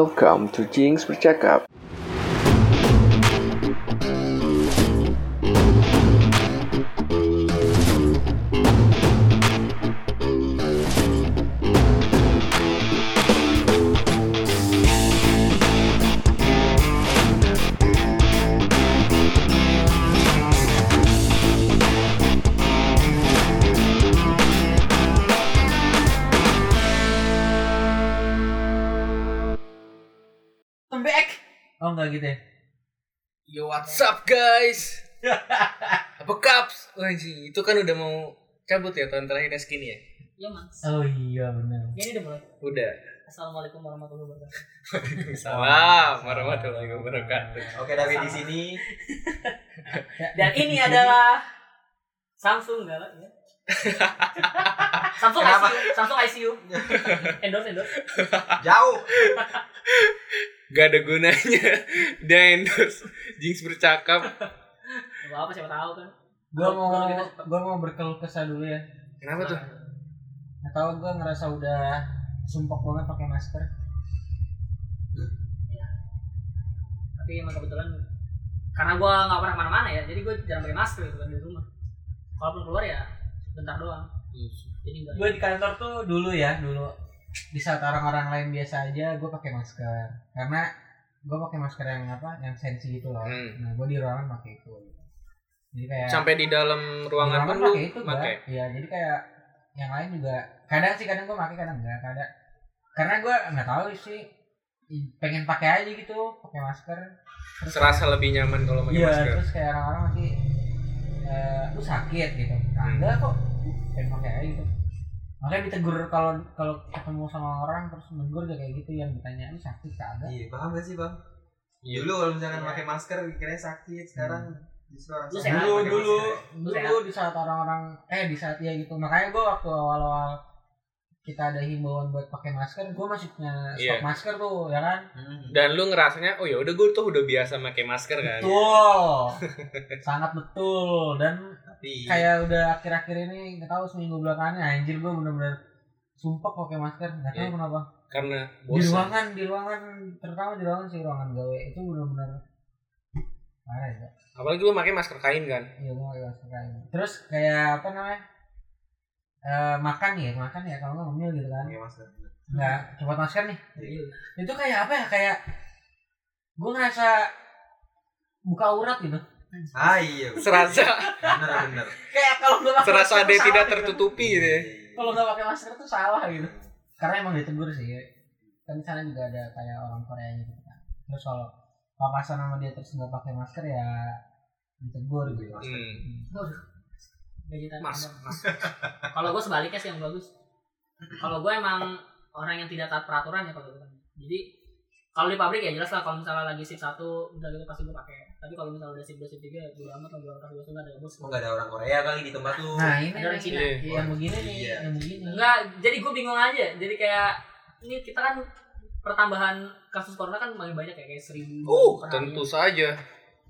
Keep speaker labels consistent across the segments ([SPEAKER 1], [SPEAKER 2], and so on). [SPEAKER 1] Welcome to Jinx Bercakap.
[SPEAKER 2] I'm back.
[SPEAKER 3] Oh enggak gitu ya?
[SPEAKER 2] Yo what's up guys? Apa kaps? Oh, anjing, itu kan udah mau cabut ya tahun terakhir skinny ya.
[SPEAKER 4] Iya mas.
[SPEAKER 3] Oh iya benar.
[SPEAKER 4] Ya, ini udah mulai.
[SPEAKER 2] Udah.
[SPEAKER 4] Assalamualaikum warahmatullahi wabarakatuh.
[SPEAKER 2] Salam warahmatullahi wabarakatuh.
[SPEAKER 5] Oke David di sini
[SPEAKER 4] Dan ini adalah Samsung enggak lah, ya? Samsung
[SPEAKER 5] Kenapa?
[SPEAKER 4] ICU, Samsung ICU. endorse endorse.
[SPEAKER 5] jauh.
[SPEAKER 2] Gak ada gunanya dia endorse Jinx bercakap.
[SPEAKER 4] Gak apa siapa tahu kan.
[SPEAKER 3] Gua mau
[SPEAKER 4] Kalau kita cepat.
[SPEAKER 3] gua mau berkeluh kesah dulu ya.
[SPEAKER 2] Kenapa tuh?
[SPEAKER 3] Atau gua ngerasa udah sumpah banget pakai masker.
[SPEAKER 4] Tapi emang kebetulan karena gua nggak pernah kemana-mana ya, jadi gua jarang pakai masker gitu kan di rumah. Kalaupun keluar ya bentar doang. Jadi enggak.
[SPEAKER 3] Gua di kantor tuh dulu ya, dulu di saat orang-orang lain biasa aja gua pakai masker karena gua pakai masker yang apa yang sensi gitu loh.
[SPEAKER 2] Hmm.
[SPEAKER 3] Nah, gua di ruangan pakai itu. Jadi kayak
[SPEAKER 2] Ya. Sampai di dalam
[SPEAKER 3] di
[SPEAKER 2] ruangan pun lu
[SPEAKER 3] pakai itu gua.
[SPEAKER 2] pakai.
[SPEAKER 3] Iya, jadi kayak yang lain juga kadang sih kadang gua pakai kadang enggak, kadang karena gua nggak tahu sih pengen pakai aja gitu, pakai masker. Terus
[SPEAKER 2] Serasa lebih nyaman kalau pakai
[SPEAKER 3] Iya,
[SPEAKER 2] masker.
[SPEAKER 3] terus kayak orang-orang masih eh, lu sakit gitu. Nah,
[SPEAKER 2] Hmm.
[SPEAKER 3] enggak kok. Pengen pakai aja gitu. Makanya ditegur kalau kalau ketemu sama orang terus menegur dia kayak gitu yang ditanya lu sakit kagak?
[SPEAKER 5] Iya, paham gak sih, Bang?
[SPEAKER 2] Iya.
[SPEAKER 5] Dulu kalau misalkan
[SPEAKER 4] Iya.
[SPEAKER 5] pakai masker kira sakit, sekarang justru orang
[SPEAKER 4] Lu
[SPEAKER 5] sakit
[SPEAKER 4] sehat.
[SPEAKER 5] pakai
[SPEAKER 3] Dulu
[SPEAKER 5] masker
[SPEAKER 3] dulu
[SPEAKER 5] ya.
[SPEAKER 3] dulu di saat orang-orang eh di saat ya gitu. Makanya gua waktu awal-awal kita ada himbauan buat pakai masker, gua masih punya
[SPEAKER 2] Iya.
[SPEAKER 3] stok masker tuh, ya kan?
[SPEAKER 5] Hmm.
[SPEAKER 2] Dan lu ngerasanya, oh ya udah gue tuh udah biasa pakai masker kan.
[SPEAKER 3] Betul. Sangat betul dan
[SPEAKER 5] Tapi
[SPEAKER 3] kayak udah akhir-akhir ini nggak tahu seminggu belakangan anjir gue bener-bener sumpah pakai masker nggak tahu
[SPEAKER 2] Iya.
[SPEAKER 3] kenapa
[SPEAKER 2] Karena
[SPEAKER 3] di
[SPEAKER 2] bosan.
[SPEAKER 3] ruangan di ruangan terutama di ruangan sih ruangan gawe itu bener-bener parah ya
[SPEAKER 2] Apalagi lu pakai masker kain kan.
[SPEAKER 3] iya gue pakai masker kain terus kayak apa namanya Eh makan ya makan ya kalau nggak ngemil gitu kan
[SPEAKER 5] pakai masker.
[SPEAKER 3] nggak copot masker nih
[SPEAKER 4] Iya.
[SPEAKER 3] itu kayak apa ya kayak gue ngerasa buka aurat gitu
[SPEAKER 5] Ah iya. bener.
[SPEAKER 2] Serasa
[SPEAKER 5] Bener bener.
[SPEAKER 3] kayak kalau gue
[SPEAKER 2] serasa
[SPEAKER 3] dia
[SPEAKER 2] dia tidak tertutupi gitu. ya.
[SPEAKER 3] kalau
[SPEAKER 5] Iya,
[SPEAKER 3] nggak pakai masker tuh salah gitu karena emang ditegur sih kan di sana juga ada kayak orang Korea gitu kan terus kalau papasan sama dia terus nggak pakai masker ya ditegur gitu
[SPEAKER 2] Hmm.
[SPEAKER 4] Gaji tadi
[SPEAKER 2] Mas,
[SPEAKER 4] ada. Kalau gue sebaliknya sih yang bagus. Kalau gue emang orang yang tidak taat peraturan ya kalau gue. Jadi kalau di pabrik ya jelas lah kalau misalnya lagi shift satu udah gitu pasti gue pakai. Tapi kalau misalnya udah shift dua shift tiga gue amat lah gue pas gue sudah ada bos.
[SPEAKER 5] Kok nggak ada orang Korea kali di tempat lu?
[SPEAKER 3] nah ini
[SPEAKER 4] Ada orang
[SPEAKER 3] nih,
[SPEAKER 4] Cina.
[SPEAKER 2] Iya.
[SPEAKER 3] yang begini nih
[SPEAKER 5] Iya.
[SPEAKER 3] yang begini
[SPEAKER 4] Enggak, jadi gue bingung aja. Jadi kayak ini kita kan pertambahan kasus corona kan makin banyak ya kayak seribu.
[SPEAKER 2] Uh,
[SPEAKER 4] per hari.
[SPEAKER 2] tentu saja.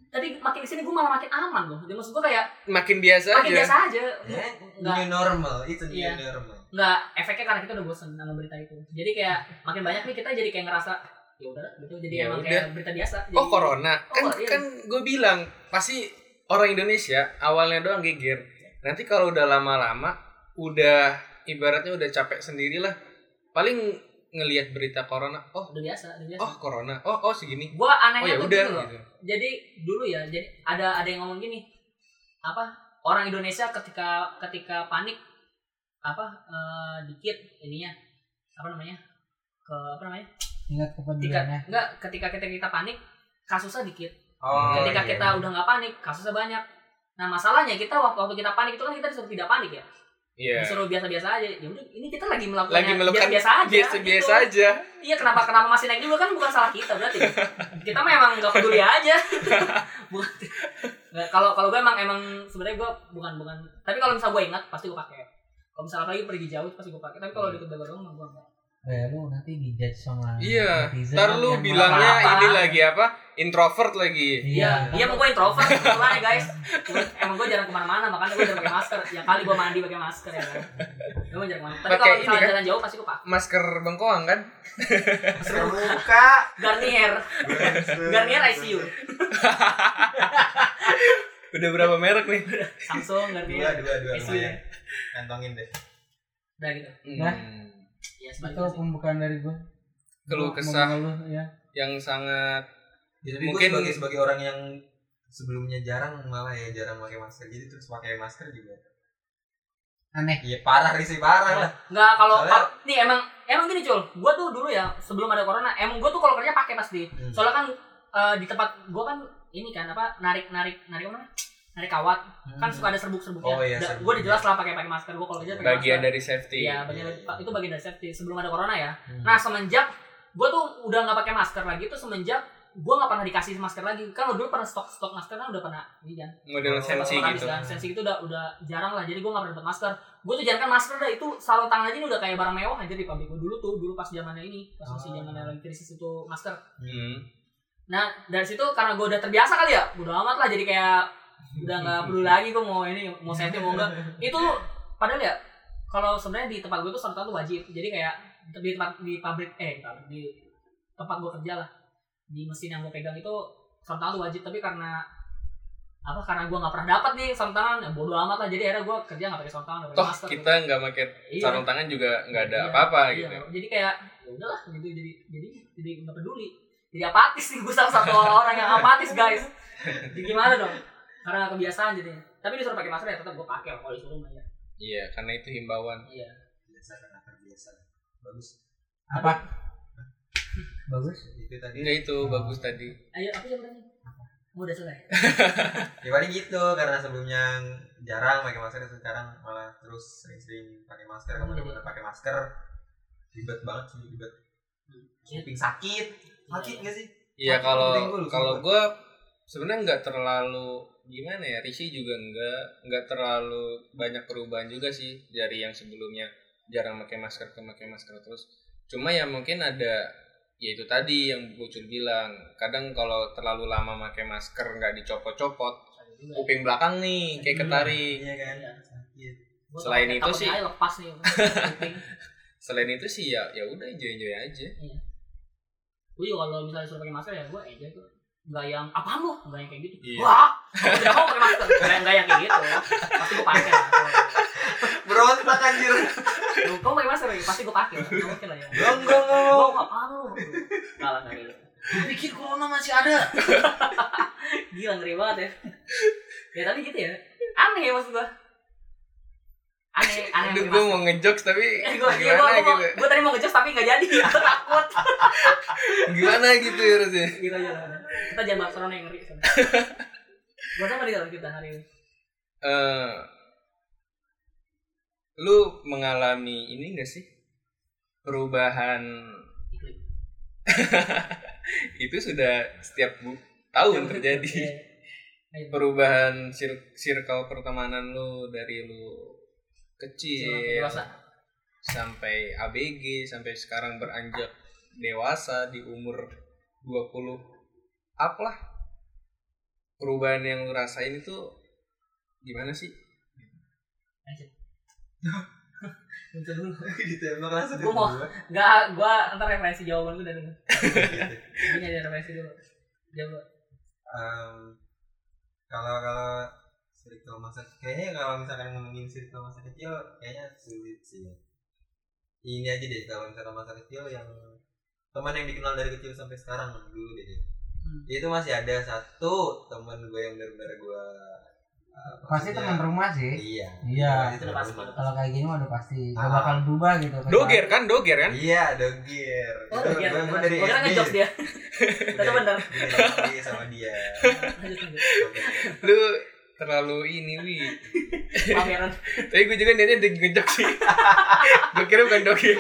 [SPEAKER 4] Tapi makin kesini gue malah makin aman loh. Jadi maksud gue kayak
[SPEAKER 2] Makin biasa
[SPEAKER 4] makin
[SPEAKER 2] aja.
[SPEAKER 4] biasa aja.
[SPEAKER 5] Eh,
[SPEAKER 4] Nggak-
[SPEAKER 5] New normal, itu new
[SPEAKER 4] Iya.
[SPEAKER 5] normal.
[SPEAKER 4] nggak efeknya karena kita udah bosen sama berita itu jadi kayak makin banyak nih kita jadi kayak ngerasa ya udah gitu jadi
[SPEAKER 2] Ya
[SPEAKER 4] emang
[SPEAKER 2] udah.
[SPEAKER 4] kayak berita biasa jadi,
[SPEAKER 2] Oh, corona. Kan
[SPEAKER 4] Oh, iya.
[SPEAKER 2] kan gue bilang pasti orang Indonesia awalnya doang geger. Nanti kalau udah lama-lama udah ibaratnya udah capek sendirilah. Paling ngelihat berita corona, oh
[SPEAKER 4] udah biasa udah biasa
[SPEAKER 2] oh corona, oh oh segini.
[SPEAKER 4] gua
[SPEAKER 2] Oh
[SPEAKER 4] anehnya
[SPEAKER 2] ya
[SPEAKER 4] tuh
[SPEAKER 2] udah
[SPEAKER 4] dulu loh
[SPEAKER 2] gitu.
[SPEAKER 4] jadi dulu ya jadi ada ada yang ngomong gini apa orang Indonesia ketika ketika panik apa eh, dikit ininya apa namanya ke apa namanya
[SPEAKER 3] ingat
[SPEAKER 4] ketika
[SPEAKER 3] kepeduliannya
[SPEAKER 4] enggak ketika kita kita panik kasusnya dikit
[SPEAKER 5] Oh,
[SPEAKER 4] ketika
[SPEAKER 5] iya.
[SPEAKER 4] kita udah nggak panik kasusnya banyak nah masalahnya kita waktu waktu kita panik itu kan kita disuruh tidak panik ya
[SPEAKER 2] Iya.
[SPEAKER 4] disuruh biasa-biasa aja ya udah ini kita lagi melakukan
[SPEAKER 2] Lagi melakukan
[SPEAKER 4] biasa aja
[SPEAKER 2] Biasa-biasa
[SPEAKER 4] gitu.
[SPEAKER 2] aja.
[SPEAKER 4] iya kenapa kenapa masih naik juga kan bukan salah kita berarti kita mah emang nggak peduli aja bukan Nggak, kalau kalau gue emang emang sebenarnya gue bukan bukan tapi kalau misal gue ingat pasti gue pakai kalau misalnya lagi pergi jauh pasti gue pakai tapi kalau
[SPEAKER 2] Hmm.
[SPEAKER 4] deket deket rumah gue enggak
[SPEAKER 3] ya lu nanti dijudge sama
[SPEAKER 2] Iya,
[SPEAKER 3] netizen
[SPEAKER 2] ntar
[SPEAKER 3] kan
[SPEAKER 2] lu
[SPEAKER 3] yang
[SPEAKER 2] bilangnya
[SPEAKER 3] marah-marah.
[SPEAKER 2] ini lagi apa? Introvert lagi.
[SPEAKER 3] iya
[SPEAKER 4] Iya, iya emang gue introvert kebetulan ya guys. Gua, emang gue jarang kemana-mana, makanya gue jarang pakai masker. Ya kali gue mandi pakai masker ya kan. Gue jarang kemana. Tapi
[SPEAKER 2] Pakai
[SPEAKER 4] kalau
[SPEAKER 2] ini
[SPEAKER 4] misalnya
[SPEAKER 2] kan?
[SPEAKER 4] jalan jauh pasti gue pakai
[SPEAKER 2] Masker bengkoang kan?
[SPEAKER 4] masker.
[SPEAKER 5] Terbuka.
[SPEAKER 4] Garnier, Garnier ICU,
[SPEAKER 2] Udah berapa merek nih?
[SPEAKER 4] Samsung
[SPEAKER 5] Dua,
[SPEAKER 4] Garnier.
[SPEAKER 5] dua, dua
[SPEAKER 4] ICU.
[SPEAKER 5] lumayan. Kantongin deh.
[SPEAKER 4] Udah gitu.
[SPEAKER 3] Nah.
[SPEAKER 5] Hmm.
[SPEAKER 4] Ya
[SPEAKER 3] itu
[SPEAKER 4] sebaliknya sih.
[SPEAKER 3] pembukaan dari gue
[SPEAKER 2] Keluh
[SPEAKER 3] Gua
[SPEAKER 2] kesah.
[SPEAKER 3] mau ngeluh, ya
[SPEAKER 2] Yang sangat
[SPEAKER 5] Ya, tapi
[SPEAKER 2] Mungkin-
[SPEAKER 5] Mungkin sebagai, sebagai orang yang sebelumnya jarang malah ya jarang pakai masker jadi terus pakai masker juga
[SPEAKER 3] aneh
[SPEAKER 5] iya parah sih parah lah
[SPEAKER 4] Enggak kalau
[SPEAKER 5] Soalnya-
[SPEAKER 4] kal- nih emang emang gini cul, gue tuh dulu ya sebelum ada corona, emang gue tuh kalau kerja pakai pasti.
[SPEAKER 5] Hmm.
[SPEAKER 4] Soalnya kan eh, di tempat gue kan ini kan apa narik narik narik apa namanya? Narik kawat kan suka ada serbuk-serbuknya.
[SPEAKER 5] Hmm. Oh, iya,
[SPEAKER 4] Da-
[SPEAKER 5] serbuk.
[SPEAKER 4] gue dijelas lah pakai pakai masker gue kalau kerja pakai
[SPEAKER 2] bagian
[SPEAKER 4] masker.
[SPEAKER 2] dari safety.
[SPEAKER 4] Iya, bagian dari- itu bagian dari safety sebelum ada corona ya.
[SPEAKER 5] Hmm.
[SPEAKER 4] Nah semenjak gue tuh udah nggak pakai masker lagi tuh semenjak gue nggak pernah dikasih masker lagi. Kan lo dulu pernah stok stok masker kan udah pernah ini kan.
[SPEAKER 2] Model
[SPEAKER 5] Oh,
[SPEAKER 2] sensi
[SPEAKER 4] Pernah
[SPEAKER 2] gitu.
[SPEAKER 4] habis kan. Sensi itu udah udah jarang lah. Jadi gue nggak pernah dapat masker. Gue tuh jarang kan masker dah itu sarung tangan aja ini udah kayak barang mewah aja di pabrik gue dulu tuh dulu pas zamannya ini pas
[SPEAKER 2] Ah.
[SPEAKER 4] masih
[SPEAKER 5] Oh.
[SPEAKER 4] zamannya lagi krisis itu masker.
[SPEAKER 2] Hmm.
[SPEAKER 4] Nah dari situ karena gue udah terbiasa kali ya, udah amat lah jadi kayak udah nggak perlu lagi gue mau ini mau safety mau enggak itu padahal ya kalau sebenarnya di tempat gue tuh sarung tangan tuh wajib jadi kayak di tempat di pabrik eh di pabrik di tempat gue kerja lah di mesin yang gue pegang itu sarung tangan tuh wajib tapi karena apa karena gue nggak pernah dapat nih sarung tangan ya bodo amat lah jadi akhirnya gue kerja nggak pakai sarung tangan nggak pakai
[SPEAKER 2] Toh
[SPEAKER 4] masker
[SPEAKER 2] kita nggak pakai
[SPEAKER 4] Iya.
[SPEAKER 2] sarung tangan juga nggak ada
[SPEAKER 4] Iya,
[SPEAKER 2] apa-apa
[SPEAKER 4] Iya,
[SPEAKER 2] gitu.
[SPEAKER 4] jadi kayak ya udahlah gitu jadi jadi jadi nggak peduli jadi apatis nih gue salah satu orang yang apatis guys jadi gimana dong karena kebiasaan jadinya tapi disuruh pakai masker ya tetap gue pakai kalau disuruh mah ya
[SPEAKER 2] Iya, karena itu himbauan.
[SPEAKER 4] iya
[SPEAKER 5] biasa karena terbiasa bagus
[SPEAKER 3] apa bagus
[SPEAKER 5] itu tadi
[SPEAKER 2] Enggak itu bagus tadi.
[SPEAKER 4] ayo apa yang berani mau udah selesai
[SPEAKER 5] ya paling gitu karena sebelumnya jarang pakai masker terus sekarang malah terus sering-sering pakai masker kamu benar-benar pakai masker ribet banget sih ribet kuping sakit sakit nggak sih
[SPEAKER 2] Iya
[SPEAKER 5] Aku penting
[SPEAKER 2] kalau kalau
[SPEAKER 5] dulu, sumpah.
[SPEAKER 2] gue sebenarnya nggak terlalu gimana ya Rishi juga nggak nggak terlalu banyak perubahan juga sih dari yang sebelumnya jarang pakai masker ke pakai masker terus cuma ya mungkin ada ya itu tadi yang bocor bilang kadang kalau terlalu lama pakai masker nggak dicopot-copot kuping belakang nih kayak ketarik
[SPEAKER 5] iya kan
[SPEAKER 4] Iya.
[SPEAKER 5] sakit
[SPEAKER 4] Gua
[SPEAKER 2] Selain
[SPEAKER 4] takut-
[SPEAKER 2] itu
[SPEAKER 4] takutnya
[SPEAKER 2] sih-
[SPEAKER 4] aja lepas nih kuping
[SPEAKER 2] selain itu sih ya ya udah enjoy-enjoy aja
[SPEAKER 4] gue juga kalau misalnya disuruh pakai masker ya gue aja tuh nggak yang apaan lu nggak yang kayak gitu
[SPEAKER 2] Iya.
[SPEAKER 4] wah aku tidak mau pakai masker nggak nggak yang kayak gitu pasti gue pakai lah
[SPEAKER 5] berontak anjir
[SPEAKER 4] Lu- kamu pakai masker ya? pasti gue pakai lah Nggak mungkin lah ya
[SPEAKER 5] gong gong
[SPEAKER 4] Wow,
[SPEAKER 5] gong
[SPEAKER 4] apaan lu? Kalah ngeri.
[SPEAKER 3] pikir corona masih ada
[SPEAKER 4] Gila ngeri banget ya. Ya tapi gitu ya. Aneh ya maksud gua. Aneh, aneh.
[SPEAKER 2] aduh gue mau ngejokes tapi
[SPEAKER 4] Eh, gue, iya, gue, gue,
[SPEAKER 2] gimana gitu
[SPEAKER 4] gue tadi mau ngejokes tapi gak jadi Gitu Aku takut
[SPEAKER 2] gimana gitu ya harusnya
[SPEAKER 4] Gitu aja lah. Kita jangan bahas corona yang ngeri Gue sama dia kita hari ini
[SPEAKER 2] eh lu mengalami ini enggak sih perubahan
[SPEAKER 4] Iklim.
[SPEAKER 2] itu sudah setiap bu- tahun terjadi
[SPEAKER 4] Iya.
[SPEAKER 2] perubahan sir- circle pertemanan lu dari lu
[SPEAKER 4] Iya,
[SPEAKER 2] kecil
[SPEAKER 4] Dewasa.
[SPEAKER 2] sampai ABG sampai sekarang beranjak dewasa di umur 20 up lah perubahan yang lu rasain itu gimana sih
[SPEAKER 4] Bentar dulu.
[SPEAKER 5] gitu emang langsung
[SPEAKER 4] Gua mau-
[SPEAKER 5] kedua.
[SPEAKER 4] Nggak, gue ntar referensi jawaban gue dari lu
[SPEAKER 5] Gitu.
[SPEAKER 4] Ini ada referensi dulu Jawab.
[SPEAKER 5] Em, kalau kalau circle masa kayaknya kalau misalkan ngomongin circle masa kecil ya, kayaknya sulit sih ini aja deh kalau misalkan masa kecil yang teman yang dikenal dari kecil sampai sekarang dulu deh
[SPEAKER 4] Hmm.
[SPEAKER 5] itu masih ada satu teman gue yang benar-benar gue eh,
[SPEAKER 3] pasti
[SPEAKER 5] maksudnya-
[SPEAKER 3] teman rumah sih
[SPEAKER 5] iya
[SPEAKER 3] Iya.
[SPEAKER 5] pasti teman
[SPEAKER 4] Nah, Pasti.
[SPEAKER 5] rumah.
[SPEAKER 3] kalau kayak gini mah udah pasti gak
[SPEAKER 5] Ah.
[SPEAKER 3] bakal berubah gitu
[SPEAKER 2] doger kan doger kan
[SPEAKER 5] iya dogir
[SPEAKER 4] Oh,
[SPEAKER 5] Itu
[SPEAKER 4] iya,
[SPEAKER 5] gue- gue dari
[SPEAKER 4] Gua kira
[SPEAKER 5] SD
[SPEAKER 4] ngejokes dia. Tapi
[SPEAKER 5] Dari-
[SPEAKER 4] bener.
[SPEAKER 5] dari SD sama dia
[SPEAKER 4] Lanjut, lanjut.
[SPEAKER 2] Iya. lu terlalu ini wi
[SPEAKER 4] Pameran.
[SPEAKER 2] tapi gue juga niatnya di ngejok sih gue kira bukan dogi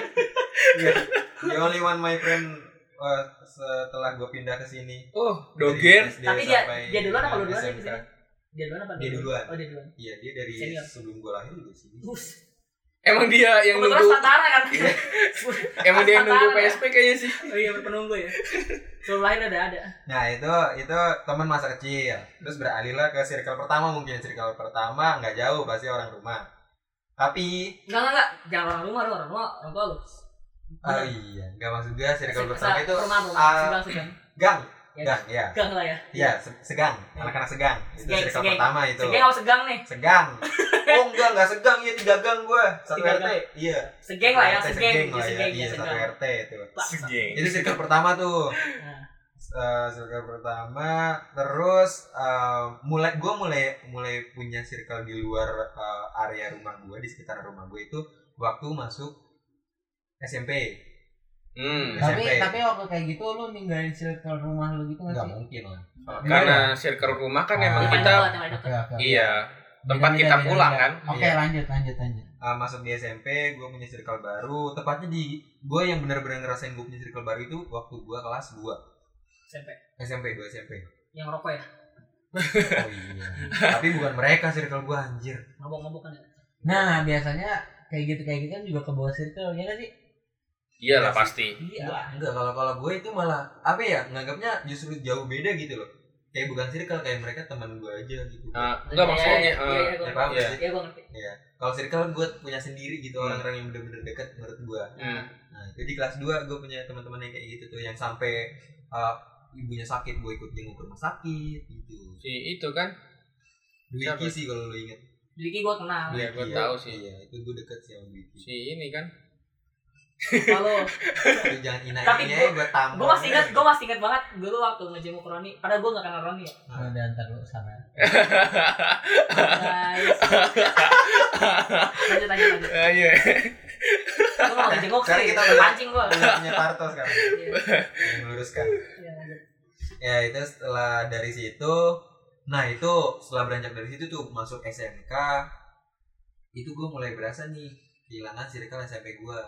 [SPEAKER 5] The only one my friend eh, setelah gue pindah ke sini.
[SPEAKER 2] oh doger
[SPEAKER 5] Dari SD
[SPEAKER 4] Tapi dia
[SPEAKER 5] sampai
[SPEAKER 4] dia duluan apa lu duluan sih
[SPEAKER 5] SMK?
[SPEAKER 4] di sini? Dia duluan apa? lu
[SPEAKER 5] Dia duluan.
[SPEAKER 4] Oh, dia duluan.
[SPEAKER 5] Iya, dia dari
[SPEAKER 4] Senior.
[SPEAKER 5] sebelum gue lahir di sini.
[SPEAKER 4] Bus.
[SPEAKER 2] Emang dia yang
[SPEAKER 4] Kebetulan
[SPEAKER 2] nunggu
[SPEAKER 4] setara kan.
[SPEAKER 5] Iya.
[SPEAKER 2] emang dia yang nunggu
[SPEAKER 4] setara ya.
[SPEAKER 2] PSP kayaknya sih.
[SPEAKER 4] oh iya penunggu ya. Sebelum lain ada ada.
[SPEAKER 5] Nah itu itu teman masa kecil. Terus beralihlah ke circle pertama mungkin circle pertama nggak jauh pasti orang rumah. Tapi
[SPEAKER 4] Enggak enggak enggak. Jangan orang rumah lu orang rumah orang tua lu.
[SPEAKER 5] oh iya nggak maksud gue circle pertama
[SPEAKER 4] Sa-
[SPEAKER 5] itu
[SPEAKER 4] rumah rumah
[SPEAKER 5] ah,
[SPEAKER 4] segang segang.
[SPEAKER 5] gang
[SPEAKER 4] Ya.
[SPEAKER 5] gang ya
[SPEAKER 4] Segang lah ya.
[SPEAKER 5] ya se- segang anak-anak segang itu
[SPEAKER 4] Segang,
[SPEAKER 5] circle
[SPEAKER 4] segang.
[SPEAKER 5] pertama itu
[SPEAKER 4] Segang apa segang nih?
[SPEAKER 5] segang. Oh enggak enggak segang ya tiga gang gue satu
[SPEAKER 4] Tiga
[SPEAKER 5] RT. Iya.
[SPEAKER 4] Segeng lah ya,
[SPEAKER 5] RT,
[SPEAKER 4] segeng.
[SPEAKER 5] lah ya,
[SPEAKER 4] Segeng
[SPEAKER 5] iya
[SPEAKER 4] ya,
[SPEAKER 5] satu
[SPEAKER 4] segang.
[SPEAKER 5] RT itu.
[SPEAKER 4] Pak,
[SPEAKER 5] Itu circle pertama tuh.
[SPEAKER 4] Nah.
[SPEAKER 5] Eh, circle pertama terus eh, mulai gue mulai mulai punya circle di luar eh, area rumah gue di sekitar rumah gue itu waktu masuk SMP
[SPEAKER 2] Hmm.
[SPEAKER 3] tapi
[SPEAKER 5] SMP.
[SPEAKER 3] tapi waktu kayak gitu lu ninggalin circle rumah lu gitu nggak
[SPEAKER 5] nggak
[SPEAKER 3] sih
[SPEAKER 5] mungkin lah
[SPEAKER 2] Karena circle rumah kan
[SPEAKER 3] Ah.
[SPEAKER 2] emang
[SPEAKER 4] Yang
[SPEAKER 2] kita
[SPEAKER 4] paling dekat, yang paling dekat.
[SPEAKER 3] Oke, oke.
[SPEAKER 2] iya,
[SPEAKER 3] Beda-beda,
[SPEAKER 2] tempat kita
[SPEAKER 3] beda-beda.
[SPEAKER 2] pulang kan.
[SPEAKER 3] Oke
[SPEAKER 5] Iya.
[SPEAKER 3] lanjut lanjut lanjut.
[SPEAKER 5] Eh, masuk di SMP gue punya circle baru tepatnya di gue yang benar-benar ngerasain gue punya circle baru itu waktu gue kelas 2
[SPEAKER 4] SMP.
[SPEAKER 5] SMP gue SMP
[SPEAKER 4] Yang rokok ya,
[SPEAKER 5] oh iya tapi bukan mereka circle gue anjir
[SPEAKER 4] mabok-mabok kan ya.
[SPEAKER 3] Nah biasanya kayak gitu kayak gitu kan juga ke bawah circle ya nggak sih?
[SPEAKER 2] Iya,
[SPEAKER 3] Iya.
[SPEAKER 2] Iyalah pasti.
[SPEAKER 5] Enggak, enggak. Kalau kalau gue itu malah apa ya? Nganggapnya justru jauh beda gitu loh. Kayak bukan circle kayak mereka teman gue aja gitu.
[SPEAKER 2] Nah, enggak maksudnya
[SPEAKER 4] Iya, iya, iya,
[SPEAKER 2] eh,
[SPEAKER 4] gua
[SPEAKER 5] ya
[SPEAKER 4] ngerti.
[SPEAKER 5] paham
[SPEAKER 2] iya.
[SPEAKER 5] sih.
[SPEAKER 4] Iya, gua ngerti.
[SPEAKER 5] Kalau circle gue punya sendiri gitu
[SPEAKER 2] Hmm.
[SPEAKER 5] orang-orang yang bener-bener deket menurut gue.
[SPEAKER 2] hmm.
[SPEAKER 5] Nah, itu di kelas 2 gue punya teman-teman yang kayak gitu tuh yang sampai uh, ibunya sakit gue ikut jenguk ke rumah sakit gitu.
[SPEAKER 2] si itu kan. Siapa?
[SPEAKER 5] Dwiki sih kalau lo inget.
[SPEAKER 4] Diki gua kenal.
[SPEAKER 2] Iya, gue
[SPEAKER 5] Dwiki ya.
[SPEAKER 2] tahu sih.
[SPEAKER 5] Iya, itu gue deket sih sama Dwiki.
[SPEAKER 2] Si ini kan.
[SPEAKER 4] Kalau
[SPEAKER 5] Lu jangan
[SPEAKER 4] Tapi gua-
[SPEAKER 5] inain ya, gue tampar.
[SPEAKER 4] gue masih ingat, gue masih ingat banget dulu waktu ngejenguk Roni. Padahal gue gak kenal Roni ya.
[SPEAKER 3] Nah, udah antar lu sana.
[SPEAKER 4] Guys. lanjut lanjut lanjut.
[SPEAKER 2] Ah, Iya.
[SPEAKER 4] Gue mau ngejenguk
[SPEAKER 5] Sekarang
[SPEAKER 4] sih. Iya,
[SPEAKER 5] kita udah-
[SPEAKER 4] Pancing gue.
[SPEAKER 5] Punya punya Tarto sekarang yang kan. meluruskan.
[SPEAKER 4] iya,
[SPEAKER 5] ya itu setelah dari situ nah itu setelah beranjak dari situ tuh masuk SMK itu gue mulai berasa nih kehilangan circle SMP gue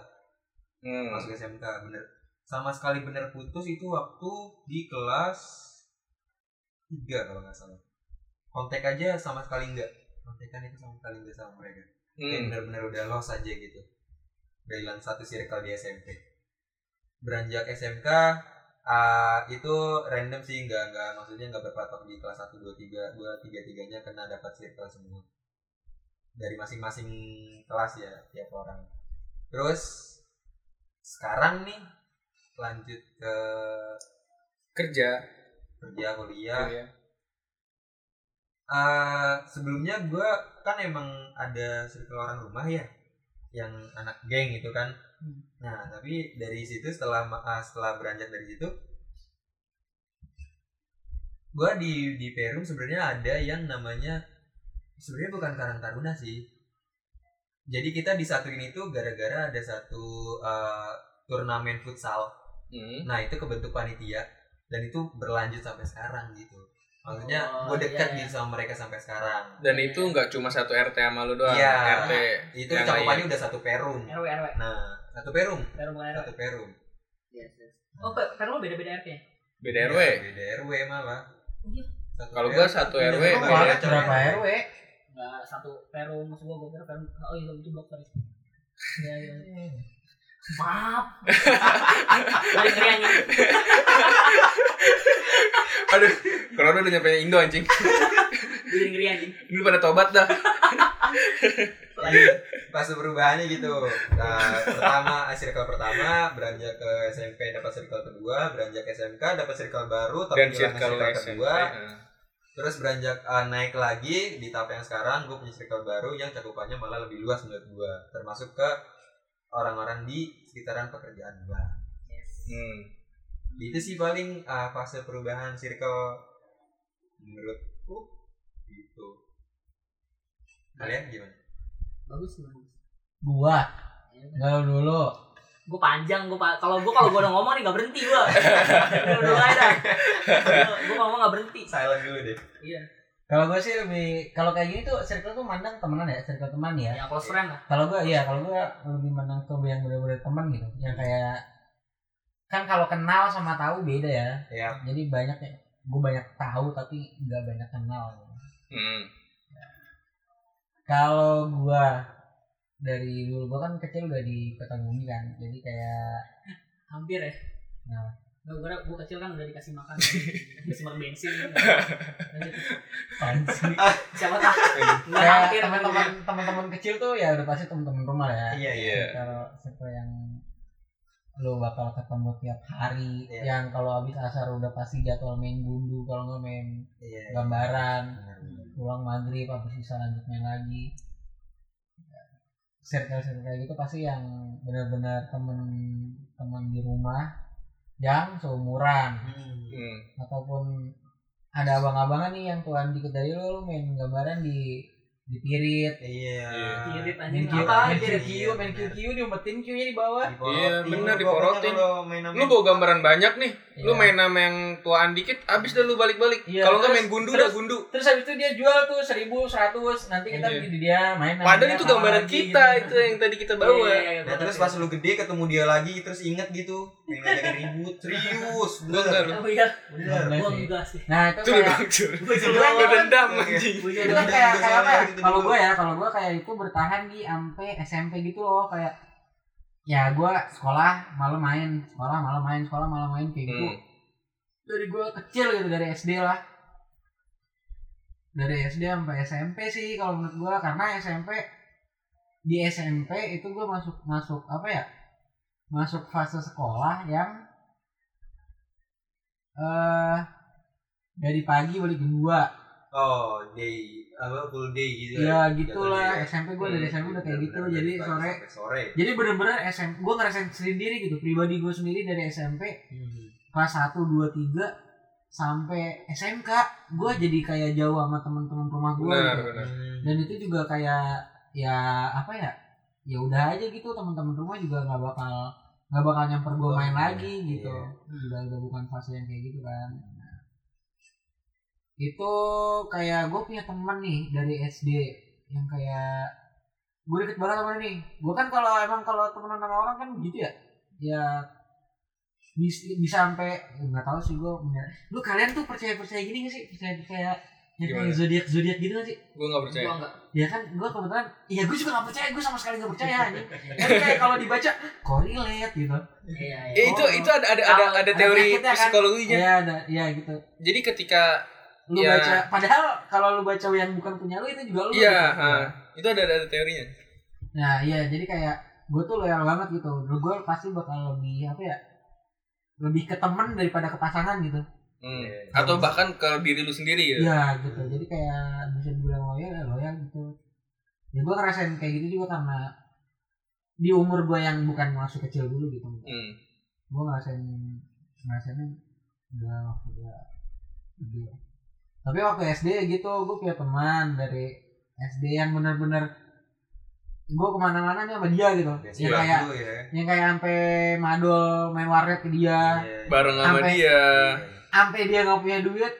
[SPEAKER 2] Hmm.
[SPEAKER 5] masuk SMK bener sama sekali bener putus itu waktu di kelas 3 kalau nggak salah kontak aja sama sekali enggak kontekan itu sama sekali enggak sama mereka Kayak
[SPEAKER 2] Hmm.
[SPEAKER 5] bener-bener udah lost aja gitu udah hilang satu circle di SMP beranjak SMK ah, itu random sih nggak nggak maksudnya nggak berpatok di kelas 1, 2, 3 gua tiga tiganya kena dapat circle semua dari masing-masing kelas ya tiap orang terus sekarang nih lanjut ke
[SPEAKER 2] Kerja.
[SPEAKER 5] kerja kuliah
[SPEAKER 2] Iya.
[SPEAKER 5] Ah, sebelumnya gue kan emang ada circle orang rumah ya yang anak geng itu kan
[SPEAKER 4] Hmm.
[SPEAKER 5] nah tapi dari situ setelah ma- ah, setelah beranjak dari situ gue di di Perum sebenarnya ada yang namanya sebenarnya bukan Karang Taruna sih jadi kita disatuin itu gara-gara ada satu ah, turnamen futsal
[SPEAKER 2] Hmm.
[SPEAKER 5] Nah itu kebentuk panitia dan itu berlanjut sampai sekarang gitu. Maksudnya
[SPEAKER 4] Oh,
[SPEAKER 5] gue dekat
[SPEAKER 4] iya, iya.
[SPEAKER 5] nih sama mereka sampai sekarang.
[SPEAKER 2] Dan itu nggak cuma satu RT sama lu doang.
[SPEAKER 5] Iya.
[SPEAKER 2] RT
[SPEAKER 5] Itu
[SPEAKER 2] Yang
[SPEAKER 5] cakupannya udah satu perum.
[SPEAKER 4] RW RW.
[SPEAKER 5] Nah satu perum,
[SPEAKER 4] Baru bukan RW.
[SPEAKER 5] satu perum. Iya,
[SPEAKER 4] Oh, pe- kan lu beda-beda RT ya?
[SPEAKER 2] beda RW.
[SPEAKER 5] Ya, beda RW malah.
[SPEAKER 4] Iya.
[SPEAKER 5] Satu
[SPEAKER 2] Kalau
[SPEAKER 5] perum,
[SPEAKER 2] gua satu
[SPEAKER 5] tapi
[SPEAKER 2] RW, beda
[SPEAKER 5] dengan macam
[SPEAKER 2] RW.
[SPEAKER 3] berapa RW?
[SPEAKER 4] Enggak satu perum. Maksud gue, gue kira perum. Oh iya, itu blok tadi. Iya, iya. Maaf. Balik ke Rian, ya.
[SPEAKER 2] Aduh, corona udah nyampe Indo anjing.
[SPEAKER 4] Balik ke Rian, ya.
[SPEAKER 2] Ini pada tobat dah.
[SPEAKER 5] Iya, pas perubahannya gitu. Nah, pertama circle pertama beranjak ke SMP dapat circle kedua, beranjak ke SMK dapat circle baru
[SPEAKER 2] Dan
[SPEAKER 5] tapi kehilangan
[SPEAKER 2] circle
[SPEAKER 5] circle
[SPEAKER 2] SMP.
[SPEAKER 5] kedua,
[SPEAKER 2] Heeh.
[SPEAKER 5] terus beranjak eh, naik lagi di tahap yang sekarang gue punya circle baru yang cakupannya malah lebih luas menurut gue termasuk ke orang-orang di sekitaran pekerjaan gue
[SPEAKER 2] Hmm.
[SPEAKER 5] itu sih paling eh, fase perubahan circle menurutku gitu kalian gimana
[SPEAKER 4] Bagus, bagus. Iya.
[SPEAKER 3] Gua. Enggak lu dulu.
[SPEAKER 4] Gue panjang, gue pa- kalau gue kalau gue udah ngomong nih gak berhenti gue. Udah mulai dah. Gue ngomong gak berhenti.
[SPEAKER 5] silent dulu deh
[SPEAKER 4] Iya.
[SPEAKER 3] Kalau gua sih lebih kalau kayak gini tuh circle tuh mandang temenan ya, circle teman ya.
[SPEAKER 4] Ya close friend lah.
[SPEAKER 3] kalau gue iya kalau gue lebih menang ke yang bener-bener teman gitu yang kayak kan kalau kenal sama tahu beda ya
[SPEAKER 5] ya
[SPEAKER 3] jadi banyak ya gue banyak tahu tapi nggak banyak kenal
[SPEAKER 2] Hmm.
[SPEAKER 3] kalau gue dari dulu gua kan kecil udah di kota bumi kan jadi kayak
[SPEAKER 4] hampir ya
[SPEAKER 3] Nah.
[SPEAKER 4] gue kira gue kecil kan udah dikasih makan dikasih makan bensin Lanjut.
[SPEAKER 3] fancy
[SPEAKER 4] siapa tahu
[SPEAKER 5] Iya.
[SPEAKER 4] nggak
[SPEAKER 3] kayak
[SPEAKER 4] hampir Iya,
[SPEAKER 3] teman-teman teman-teman kecil tuh ya udah pasti teman-teman rumah ya
[SPEAKER 5] iya iya
[SPEAKER 3] kalau siapa yang lo bakal ketemu tiap hari
[SPEAKER 5] Iya.
[SPEAKER 3] yang kalau habis asar udah pasti jadwal main gundu kalau nggak main
[SPEAKER 5] iya
[SPEAKER 3] gambaran pulang maghrib habis bisa lanjut main lagi circle circle kayak gitu pasti yang benar-benar temen temen di rumah yang seumuran
[SPEAKER 5] Hmm.
[SPEAKER 2] Hmm.
[SPEAKER 3] ataupun ada abang-abangan nih yang tuan dikit dari lo, lo main gambaran di di pirit
[SPEAKER 5] iya
[SPEAKER 2] Iya.
[SPEAKER 4] kirit anjing
[SPEAKER 3] main kiu
[SPEAKER 4] apa
[SPEAKER 3] main
[SPEAKER 4] kirit
[SPEAKER 3] kiu main kiu kiu diumpetin kiunya di bawah
[SPEAKER 2] Iya, bener, diporotin.
[SPEAKER 5] Lu
[SPEAKER 2] Lu bawa gambaran banyak nih. Lu
[SPEAKER 3] Iya.
[SPEAKER 2] main sama yang tuaan dikit, abis dah lu balik-balik.
[SPEAKER 3] Iya,
[SPEAKER 2] Kalau nggak
[SPEAKER 3] terus-
[SPEAKER 2] main gundu
[SPEAKER 3] terus-
[SPEAKER 2] dah gundu.
[SPEAKER 3] terus habis itu dia jual tuh seribu seratus nanti kita
[SPEAKER 2] Iya.
[SPEAKER 3] beli di dia main sama
[SPEAKER 2] Padahal
[SPEAKER 3] dia,
[SPEAKER 2] itu
[SPEAKER 3] sama
[SPEAKER 2] gambaran
[SPEAKER 3] lagi,
[SPEAKER 2] kita
[SPEAKER 3] gitu.
[SPEAKER 2] itu yang tadi kita
[SPEAKER 4] Iya, iya,
[SPEAKER 2] bawa.
[SPEAKER 4] iya,
[SPEAKER 5] Nah,
[SPEAKER 4] gua
[SPEAKER 5] terus pas
[SPEAKER 4] ngerti.
[SPEAKER 5] lu gede ketemu dia lagi terus inget gitu. Pengen ngajakin ribut, serius.
[SPEAKER 2] Gua enggak lu.
[SPEAKER 4] oh iya
[SPEAKER 5] Bener.
[SPEAKER 3] Iya
[SPEAKER 4] gue
[SPEAKER 3] sih.
[SPEAKER 4] enggak sih
[SPEAKER 3] nah itu
[SPEAKER 2] Itu lu
[SPEAKER 3] kayak
[SPEAKER 2] dong, Cul.
[SPEAKER 4] gue
[SPEAKER 5] Iya.
[SPEAKER 2] Lu
[SPEAKER 4] juga
[SPEAKER 2] dendam
[SPEAKER 5] Iya.
[SPEAKER 2] anjing.
[SPEAKER 4] gue
[SPEAKER 3] itu
[SPEAKER 4] juga
[SPEAKER 3] kan kayak
[SPEAKER 5] Iya,
[SPEAKER 3] kayak apa ya?
[SPEAKER 5] gitu dulu.
[SPEAKER 3] Kalau gue ya, kalau gue kayak itu bertahan di sampai SMP gitu loh, kayak ya gue sekolah malam main, sekolah malam main, sekolah malam main kayak gitu.
[SPEAKER 2] Hmm.
[SPEAKER 3] Dari gue kecil gitu dari SD lah. Dari SD sampai SMP sih kalau menurut gue karena SMP di SMP itu gue masuk masuk apa ya? Masuk fase sekolah yang eh dari pagi balik jam dua
[SPEAKER 5] Oh, day apa full day gitu.
[SPEAKER 3] Ya
[SPEAKER 5] Iya, Jatuhnya.
[SPEAKER 3] gitulah SMP gue dari
[SPEAKER 2] Hmm,
[SPEAKER 3] SMP udah kayak gitu
[SPEAKER 5] Bener-bener
[SPEAKER 3] jadi
[SPEAKER 5] dari pagi
[SPEAKER 3] sore
[SPEAKER 5] sampai sore.
[SPEAKER 3] jadi bener-bener SMP gue ngerasain sendiri gitu pribadi gue sendiri dari SMP kelas 1, 2, 3 sampai SMK gue jadi kayak jauh sama teman-teman rumah gue
[SPEAKER 2] Benar,
[SPEAKER 3] gitu.
[SPEAKER 2] benar.
[SPEAKER 5] Hmm,
[SPEAKER 3] dan itu juga kayak ya apa ya ya udah aja gitu teman-teman rumah juga nggak bakal nggak bakal nyamper gue main
[SPEAKER 5] Iya,
[SPEAKER 3] lagi gitu
[SPEAKER 5] iya.
[SPEAKER 3] udah udah bukan fase yang kayak gitu kan Nah, itu kayak gue punya teman nih dari SD yang kayak gue deket banget sama dia nih gue kan kalau emang kalau temenan sama orang kan gitu ya ya bisa, bisa sampai ya nggak tahu sih gue lu kalian tuh percaya percaya gini gak sih percaya percaya yang kayak
[SPEAKER 2] Gimana?
[SPEAKER 3] zodiak zodiak gitu gak sih
[SPEAKER 2] Gua enggak
[SPEAKER 4] gue
[SPEAKER 2] percaya.
[SPEAKER 4] enggak
[SPEAKER 3] ya kan gue kebetulan ya gue juga gak percaya gue sama sekali gak percaya anjing kan kayak kalau dibaca korelate gitu
[SPEAKER 4] iya
[SPEAKER 2] Ya,
[SPEAKER 5] Eh,
[SPEAKER 4] iya
[SPEAKER 2] itu
[SPEAKER 3] Oh.
[SPEAKER 2] itu ada ada ada
[SPEAKER 4] Ada
[SPEAKER 2] ada teori
[SPEAKER 3] penyakitnya kan?
[SPEAKER 2] psikologinya.
[SPEAKER 3] ya ada ya gitu
[SPEAKER 2] Jadi ketika
[SPEAKER 3] lu
[SPEAKER 2] Iya.
[SPEAKER 3] baca padahal kalau lu baca yang bukan punya lu itu juga lu
[SPEAKER 2] iya,
[SPEAKER 3] gitu.
[SPEAKER 2] ha, itu ada ada ada teorinya.
[SPEAKER 3] nah iya jadi kayak gue tuh loyal banget gitu lu gue pasti bakal lebih apa ya lebih ke temen daripada ke pasangan gitu
[SPEAKER 2] Hmm. Atau bahkan ke diri lu sendiri gitu.
[SPEAKER 3] ya gitu jadi kayak bisa dibilang loyal ya loyal gitu ya gue ngerasain kayak gitu juga karena di umur gue yang bukan masuk kecil dulu gitu
[SPEAKER 2] Hmm.
[SPEAKER 3] gue ngerasain ngerasainnya udah waktu gue gede ya. tapi waktu SD ya gitu gue punya teman dari SD yang benar-benar gue kemana-mana nih sama dia gitu
[SPEAKER 5] Biasa
[SPEAKER 3] yang
[SPEAKER 2] Iya.
[SPEAKER 3] kayak
[SPEAKER 5] dulu ya.
[SPEAKER 3] yang kayak sampai madol main warnet ke dia
[SPEAKER 5] Iya.
[SPEAKER 2] Bareng sama
[SPEAKER 3] Sampai-
[SPEAKER 2] dia,
[SPEAKER 3] sampai dia nggak punya duit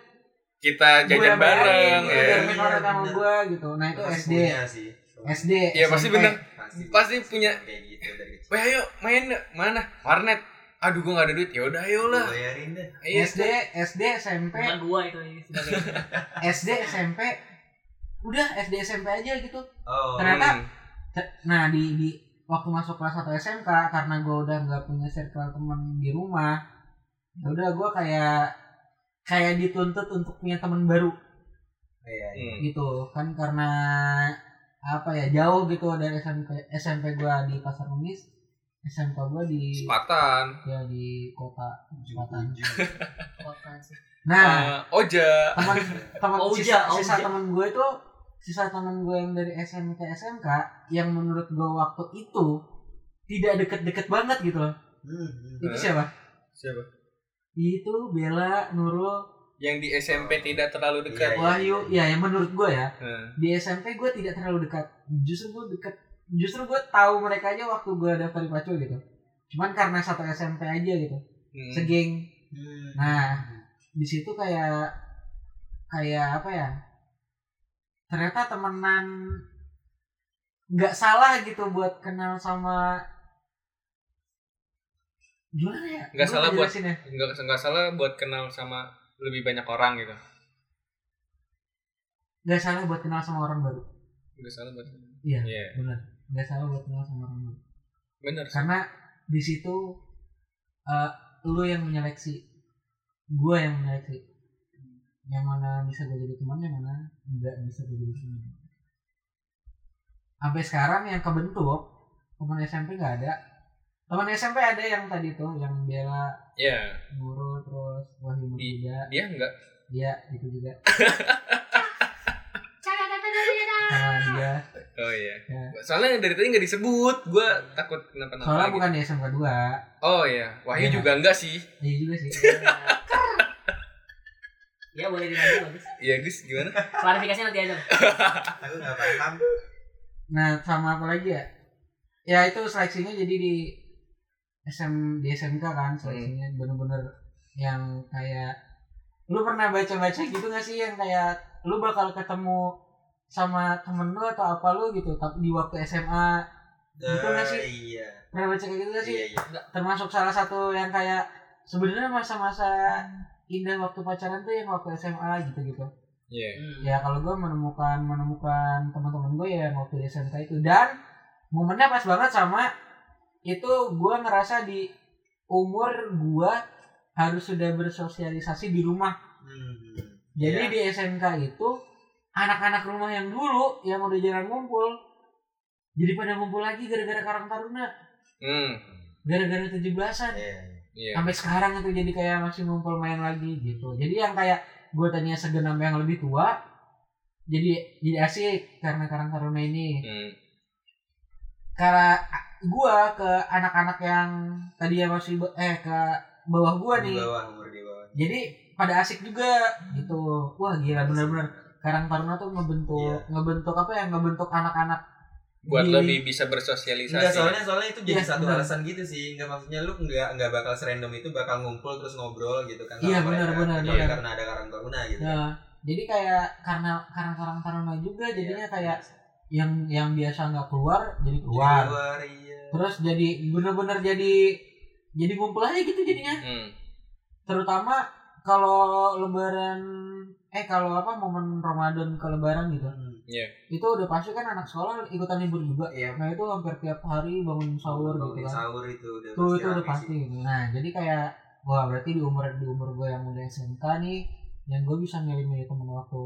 [SPEAKER 2] kita
[SPEAKER 3] gue
[SPEAKER 2] jajan
[SPEAKER 3] yang bayarin
[SPEAKER 2] bareng
[SPEAKER 3] gue
[SPEAKER 5] iya.
[SPEAKER 2] ya.
[SPEAKER 3] biar main warnet sama
[SPEAKER 5] Bener.
[SPEAKER 3] gue gitu nah itu
[SPEAKER 5] Pasti
[SPEAKER 3] SD
[SPEAKER 5] punya sih.
[SPEAKER 3] SD
[SPEAKER 2] Iya, pasti
[SPEAKER 3] SMP.
[SPEAKER 2] bener. Pasti punya.
[SPEAKER 5] kayak gitu dari kecil.
[SPEAKER 2] Wah, ayo main yuk. mana? Warnet. Aduh, gua nggak ada duit. Ya udah, ayo lah.
[SPEAKER 5] Bayarin deh.
[SPEAKER 2] Iya,
[SPEAKER 3] SD SD SMP
[SPEAKER 4] bukan gue itu ini sebagai
[SPEAKER 3] SD SMP udah SD SMP aja gitu
[SPEAKER 5] Oh.
[SPEAKER 3] Ternyata- Nah di, di waktu masuk kelas 1 SMK karena gue udah nggak punya circle teman di rumah, ya udah gue kayak kayak dituntut untuk punya teman baru
[SPEAKER 5] Iya. iya.
[SPEAKER 2] Hmm.
[SPEAKER 3] gitu kan karena apa ya jauh gitu dari SMP SMP gue di Pasar Kemis, SMK gue di
[SPEAKER 2] Sepatan.
[SPEAKER 3] ya di kota Selatan.
[SPEAKER 5] Jujur.
[SPEAKER 4] kota sih
[SPEAKER 3] Nah
[SPEAKER 2] Eh, Oja.
[SPEAKER 3] teman teman
[SPEAKER 4] Auja,
[SPEAKER 3] sisa, sisa
[SPEAKER 4] auja.
[SPEAKER 3] teman gue itu sisa teman gue yang dari SMK SMK yang menurut gue waktu itu tidak deket-deket banget gitu loh
[SPEAKER 5] Hmm, hmm.
[SPEAKER 3] itu siapa
[SPEAKER 2] Siapa?
[SPEAKER 3] itu Bella Nurul
[SPEAKER 2] Yang di SMP tidak terlalu dekat. Hmm.
[SPEAKER 5] Iya, iya.
[SPEAKER 3] Wahyu ya yang menurut gue ya
[SPEAKER 2] Heeh.
[SPEAKER 3] di SMP gue tidak terlalu dekat justru gue dekat justru gue tahu mereka aja waktu gue daftar di Pacul gitu cuman karena satu SMP aja gitu
[SPEAKER 2] Hmm.
[SPEAKER 3] segeng
[SPEAKER 5] Hmm.
[SPEAKER 3] nah di situ kayak kayak apa ya ternyata temenan nggak salah gitu buat kenal sama gimana ya
[SPEAKER 2] Nggak
[SPEAKER 3] Gua
[SPEAKER 2] salah buat-
[SPEAKER 3] ngejelasin ya.
[SPEAKER 2] nggak nggak salah buat kenal sama lebih banyak orang gitu
[SPEAKER 3] nggak salah buat kenal sama orang baru
[SPEAKER 2] nggak salah buat
[SPEAKER 3] Iya.
[SPEAKER 2] Iya.
[SPEAKER 3] benar nggak salah buat kenal sama orang baru
[SPEAKER 2] bener sih.
[SPEAKER 3] karena di situ eh, lu yang menyeleksi gue yang menyeleksi yang mana bisa gue jadi teman yang mana nggak bisa gue jadi teman sampai sekarang yang kebentuk teman SMP nggak ada teman SMP ada yang tadi tuh yang Bella
[SPEAKER 2] ya
[SPEAKER 3] Guru terus Wahyu juga
[SPEAKER 2] dia enggak
[SPEAKER 3] dia itu juga sama dia
[SPEAKER 2] oh iya
[SPEAKER 3] Ya.
[SPEAKER 2] soalnya dari tadi nggak disebut gue takut kenapa napa
[SPEAKER 3] soalnya bukan di SMK 2
[SPEAKER 2] oh iya wahyu
[SPEAKER 3] Iya.
[SPEAKER 2] juga enggak sih
[SPEAKER 3] iya juga sih
[SPEAKER 4] ya boleh dilanjut bagus
[SPEAKER 2] iya Gus gimana
[SPEAKER 4] klarifikasi nanti aja
[SPEAKER 5] aku nggak paham
[SPEAKER 3] Nah, sama apa lagi ya? Ya itu seleksinya jadi di SM di SMK kan
[SPEAKER 5] Hmm.
[SPEAKER 3] seleksinya bener-bener yang kayak lu pernah baca-baca gitu gak sih yang kayak lu bakal ketemu sama temen lu atau apa lu gitu tapi di waktu SMA Gitu nggak sih?
[SPEAKER 5] Eh, iya
[SPEAKER 3] pernah baca kayak gitu gak sih
[SPEAKER 5] iya iya
[SPEAKER 3] termasuk salah satu yang kayak sebenarnya masa-masa
[SPEAKER 5] Hmm.
[SPEAKER 3] indah waktu pacaran tuh yang waktu SMA gitu gitu
[SPEAKER 2] iya
[SPEAKER 4] hmm.
[SPEAKER 3] ya kalau gue menemukan menemukan teman-teman gue ya yang waktu di SMK itu dan momennya pas banget sama itu gue ngerasa di umur gue harus sudah bersosialisasi di rumah
[SPEAKER 5] Hmm.
[SPEAKER 3] jadi
[SPEAKER 5] Iya.
[SPEAKER 3] di SMK itu anak-anak rumah yang dulu yang udah jarang ngumpul jadi pada ngumpul lagi gara-gara Karang Taruna
[SPEAKER 2] hmm
[SPEAKER 3] gara-gara 17-an
[SPEAKER 5] Iya.
[SPEAKER 2] iya
[SPEAKER 3] sampai sekarang itu jadi kayak masih ngumpul main lagi gitu jadi yang kayak gue tanya segenap yang lebih tua jadi jadi asik karena karang taruna ini
[SPEAKER 2] Hmm.
[SPEAKER 3] karena gue ke anak-anak yang tadi ya masih ba- eh ke bawah gue
[SPEAKER 5] di
[SPEAKER 3] nih
[SPEAKER 5] bawah umur di bawah
[SPEAKER 3] jadi pada asik juga gitu wah
[SPEAKER 5] Iya,
[SPEAKER 3] gila bener-bener karang taruna tuh ngebentuk ngebentuk apa ya ngebentuk anak-anak
[SPEAKER 2] Iya. buat
[SPEAKER 3] di-
[SPEAKER 2] lebih bisa
[SPEAKER 5] Enggak,
[SPEAKER 2] bersosialisasi
[SPEAKER 5] soalnya soalnya itu jadi
[SPEAKER 3] Iya,
[SPEAKER 5] satu
[SPEAKER 3] benar.
[SPEAKER 5] alasan gitu sih. Enggak maksudnya lu enggak enggak bakal serandom itu bakal ngumpul terus ngobrol gitu kan. sama
[SPEAKER 3] Iya,
[SPEAKER 5] mereka.
[SPEAKER 3] benar, benar,
[SPEAKER 5] Kecuali
[SPEAKER 3] benar.
[SPEAKER 5] karena ada karang taruna gitu. kan.
[SPEAKER 3] Nah, jadi kayak karena karena karang taruna juga jadinya
[SPEAKER 5] Iya.
[SPEAKER 2] Iya.
[SPEAKER 3] kayak yang yang biasa nggak keluar jadi
[SPEAKER 5] Jadi
[SPEAKER 3] keluar
[SPEAKER 5] keluar, iya.
[SPEAKER 3] terus jadi bener-bener jadi jadi ngumpul aja gitu jadinya
[SPEAKER 2] hmm.
[SPEAKER 3] terutama kalau lebaran eh kalau apa momen Ramadan ke lebaran gitu itu udah pasti kan anak sekolah ikutan libur juga
[SPEAKER 5] Iya.
[SPEAKER 3] nah itu hampir tiap hari bangun sahur gitu kan
[SPEAKER 5] Sahur itu udah
[SPEAKER 3] itu itu udah
[SPEAKER 5] rame
[SPEAKER 3] pasti
[SPEAKER 5] sih.
[SPEAKER 3] gitu. nah jadi kayak wah berarti di umur di umur gue yang udah SMK nih yang gue bisa milih-milih temen waktu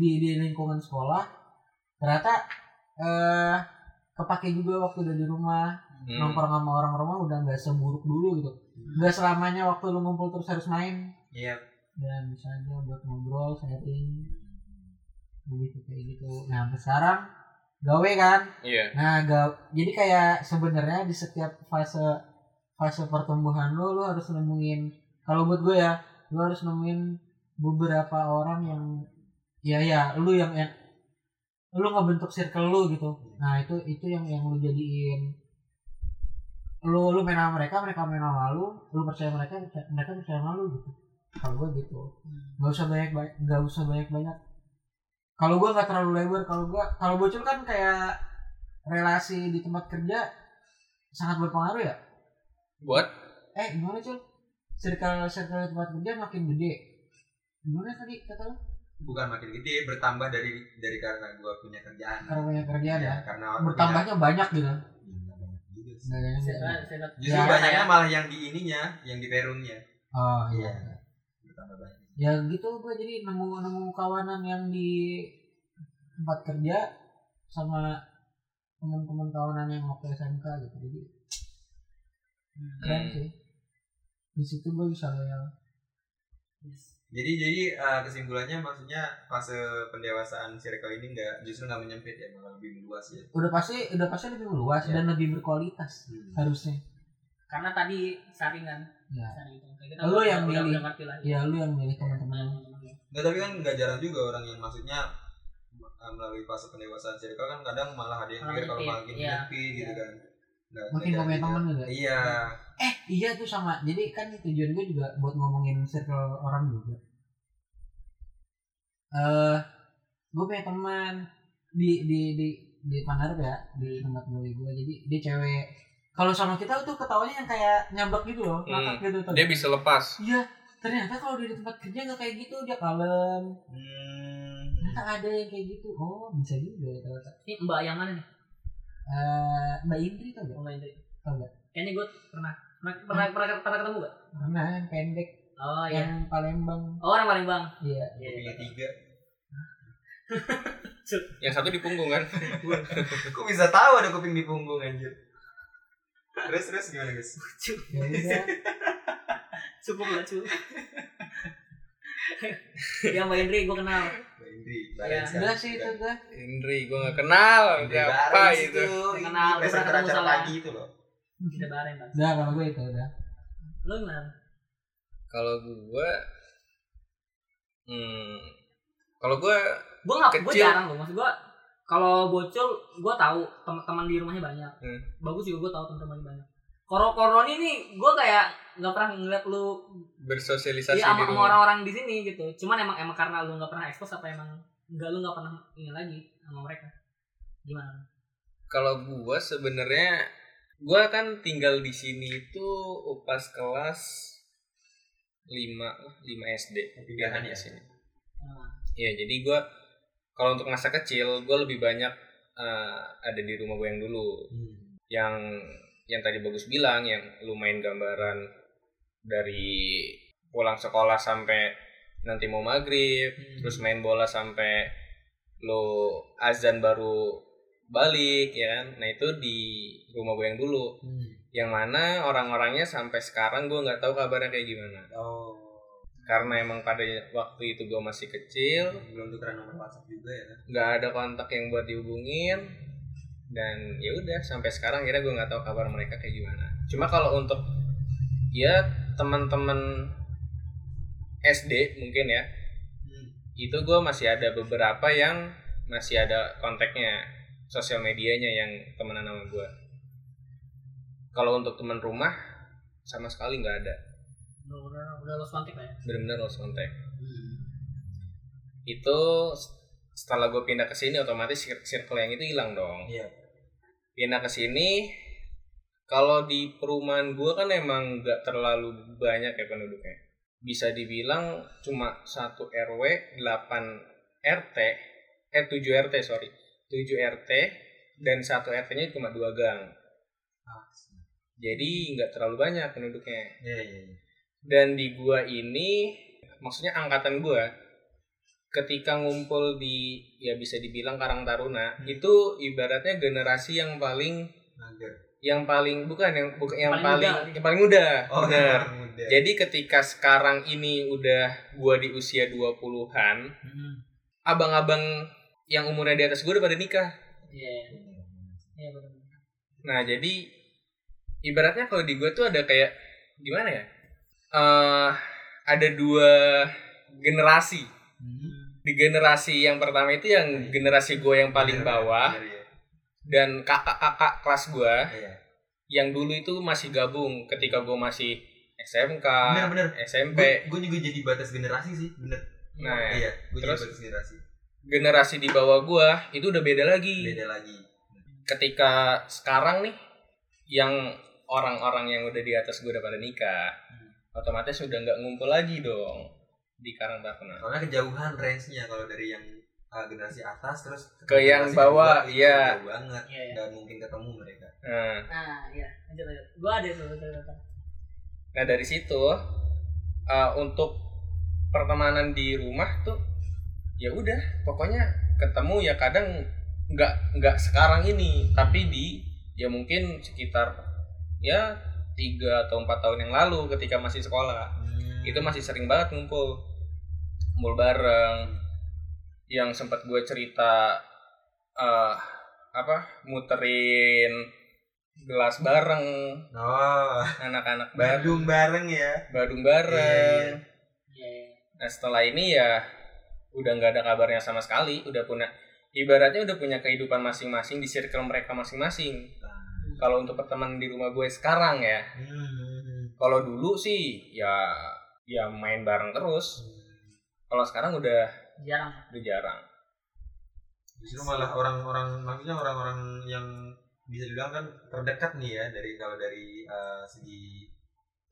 [SPEAKER 3] di di lingkungan sekolah ternyata eh kepake juga waktu udah di rumah
[SPEAKER 2] Hmm.
[SPEAKER 3] nongkrong sama orang rumah udah nggak seburuk dulu gitu nggak selamanya waktu lu ngumpul terus harus main
[SPEAKER 5] Iya.
[SPEAKER 3] dan bisa aja buat ngobrol sharing begitu kayak gitu nah sampai sekarang gawe kan
[SPEAKER 2] iya
[SPEAKER 3] nah gawe jadi kayak sebenarnya di setiap fase fase pertumbuhan lu lu harus nemuin kalau buat gue ya lu harus nemuin beberapa orang yang ya ya lu yang, yang lu ngebentuk circle lu gitu nah itu itu yang yang lu jadiin lu lu main sama mereka mereka main sama lu lu percaya mereka percaya- mereka percaya sama lu gitu kalau gue gitu nggak usah banyak banyak nggak usah banyak banyak kalau gue nggak terlalu lebar kalau gue kalau bocil kan kayak relasi di tempat kerja sangat berpengaruh ya
[SPEAKER 2] buat
[SPEAKER 3] eh gimana cul circle circle di tempat kerja makin gede gimana tadi kata lu
[SPEAKER 5] Bukan makin gede bertambah dari dari karena gua punya kerjaan.
[SPEAKER 3] karena banyak kerjaan ya
[SPEAKER 5] Iya, karena aku
[SPEAKER 3] bertambahnya banyak gitu
[SPEAKER 5] punya- Iya, banyak juga sih.
[SPEAKER 3] nggak
[SPEAKER 2] Iya.
[SPEAKER 3] banyak
[SPEAKER 4] Saya-
[SPEAKER 3] banyak.
[SPEAKER 4] saya-
[SPEAKER 5] Justru
[SPEAKER 3] Ya,
[SPEAKER 5] banyaknya malah yang di ininya, yang di perungnya.
[SPEAKER 3] oh iya
[SPEAKER 5] Iya. Bertambah banyak.
[SPEAKER 2] Iya.
[SPEAKER 3] ya gitu gue jadi nemu nemu kawanan yang di tempat kerja sama teman-teman kawanan yang waktu SMK gitu jadi keren
[SPEAKER 2] Hmm.
[SPEAKER 3] sih di situ gue bisa loyal
[SPEAKER 5] Jadi jadi eh, kesimpulannya maksudnya fase pendewasaan circle ini enggak justru enggak menyempit ya malah lebih meluas ya.
[SPEAKER 3] udah pasti udah pasti lebih luas
[SPEAKER 5] Ya.
[SPEAKER 3] dan lebih berkualitas
[SPEAKER 5] Hmm.
[SPEAKER 3] harusnya
[SPEAKER 4] karena tadi saring kan
[SPEAKER 3] ya
[SPEAKER 4] saring itu kita
[SPEAKER 3] Lu
[SPEAKER 4] udah-
[SPEAKER 3] yang
[SPEAKER 4] gitu kan udah
[SPEAKER 3] milih.
[SPEAKER 4] udah ngerti lah
[SPEAKER 3] ya lu yang milih teman-teman
[SPEAKER 5] Nggak, tapi kan nggak jarang juga orang yang maksudnya eh, melalui fase pendewasaan circle kan kadang malah ada yang
[SPEAKER 4] Malah
[SPEAKER 5] mikir kalau
[SPEAKER 4] nyempit,
[SPEAKER 5] makin
[SPEAKER 4] iya.
[SPEAKER 5] menyempit gitu kan. Nggak-
[SPEAKER 3] makin
[SPEAKER 5] nggak
[SPEAKER 3] gak punya
[SPEAKER 5] jadi-
[SPEAKER 3] teman juga
[SPEAKER 5] Iya.
[SPEAKER 3] eh iya tuh sama jadi kan tujuan gue juga buat ngomongin circle orang juga eh gue punya teman di di di di Pangarep ya di tempat gue gue jadi dia cewek kalau sama kita tuh ketawanya yang kayak nyambak gitu loh
[SPEAKER 2] Hmm.
[SPEAKER 3] ngakak gitu tuh
[SPEAKER 2] dia bisa lepas
[SPEAKER 3] iya ternyata kalau dia di tempat kerja nggak kayak gitu dia kalem
[SPEAKER 5] Hmm.
[SPEAKER 3] ternyata ada yang kayak gitu oh bisa juga ya ternyata
[SPEAKER 4] ini mbak yang mana nih
[SPEAKER 3] eh, Mbak Indri tuh gak?
[SPEAKER 4] Sama Indri.
[SPEAKER 3] Tau nggak?
[SPEAKER 4] Kayaknya gue pernah pernah pernah pernah, pernah ketemu gak?
[SPEAKER 3] Pernah yang pendek
[SPEAKER 4] Oh iya.
[SPEAKER 3] yang Palembang.
[SPEAKER 4] Oh, orang Palembang.
[SPEAKER 3] Iya.
[SPEAKER 4] Iya.
[SPEAKER 5] punya tiga
[SPEAKER 2] Yang satu di punggung kan?
[SPEAKER 5] kok bisa tahu ada kuping di punggung anjir terus terus gimana guys
[SPEAKER 3] Ya udah.
[SPEAKER 4] Cukup gak cukup. ya Mbak Indri gue kenal.
[SPEAKER 5] Mbak Indri
[SPEAKER 4] Ya,
[SPEAKER 3] Udah sih itu gue.
[SPEAKER 2] Indri, gue gak kenal. gitu. Siapa itu?
[SPEAKER 4] Kenal, gua pernah
[SPEAKER 5] kenal presenter
[SPEAKER 4] ketemu
[SPEAKER 5] acara
[SPEAKER 4] sama-
[SPEAKER 5] pagi itu loh
[SPEAKER 4] Kita bareng Bang.
[SPEAKER 3] Udah kalau gue itu udah.
[SPEAKER 4] Lu gimana?
[SPEAKER 2] Kalau gue, hmm, kalau gue
[SPEAKER 4] Gue nggak, gue
[SPEAKER 2] Kecil.
[SPEAKER 4] jarang loh. Maksud gue kalau bocil gue tahu teman-teman di rumahnya banyak.
[SPEAKER 2] Hmm.
[SPEAKER 4] Bagus juga gue tahu teman-temannya banyak. Koro koroni nih gue kayak nggak pernah ngeliat lu Iya
[SPEAKER 2] bersosialisasi di
[SPEAKER 4] sama, sama
[SPEAKER 2] rumah.
[SPEAKER 4] orang-orang di sini gitu. Cuman emang emang karena lu nggak pernah ekspos apa emang nggak lu nggak pernah ini lagi sama mereka. Gimana?
[SPEAKER 2] Kalau gue sebenarnya, gue kan tinggal di sini itu upas kelas 5 5 SD.
[SPEAKER 5] Pindahan
[SPEAKER 2] kan di
[SPEAKER 5] ya?
[SPEAKER 2] sini.
[SPEAKER 4] Nah,
[SPEAKER 2] Iya, jadi gue kalau untuk masa kecil gue lebih banyak eh, ada di rumah gue yang dulu.
[SPEAKER 4] Hmm.
[SPEAKER 2] yang yang tadi bagus bilang yang lu main gambaran dari pulang sekolah sampai nanti mau maghrib
[SPEAKER 4] Hmm.
[SPEAKER 2] terus main bola sampai lu azan baru balik ya kan nah itu di rumah gue yang dulu yang mana orang-orangnya sampai sekarang gue nggak tahu kabarnya kayak gimana
[SPEAKER 5] oh
[SPEAKER 2] karena emang pada waktu itu gue masih kecil
[SPEAKER 5] belum tukeran nomor WhatsApp juga ya kan?
[SPEAKER 2] nggak ada kontak yang buat dihubungin dan ya udah sampai sekarang kira gue nggak tahu kabar mereka kayak gimana cuma kalau untuk ya teman-teman SD mungkin ya itu gue masih ada beberapa yang masih ada kontaknya sosial medianya yang temenan sama gue kalau untuk teman rumah sama sekali nggak ada
[SPEAKER 4] udah udah lost kontak lah ya.
[SPEAKER 2] benar-benar lost kontak
[SPEAKER 3] Hmm.
[SPEAKER 2] itu setelah gue pindah ke sini otomatis sir- circle yang itu hilang dong.
[SPEAKER 5] Iya.
[SPEAKER 2] Pindah ke sini kalau di perumahan gue kan emang nggak terlalu banyak ya penduduknya. Bisa dibilang cuma satu RW 8 RT eh 7 RT sorry 7 RT dan satu RT-nya cuma dua gang.
[SPEAKER 5] Ah,
[SPEAKER 2] Jadi nggak terlalu banyak penduduknya
[SPEAKER 5] iya iya iya.
[SPEAKER 2] dan di gua ini maksudnya angkatan gua ketika ngumpul di ya bisa dibilang Karang Taruna
[SPEAKER 5] Hmm.
[SPEAKER 2] itu ibaratnya generasi yang paling
[SPEAKER 5] mager
[SPEAKER 2] yang paling bukan yang bukan yang
[SPEAKER 4] Paling
[SPEAKER 2] paling
[SPEAKER 4] muda.
[SPEAKER 2] yang paling muda
[SPEAKER 5] oh
[SPEAKER 2] benar
[SPEAKER 5] orang muda
[SPEAKER 2] jadi ketika sekarang ini udah gua di usia 20-an
[SPEAKER 5] Hmm.
[SPEAKER 2] abang-abang yang umurnya di atas gua udah pada nikah
[SPEAKER 4] Iya. Iya benar.
[SPEAKER 2] Nah jadi ibaratnya kalau di gue tuh ada kayak gimana ya? eh ada dua generasi. Di generasi yang pertama itu yang generasi gue yang paling
[SPEAKER 5] Benar,
[SPEAKER 2] bawah
[SPEAKER 5] benar, iya.
[SPEAKER 2] dan kakak-kakak kelas gue
[SPEAKER 5] Iya.
[SPEAKER 2] yang dulu itu masih gabung ketika gue masih SMK,
[SPEAKER 5] bener bener
[SPEAKER 2] SMP.
[SPEAKER 5] gue juga jadi batas generasi sih bener
[SPEAKER 2] Nah
[SPEAKER 5] iya Hmm. gue jadi
[SPEAKER 2] Terus?
[SPEAKER 5] batas generasi
[SPEAKER 2] generasi di bawah gue itu udah beda lagi.
[SPEAKER 5] beda lagi
[SPEAKER 2] ketika sekarang nih yang orang-orang yang udah di atas gue udah pada nikah
[SPEAKER 5] Hmm.
[SPEAKER 2] otomatis udah nggak ngumpul lagi dong di Karang Taruna
[SPEAKER 5] karena kejauhan range nya kalau dari yang uh, generasi atas terus
[SPEAKER 2] Ke yang
[SPEAKER 5] generasi
[SPEAKER 2] bawah,
[SPEAKER 5] kedua, itu
[SPEAKER 2] iya.
[SPEAKER 5] jauh banget
[SPEAKER 4] Iya. iya.
[SPEAKER 5] nggak mungkin ketemu mereka
[SPEAKER 2] nah,
[SPEAKER 4] Nah iya lanjut lanjut. Gue ada tuh cerita.
[SPEAKER 2] nah dari situ eh, untuk pertemanan di rumah tuh ya udah pokoknya ketemu ya kadang nggak nggak sekarang ini tapi di ya mungkin sekitar ya tiga atau empat tahun yang lalu ketika masih sekolah
[SPEAKER 5] Hmm.
[SPEAKER 2] itu masih sering banget ngumpul ngumpul bareng yang sempat gue cerita eh apa muterin gelas bareng
[SPEAKER 5] oh
[SPEAKER 2] anak-anak bareng
[SPEAKER 5] Bandung bareng ya
[SPEAKER 2] badung
[SPEAKER 5] Iya,
[SPEAKER 2] bareng
[SPEAKER 4] Iya. iya.
[SPEAKER 2] nah setelah ini ya udah nggak ada kabarnya sama sekali udah punya ibaratnya udah punya kehidupan masing-masing di circle mereka masing-masing
[SPEAKER 4] Nah.
[SPEAKER 2] kalau untuk pertemanan di rumah gue sekarang ya
[SPEAKER 5] Hmm.
[SPEAKER 2] kalau dulu sih ya ya main bareng terus
[SPEAKER 5] hmm.
[SPEAKER 2] kalau sekarang udah
[SPEAKER 4] Jarang.
[SPEAKER 2] udah jarang
[SPEAKER 5] justru malah orang-orang maksudnya orang-orang yang bisa dibilang kan terdekat nih ya dari kalau dari uh, segi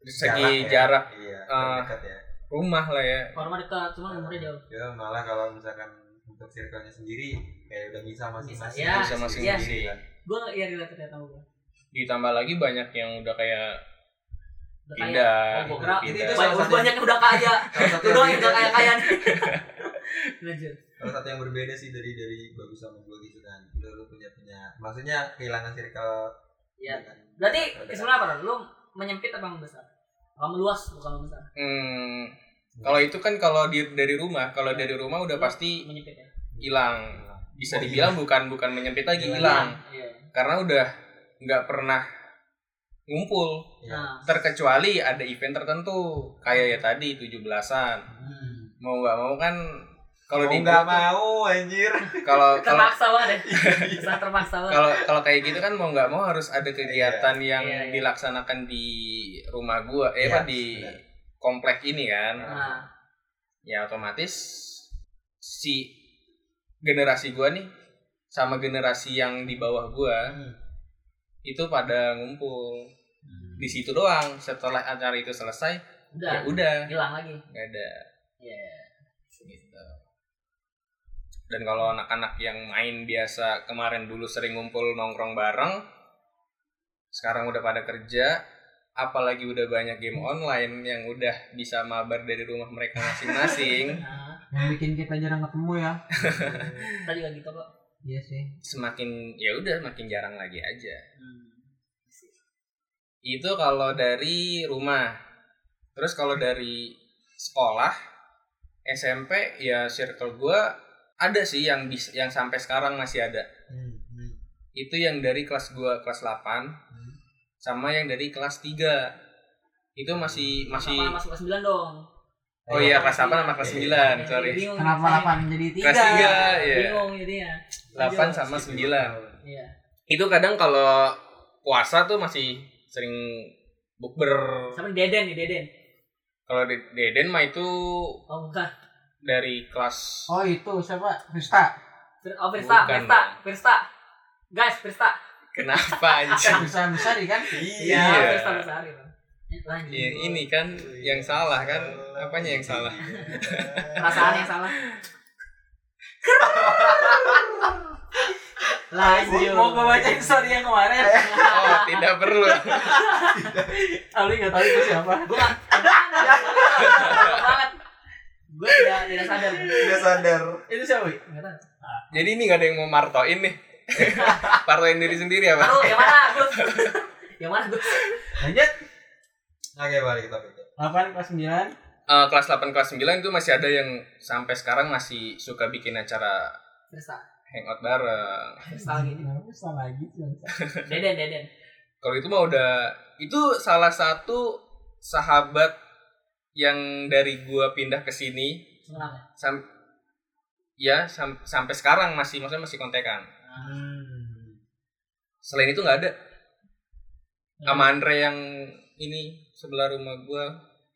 [SPEAKER 2] segi
[SPEAKER 5] ya.
[SPEAKER 2] jarak
[SPEAKER 5] iya
[SPEAKER 2] uh,
[SPEAKER 5] terdekat ya
[SPEAKER 2] rumah lah ya
[SPEAKER 4] Orang mah dekat, cuma umurnya jauh.
[SPEAKER 5] ya malah kalau misalkan untuk circle-nya sendiri kayak udah bisa masing-masing
[SPEAKER 4] Bisa, ya.
[SPEAKER 2] bisa masing
[SPEAKER 4] iya
[SPEAKER 2] sendiri kan.
[SPEAKER 4] gue ya relate ya tahu gue
[SPEAKER 2] ditambah lagi banyak yang udah kayak
[SPEAKER 4] udah kaya
[SPEAKER 2] pindah
[SPEAKER 4] oh, gua
[SPEAKER 5] Itu-
[SPEAKER 2] pindah.
[SPEAKER 5] itu salah
[SPEAKER 4] banyak
[SPEAKER 5] satu-
[SPEAKER 4] banyak yang udah kaya
[SPEAKER 5] salah satu
[SPEAKER 4] lu doang yang
[SPEAKER 5] yang
[SPEAKER 4] udah kaya
[SPEAKER 5] berbeda
[SPEAKER 4] kaya nih lanjut
[SPEAKER 5] salah satu yang berbeda sih dari dari bagus sama gue gitu kan lu, lu punya punya maksudnya kehilangan circle kan?
[SPEAKER 4] Iya.
[SPEAKER 5] dengan-
[SPEAKER 4] berarti
[SPEAKER 5] Perbedaan.
[SPEAKER 4] kesimpulan apa lu menyempit apa membesar apa meluas bukan membesar
[SPEAKER 2] Hmm, kalau itu kan kalau di dari rumah kalau dari rumah udah pasti
[SPEAKER 4] menyempit ya
[SPEAKER 2] hilang bisa dibilang bukan bukan menyempit lagi
[SPEAKER 5] Hilang.
[SPEAKER 2] hilang
[SPEAKER 4] iya
[SPEAKER 2] karena udah nggak pernah ngumpul
[SPEAKER 5] Iya.
[SPEAKER 4] nah
[SPEAKER 2] terkecuali ada event tertentu kayak ya tadi 17-an mau nggak mau kan kalau
[SPEAKER 5] Mau
[SPEAKER 2] di
[SPEAKER 5] nggak mau anjir
[SPEAKER 2] kalau Iya. kalau Iya.
[SPEAKER 4] terpaksa banget ya Sangat terpaksa banget
[SPEAKER 2] kalau kalau kayak gitu kan mau nggak mau harus ada
[SPEAKER 5] iya.
[SPEAKER 2] kegiatan yang
[SPEAKER 4] Iya, iya.
[SPEAKER 2] dilaksanakan di rumah gua eh
[SPEAKER 5] Iya,
[SPEAKER 2] apa di
[SPEAKER 5] benar.
[SPEAKER 2] komplek ini kan
[SPEAKER 4] nah
[SPEAKER 2] ya otomatis si generasi gua nih sama generasi yang di bawah gua itu pada ngumpul di situ doang setelah acara itu selesai
[SPEAKER 4] udah
[SPEAKER 2] ya udah
[SPEAKER 4] hilang lagi
[SPEAKER 2] nggak ada
[SPEAKER 4] iya
[SPEAKER 2] gitu dan kalau anak-anak yang main biasa kemarin dulu sering ngumpul nongkrong bareng sekarang udah pada kerja apalagi udah banyak game online yang udah bisa mabar dari rumah mereka masing-masing
[SPEAKER 4] nah
[SPEAKER 3] yang bikin kita jarang ketemu ya
[SPEAKER 4] tadi juga gitu kok
[SPEAKER 3] iya sih
[SPEAKER 2] semakin ya udah makin jarang lagi aja
[SPEAKER 4] hmm.
[SPEAKER 2] itu kalau dari rumah terus kalau dari sekolah SMP ya circle gua ada sih yang bis, yang sampai sekarang masih ada
[SPEAKER 5] Hmm, hmm.
[SPEAKER 2] itu yang dari kelas gua kelas 8 sama yang dari kelas 3 itu masih masih
[SPEAKER 4] Kenapa masuk kelas 9 dong
[SPEAKER 2] oh iya kelas 8 sama kelas
[SPEAKER 5] Iya.
[SPEAKER 2] 9 sorry
[SPEAKER 4] Bingung
[SPEAKER 3] kenapa
[SPEAKER 4] Iya, saya.
[SPEAKER 3] lapan jadi tiga
[SPEAKER 2] Kelas tiga, iya.
[SPEAKER 4] bingung jadinya
[SPEAKER 2] 8 sama 9
[SPEAKER 4] iya
[SPEAKER 2] itu kadang kalau puasa tuh masih sering bukber
[SPEAKER 4] sama Deden nih Deden
[SPEAKER 2] kalau di Deden mah itu
[SPEAKER 4] oh bukan
[SPEAKER 2] dari kelas
[SPEAKER 3] oh itu siapa Vista
[SPEAKER 4] Fir- oh Firsta
[SPEAKER 2] Bukan.
[SPEAKER 4] Firsta Firsta guys Firsta
[SPEAKER 2] kenapa anjing
[SPEAKER 3] bisa bisa di kan
[SPEAKER 5] Iya.
[SPEAKER 2] Iya.
[SPEAKER 4] Firsta Firsta Ari lanjut
[SPEAKER 2] Ya, ini kan yang salah kan apanya yang salah
[SPEAKER 4] perasaan yang salah lanjut
[SPEAKER 3] mau gue bacain story yang kemarin
[SPEAKER 2] oh tidak perlu
[SPEAKER 3] Alwi nggak tahu itu siapa
[SPEAKER 4] gue gak banget gue tidak tidak sadar
[SPEAKER 5] Tidak sadar.
[SPEAKER 3] itu siapa
[SPEAKER 4] Nggak tahu.
[SPEAKER 2] jadi ini nggak ada yang mau martoin nih martoin diri sendiri apa
[SPEAKER 4] Taruh, yang mana Gus yang mana Gus
[SPEAKER 3] lanjut
[SPEAKER 5] Oke, balik ke topik.
[SPEAKER 3] delapan kelas sembilan
[SPEAKER 2] Eh, kelas 8 kelas 9 itu masih ada yang sampai sekarang masih suka bikin acara
[SPEAKER 4] Firsta
[SPEAKER 2] hangout bareng
[SPEAKER 4] Firsta lagi
[SPEAKER 3] Kenapa Vista lagi sih?
[SPEAKER 4] Deden Deden
[SPEAKER 2] Kalau itu mah udah itu salah satu sahabat yang dari gua pindah ke sini
[SPEAKER 4] Semarang ya?
[SPEAKER 2] sam- ya sam- sampai sekarang masih maksudnya masih kontekan. Selain itu nggak ada. Sama Andre yang ini sebelah rumah gua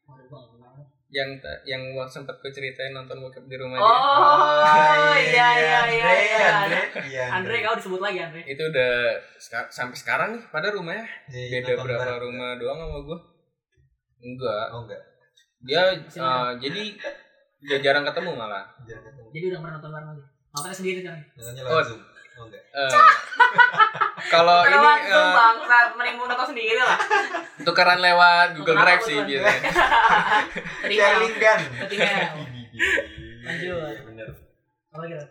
[SPEAKER 4] Waduh, gua nggak tahu.
[SPEAKER 2] yang ta- yang gua sempet gue ceritain nonton bokep di rumahnya.
[SPEAKER 4] Oh iya iya iya
[SPEAKER 5] Andre,
[SPEAKER 4] iya.
[SPEAKER 5] Andre, iya.
[SPEAKER 4] Andre kau disebut lagi Andre.
[SPEAKER 2] Itu udah seka- sampai sekarang nih pada rumahnya
[SPEAKER 5] Iya,
[SPEAKER 2] beda
[SPEAKER 5] nonton
[SPEAKER 2] berapa
[SPEAKER 5] bareng.
[SPEAKER 2] rumah doang sama gua. Enggak,
[SPEAKER 5] Oh enggak.
[SPEAKER 2] dia
[SPEAKER 4] Masih
[SPEAKER 2] eh, jadi dia jarang ketemu malah.
[SPEAKER 5] Jangan ketemu.
[SPEAKER 4] Jadi udah pernah nonton bareng lagi. Nontonnya sendiri kan.
[SPEAKER 5] Nontonnya
[SPEAKER 2] Oh.
[SPEAKER 5] langsung. Oh enggak.
[SPEAKER 2] Eh, kalau ini
[SPEAKER 4] Lewat Zoom
[SPEAKER 2] eh,
[SPEAKER 4] bangsa menimbun nonton sendrive lah.
[SPEAKER 2] tukeran lewat Google
[SPEAKER 4] Kenapa
[SPEAKER 2] Drive
[SPEAKER 4] tuh,
[SPEAKER 2] sih
[SPEAKER 4] Tuan?
[SPEAKER 2] biasanya.
[SPEAKER 4] Terima.
[SPEAKER 5] Sharing gun.
[SPEAKER 4] Ketinggal. Lanjut.
[SPEAKER 5] Iya, bener.
[SPEAKER 4] Apa gitu? lagi? Ren?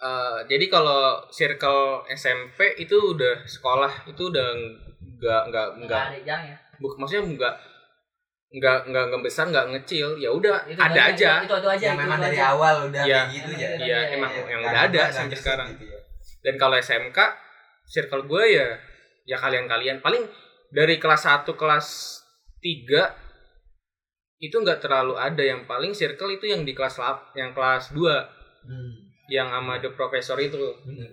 [SPEAKER 2] Eh, jadi kalau circle SMP itu udah sekolah itu udah nggak nggak
[SPEAKER 4] Nggak
[SPEAKER 2] nggak
[SPEAKER 4] ada jarang ya.
[SPEAKER 2] buk- maksudnya nggak nggak nggak nggak besar nggak ngecil ya udah
[SPEAKER 4] Itu
[SPEAKER 2] ada
[SPEAKER 4] doang,
[SPEAKER 2] aja Ya,
[SPEAKER 4] Itu itu aja.
[SPEAKER 5] Yang
[SPEAKER 4] itu-
[SPEAKER 5] memang
[SPEAKER 4] itu
[SPEAKER 5] dari
[SPEAKER 4] aja.
[SPEAKER 5] awal udah
[SPEAKER 2] Iya.
[SPEAKER 5] kayak gitu ya.
[SPEAKER 4] Iya,
[SPEAKER 2] ya emang
[SPEAKER 5] Iya,
[SPEAKER 2] yang
[SPEAKER 5] nggak
[SPEAKER 2] udah ada
[SPEAKER 5] nggak
[SPEAKER 2] sampai
[SPEAKER 5] gitu
[SPEAKER 2] sekarang
[SPEAKER 5] ya.
[SPEAKER 2] dan kalau SMK circle gue ya ya kalian-kalian paling dari kelas 1 kelas 3 itu nggak terlalu ada yang paling circle itu yang di kelas lap, yang kelas 2
[SPEAKER 5] Hmm,
[SPEAKER 2] yang sama the professor itu
[SPEAKER 5] bener.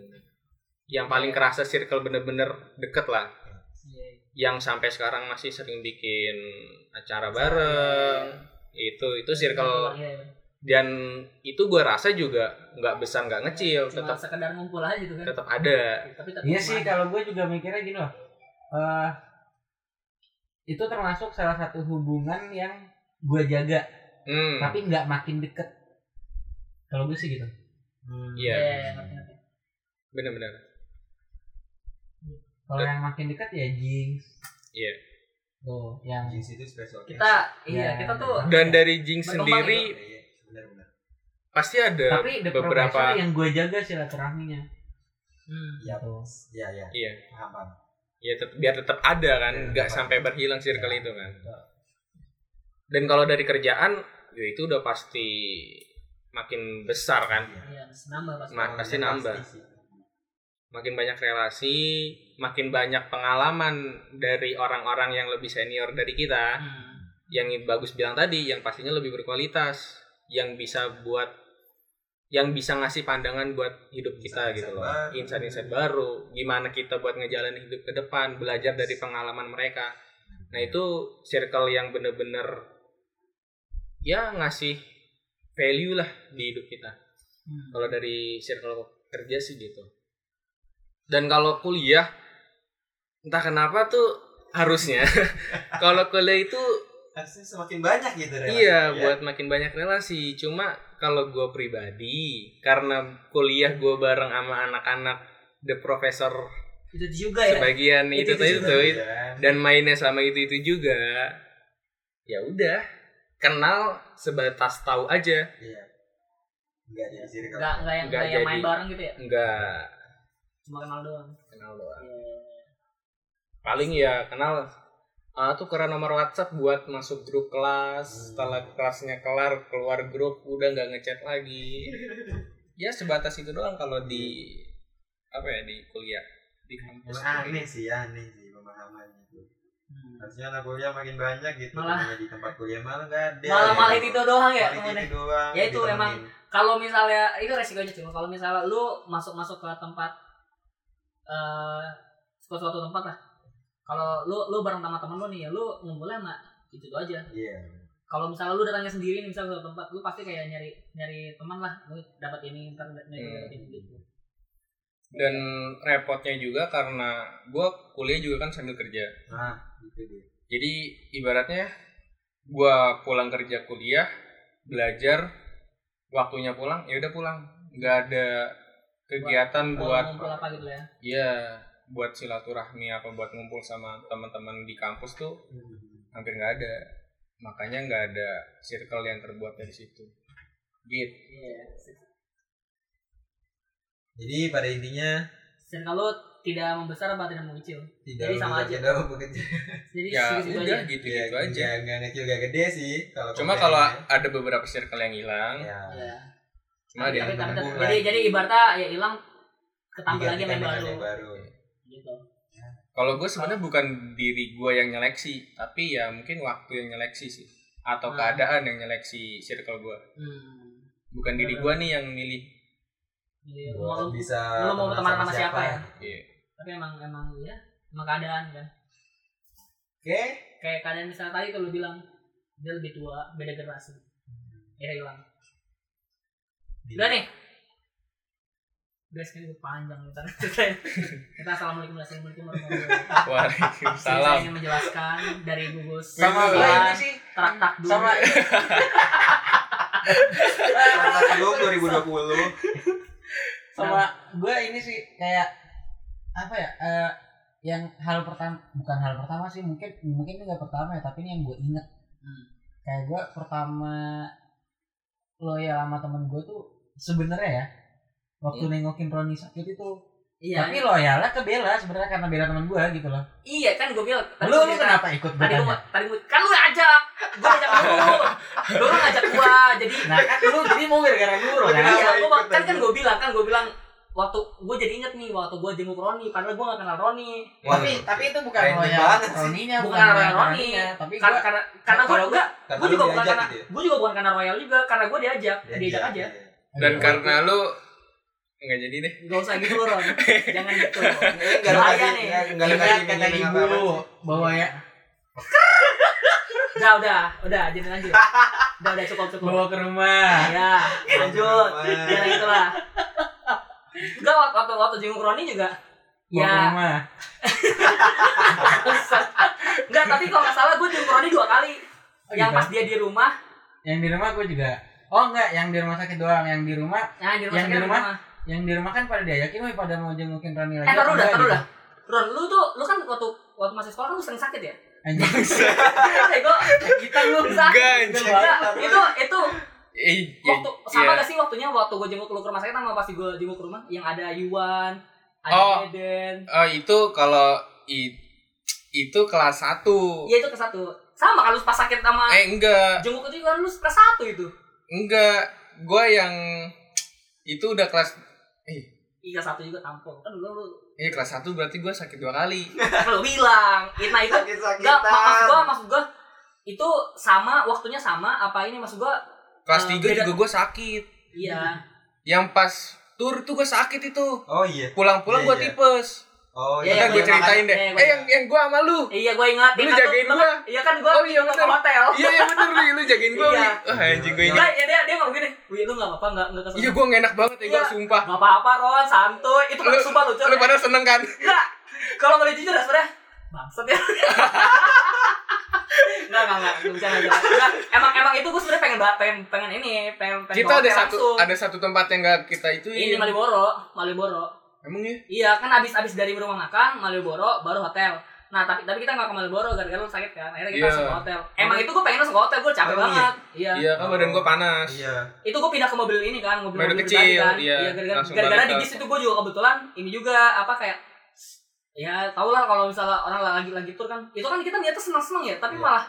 [SPEAKER 2] yang paling kerasa circle bener-bener deket lah
[SPEAKER 4] Iya.
[SPEAKER 2] yang sampai sekarang masih sering bikin acara bareng itu itu circle
[SPEAKER 4] Iya, iya.
[SPEAKER 2] dan itu gue rasa juga nggak besar nggak kecil
[SPEAKER 4] Cuma
[SPEAKER 2] tetap
[SPEAKER 4] sekedar ngumpul aja gitu kan.
[SPEAKER 2] tetap ada
[SPEAKER 4] Tapi tetap
[SPEAKER 3] Iya
[SPEAKER 4] ada.
[SPEAKER 3] sih kalau gue juga mikirnya gini loh. Eh, itu termasuk salah satu hubungan yang gue jaga
[SPEAKER 2] hmm.
[SPEAKER 4] Nah.
[SPEAKER 3] tapi nggak makin deket. Kalau gue sih gitu.
[SPEAKER 5] Hmm.
[SPEAKER 2] Iya.
[SPEAKER 4] ngerti-ngerti.
[SPEAKER 2] benar-benar
[SPEAKER 3] Kalau yang makin dekat ya Jinx.
[SPEAKER 2] Iya.
[SPEAKER 3] Tuh, yang
[SPEAKER 5] Jinx itu special case.
[SPEAKER 4] Kita iya
[SPEAKER 3] Ya.
[SPEAKER 4] kita tuh
[SPEAKER 2] dan dari Jinx
[SPEAKER 4] Berkembang gitu. Nah,
[SPEAKER 5] Iya,
[SPEAKER 2] sendiri
[SPEAKER 5] iya, benar-benar.
[SPEAKER 2] pasti ada
[SPEAKER 3] tapi the
[SPEAKER 2] beberapa
[SPEAKER 3] beberapa yang gue jaga silaturahminya.
[SPEAKER 4] Hmm,
[SPEAKER 5] Iya,
[SPEAKER 3] Tuh.
[SPEAKER 5] iya, iya.
[SPEAKER 2] iya
[SPEAKER 5] Paham, paham.
[SPEAKER 2] ya tet- biar tetap ada kan
[SPEAKER 5] Iya,
[SPEAKER 2] nggak
[SPEAKER 5] tetap
[SPEAKER 2] sampai
[SPEAKER 5] ada.
[SPEAKER 2] berhilang circle
[SPEAKER 5] Iya.
[SPEAKER 2] itu kan dan kalau dari kerjaan ya itu udah pasti makin besar kan
[SPEAKER 5] Iya.
[SPEAKER 4] iya nambah pasti.
[SPEAKER 2] Ma- pasti
[SPEAKER 5] Iya,
[SPEAKER 2] nambah.
[SPEAKER 5] sih.
[SPEAKER 2] makin banyak relasi makin banyak pengalaman dari orang-orang yang lebih senior dari kita
[SPEAKER 4] Hmm.
[SPEAKER 2] yang bagus bilang tadi yang pastinya lebih berkualitas yang bisa buat yang bisa ngasih pandangan buat hidup kita
[SPEAKER 5] Insight-insight
[SPEAKER 2] gitu loh
[SPEAKER 5] baru.
[SPEAKER 2] insight-insight baru gimana kita buat ngejalanin hidup ke depan belajar dari pengalaman mereka nah itu circle yang bener-bener ya ngasih value lah di hidup kita
[SPEAKER 4] Hmm.
[SPEAKER 2] kalau dari circle kerja sih gitu dan kalau kuliah entah kenapa tuh harusnya kalau kuliah itu
[SPEAKER 5] Harusnya semakin banyak gitu relasi,
[SPEAKER 2] iya
[SPEAKER 5] ya.
[SPEAKER 2] buat makin banyak relasi cuma kalau gue pribadi karena kuliah gue bareng sama anak-anak the professor
[SPEAKER 4] Itu juga ya.
[SPEAKER 2] sebagian itu
[SPEAKER 5] Itu
[SPEAKER 2] tadi
[SPEAKER 5] juga,
[SPEAKER 2] tuh
[SPEAKER 5] ya kan?
[SPEAKER 2] dan mainnya sama itu itu juga ya udah kenal sebatas tahu aja
[SPEAKER 5] Iya. Enggak jadi sini
[SPEAKER 4] Enggak enggak yang
[SPEAKER 2] Nggak
[SPEAKER 4] nggak yang main
[SPEAKER 2] jadi.
[SPEAKER 4] bareng gitu ya.
[SPEAKER 2] enggak
[SPEAKER 4] Cuma kenal doang.
[SPEAKER 2] kenal doang
[SPEAKER 4] Iya.
[SPEAKER 2] paling ya kenal ah, tuh karena nomor WhatsApp buat masuk grup kelas
[SPEAKER 5] Hmm.
[SPEAKER 2] setelah kelasnya kelar keluar grup udah nggak ngechat lagi ya sebatas itu doang kalau di apa ya di kuliah di kampus Ah,
[SPEAKER 5] aneh sih, ya, aneh sih pemahaman itu.
[SPEAKER 4] Hmm.
[SPEAKER 5] Harusnya anak kuliah makin banyak gitu.
[SPEAKER 4] Malah-
[SPEAKER 5] temennya di tempat kuliah malah enggak
[SPEAKER 2] iya,
[SPEAKER 5] ada.
[SPEAKER 4] Malah
[SPEAKER 5] Ya.
[SPEAKER 4] malah itu doang ya
[SPEAKER 5] Malah
[SPEAKER 4] temennya.
[SPEAKER 5] itu doang.
[SPEAKER 4] Ya itu
[SPEAKER 5] ditemenin.
[SPEAKER 4] emang kalau misalnya itu resikonya cuma kalau misalnya lu masuk masuk ke tempat eh suatu suatu tempat lah kalau lu lu bareng sama temen lu nih ya lu ngumpulnya sama itu tuh aja
[SPEAKER 5] Iya.
[SPEAKER 4] kalau misalnya lu datangnya sendiri nih misalnya ke suatu tempat lu pasti kayak nyari nyari teman lah lu dapat ini ntar dapat ini
[SPEAKER 2] Hmm.
[SPEAKER 4] dapat ini gitu
[SPEAKER 2] dan repotnya juga karena gue kuliah juga kan sambil kerja
[SPEAKER 5] Nah, itu dia.
[SPEAKER 2] jadi ibaratnya gue pulang kerja kuliah belajar waktunya pulang ya udah pulang nggak ada
[SPEAKER 4] Kalau
[SPEAKER 2] kegiatan buat
[SPEAKER 4] ngumpul apa gitu ya
[SPEAKER 2] Iya, buat silaturahmi apa buat ngumpul sama teman-teman di kampus tuh hampir nggak ada. Makanya nggak ada circle yang terbuat dari situ. Gitu.
[SPEAKER 4] Iya.
[SPEAKER 5] Jadi pada intinya
[SPEAKER 4] dan kalau tidak membesar apa tidak mengecil
[SPEAKER 5] tidak
[SPEAKER 4] Jadi sama
[SPEAKER 5] bekerja,
[SPEAKER 4] aja.
[SPEAKER 5] tidak bekerja.
[SPEAKER 4] jadi
[SPEAKER 2] Ya
[SPEAKER 4] segitu
[SPEAKER 2] udah
[SPEAKER 4] aja
[SPEAKER 2] gitu
[SPEAKER 5] Ya,
[SPEAKER 2] gitu aja.
[SPEAKER 5] nggak- nggak kecil nggak gede sih kalau
[SPEAKER 2] Cuma kalau
[SPEAKER 5] comparingnya.
[SPEAKER 2] ada beberapa circle yang hilang,
[SPEAKER 5] ya.
[SPEAKER 4] Iya.
[SPEAKER 2] cuma ada
[SPEAKER 4] tapi,
[SPEAKER 2] yang
[SPEAKER 4] tapi, tapi,
[SPEAKER 5] nunggu
[SPEAKER 4] jadi
[SPEAKER 5] lagi.
[SPEAKER 4] jadi ibaratnya ya hilang ketambah lagi
[SPEAKER 5] digantikan
[SPEAKER 4] main
[SPEAKER 5] dengan
[SPEAKER 4] baru
[SPEAKER 5] yang baru.
[SPEAKER 4] gitu
[SPEAKER 2] Kalau gue sebenarnya bukan diri gue yang nyeleksi, tapi ya mungkin waktu yang nyeleksi sih, atau
[SPEAKER 4] Hmm.
[SPEAKER 2] keadaan yang nyeleksi circle gue.
[SPEAKER 4] hmm.
[SPEAKER 2] Bukan diri gue nih yang milih.
[SPEAKER 4] Iya,
[SPEAKER 5] Buat
[SPEAKER 4] mau-
[SPEAKER 5] bisa
[SPEAKER 4] lu mau berteman sama siapa ya?
[SPEAKER 2] Iya.
[SPEAKER 4] tapi emang emang ya emang keadaan kan
[SPEAKER 5] Oke.
[SPEAKER 4] kayak keadaan misalnya tadi kalau bilang dia lebih tua beda generasi ya hilang udah nih guys kan udah panjang nih ntar ceritain. kita assalamualaikum assalamualaikum warahmatullahi wabarakatuh saya
[SPEAKER 2] Waalaikumsalam.
[SPEAKER 4] ingin menjelaskan dari gugus Kelas,
[SPEAKER 2] Sama gua
[SPEAKER 3] Iya, ini sih.
[SPEAKER 4] traktak dulu
[SPEAKER 3] Sama
[SPEAKER 5] Tanggal 10 2020.
[SPEAKER 3] sama gue Nah, ini sih kayak apa ya eh, yang hal pertama bukan hal pertama sih mungkin mungkin ini nggak pertama ya tapi ini yang gue inget kayak gue pertama loyal sama temen gue tuh sebenarnya ya waktu nengokin Roni sakit itu
[SPEAKER 4] iya
[SPEAKER 3] tapi loyalnya ke Bella sebenarnya karena Bella teman gue gitu loh
[SPEAKER 4] iya kan gue bilang tadi
[SPEAKER 3] lu
[SPEAKER 4] gua
[SPEAKER 3] lu
[SPEAKER 4] cerita.
[SPEAKER 3] kenapa ikut
[SPEAKER 4] tadi
[SPEAKER 3] bertanya
[SPEAKER 4] gue tadi gue kan lu yang ajak gue ajak lu lu yang ngajak gue jadi
[SPEAKER 3] nah kan lu jadi mau gara-gara gue
[SPEAKER 5] Lu
[SPEAKER 3] kan
[SPEAKER 5] kenapa?
[SPEAKER 4] Iya, gua,
[SPEAKER 5] ikut
[SPEAKER 4] kan kan
[SPEAKER 5] aja?
[SPEAKER 4] gue bilang kan gue bilang waktu gue jadi inget nih waktu gue jenguk Roni padahal gue gak kenal Roni
[SPEAKER 3] tapi tapi itu bukan
[SPEAKER 5] Random
[SPEAKER 3] loyal
[SPEAKER 5] banget sih.
[SPEAKER 3] Roninya
[SPEAKER 4] bukan karena
[SPEAKER 3] bukan loyal
[SPEAKER 4] Roni
[SPEAKER 3] Kan Roninya tapi
[SPEAKER 4] karena
[SPEAKER 3] gue
[SPEAKER 4] karena karena gue
[SPEAKER 5] Kalau
[SPEAKER 4] enggak
[SPEAKER 5] Karena
[SPEAKER 4] gue
[SPEAKER 5] lu
[SPEAKER 4] juga bukan
[SPEAKER 5] diajak
[SPEAKER 4] karena
[SPEAKER 5] gitu ya?
[SPEAKER 4] gue juga bukan karena royal juga karena gue diajak diajak
[SPEAKER 5] Diajak,
[SPEAKER 4] aja
[SPEAKER 5] iya.
[SPEAKER 2] Dan kan karena lu nggak jadi deh.
[SPEAKER 4] gak usah gitu Ron jangan gitu
[SPEAKER 5] Enggak Eh, ada
[SPEAKER 4] Bahaya
[SPEAKER 5] kasih,
[SPEAKER 4] nih.
[SPEAKER 5] enggak- enggak ada
[SPEAKER 3] Ingat
[SPEAKER 5] kasih
[SPEAKER 3] kata
[SPEAKER 5] minum
[SPEAKER 3] ibu
[SPEAKER 5] apa-apa.
[SPEAKER 3] bahwa ya
[SPEAKER 4] udah udah udah jadi lanjut udah udah cukup cukup
[SPEAKER 3] bawa ke rumah.
[SPEAKER 4] ya lanjut
[SPEAKER 5] Wah.
[SPEAKER 4] jangan gitu lah enggak waktu waktu, waktu jenguk Roni juga
[SPEAKER 3] Bawa ke
[SPEAKER 4] ya
[SPEAKER 3] rumah.
[SPEAKER 4] enggak tapi kalau nggak salah gue jenguk Roni dua kali
[SPEAKER 3] Oh,
[SPEAKER 4] yang
[SPEAKER 3] gitu.
[SPEAKER 4] pas dia di rumah
[SPEAKER 3] yang di rumah gue juga Oh enggak, yang di rumah sakit doang, yang di rumah,
[SPEAKER 4] Nah, di rumah
[SPEAKER 3] Yang
[SPEAKER 4] sakit
[SPEAKER 3] di
[SPEAKER 4] ada
[SPEAKER 3] rumah? yang di rumah kan pada diajakin, woi pada mau jengukin Rani lagi.
[SPEAKER 4] Eh, taruh dah,
[SPEAKER 3] apa enggak
[SPEAKER 4] taruh
[SPEAKER 3] gitu.
[SPEAKER 4] dah. Ron, lu tuh, lu kan waktu waktu masih sekolah lu sering sakit ya? Iya,
[SPEAKER 3] Anjing,
[SPEAKER 4] Bego,
[SPEAKER 3] kita lu.
[SPEAKER 4] sakit.
[SPEAKER 2] anjing.
[SPEAKER 4] Enggak, itu itu
[SPEAKER 2] Eh, ya,
[SPEAKER 4] waktu sama
[SPEAKER 2] iya.
[SPEAKER 4] gak sih waktunya waktu gue jenguk lu ke rumah sakit sama pasti gue jenguk ke rumah yang ada Yuan, ada
[SPEAKER 2] Oh.
[SPEAKER 4] Eden.
[SPEAKER 2] Oh, itu kalau i- itu kelas 1.
[SPEAKER 4] Iya itu ke satu. Sama kalau pas sakit sama
[SPEAKER 2] Eh, enggak.
[SPEAKER 4] jenguk itu juga lu ke satu itu.
[SPEAKER 2] Enggak. Gua yang itu udah kelas
[SPEAKER 4] Iya satu juga tampol. Kan dulu lu kan
[SPEAKER 2] eh kelas 1 berarti gua sakit dua kali.
[SPEAKER 4] lu bilang, nah itu enggak mak- maksud gue maksud gue itu sama waktunya sama apa ini maksud gue
[SPEAKER 2] Kelas
[SPEAKER 4] Eh,
[SPEAKER 2] 3
[SPEAKER 4] beda-
[SPEAKER 2] juga gua sakit.
[SPEAKER 4] iya
[SPEAKER 2] Yang pas tur tuh gua sakit itu.
[SPEAKER 5] Oh iya.
[SPEAKER 2] Pulang-pulang
[SPEAKER 5] Iya,
[SPEAKER 2] gua
[SPEAKER 5] iya.
[SPEAKER 2] tipes.
[SPEAKER 5] Oh
[SPEAKER 4] Iya,
[SPEAKER 5] iya.
[SPEAKER 2] Ntar
[SPEAKER 4] iya,
[SPEAKER 2] gua
[SPEAKER 4] iya,
[SPEAKER 2] ceritain
[SPEAKER 4] makanya-
[SPEAKER 2] deh.
[SPEAKER 4] iya, iya,
[SPEAKER 2] eh
[SPEAKER 4] iya.
[SPEAKER 2] yang yang gua sama lu.
[SPEAKER 4] iya gue ingat
[SPEAKER 2] Lu
[SPEAKER 4] Ingat,
[SPEAKER 2] jagain
[SPEAKER 4] lu- lu
[SPEAKER 2] gua.
[SPEAKER 4] kan- iya kan gue
[SPEAKER 2] Oh, iya,
[SPEAKER 4] ke
[SPEAKER 2] bener.
[SPEAKER 4] hotel
[SPEAKER 2] Iya, iya bener nih, lu jagain gua.
[SPEAKER 4] Iya.
[SPEAKER 2] Wi. Wah, anjing gua ingat.
[SPEAKER 4] Enggak, ya dia dia ngomong gini, "Wi, lu enggak apa-apa, enggak enggak kesel."
[SPEAKER 2] Iya, gua gak enak banget ya, gua
[SPEAKER 4] Iya.
[SPEAKER 2] sumpah.
[SPEAKER 4] Enggak apa-apa, Ron, santuy. Itu kan
[SPEAKER 2] Lu-
[SPEAKER 4] sumpah lucu.
[SPEAKER 2] Lu pada seneng kan?
[SPEAKER 4] Enggak. Kalau boleh jujur ya, sebenarnya bangsat ya. Enggak, enggak, enggak, Gua bercanda aja. Enggak, emang emang itu gue sebenarnya pengen ba- pengen pengen ini, pengen pengen ke
[SPEAKER 2] Kita ada
[SPEAKER 4] hotel
[SPEAKER 2] satu
[SPEAKER 4] Iya, langsung.
[SPEAKER 2] ada satu tempat yang gak kita itu.
[SPEAKER 4] ini Maliboro, Maliboro.
[SPEAKER 2] Emang ya?
[SPEAKER 4] Iya, kan abis abis dari rumah makan Malioboro baru hotel. Nah, tapi tapi kita nggak ke Malioboro gara-gara lu sakit kan. Akhirnya kita
[SPEAKER 2] Iya.
[SPEAKER 4] langsung ke hotel. Emang itu gue pengen langsung ke hotel, gue capek
[SPEAKER 5] Oh, iya.
[SPEAKER 4] banget. Iya.
[SPEAKER 2] Iya, kan badan gua panas.
[SPEAKER 5] Iya.
[SPEAKER 4] Itu gue pindah ke mobil ini kan, mobil,
[SPEAKER 2] Baru
[SPEAKER 4] mobil
[SPEAKER 2] kecil,
[SPEAKER 4] pribadi kan.
[SPEAKER 2] iya.
[SPEAKER 4] gara-gara
[SPEAKER 2] Langsung
[SPEAKER 4] gara-gara
[SPEAKER 2] balik
[SPEAKER 4] di
[SPEAKER 2] ke-
[SPEAKER 4] bis itu gue juga kebetulan ini juga apa kayak ya tau lah kalau misalnya orang lagi lagi tur kan itu kan kita niatnya seneng-seneng ya tapi
[SPEAKER 5] Iya.
[SPEAKER 4] malah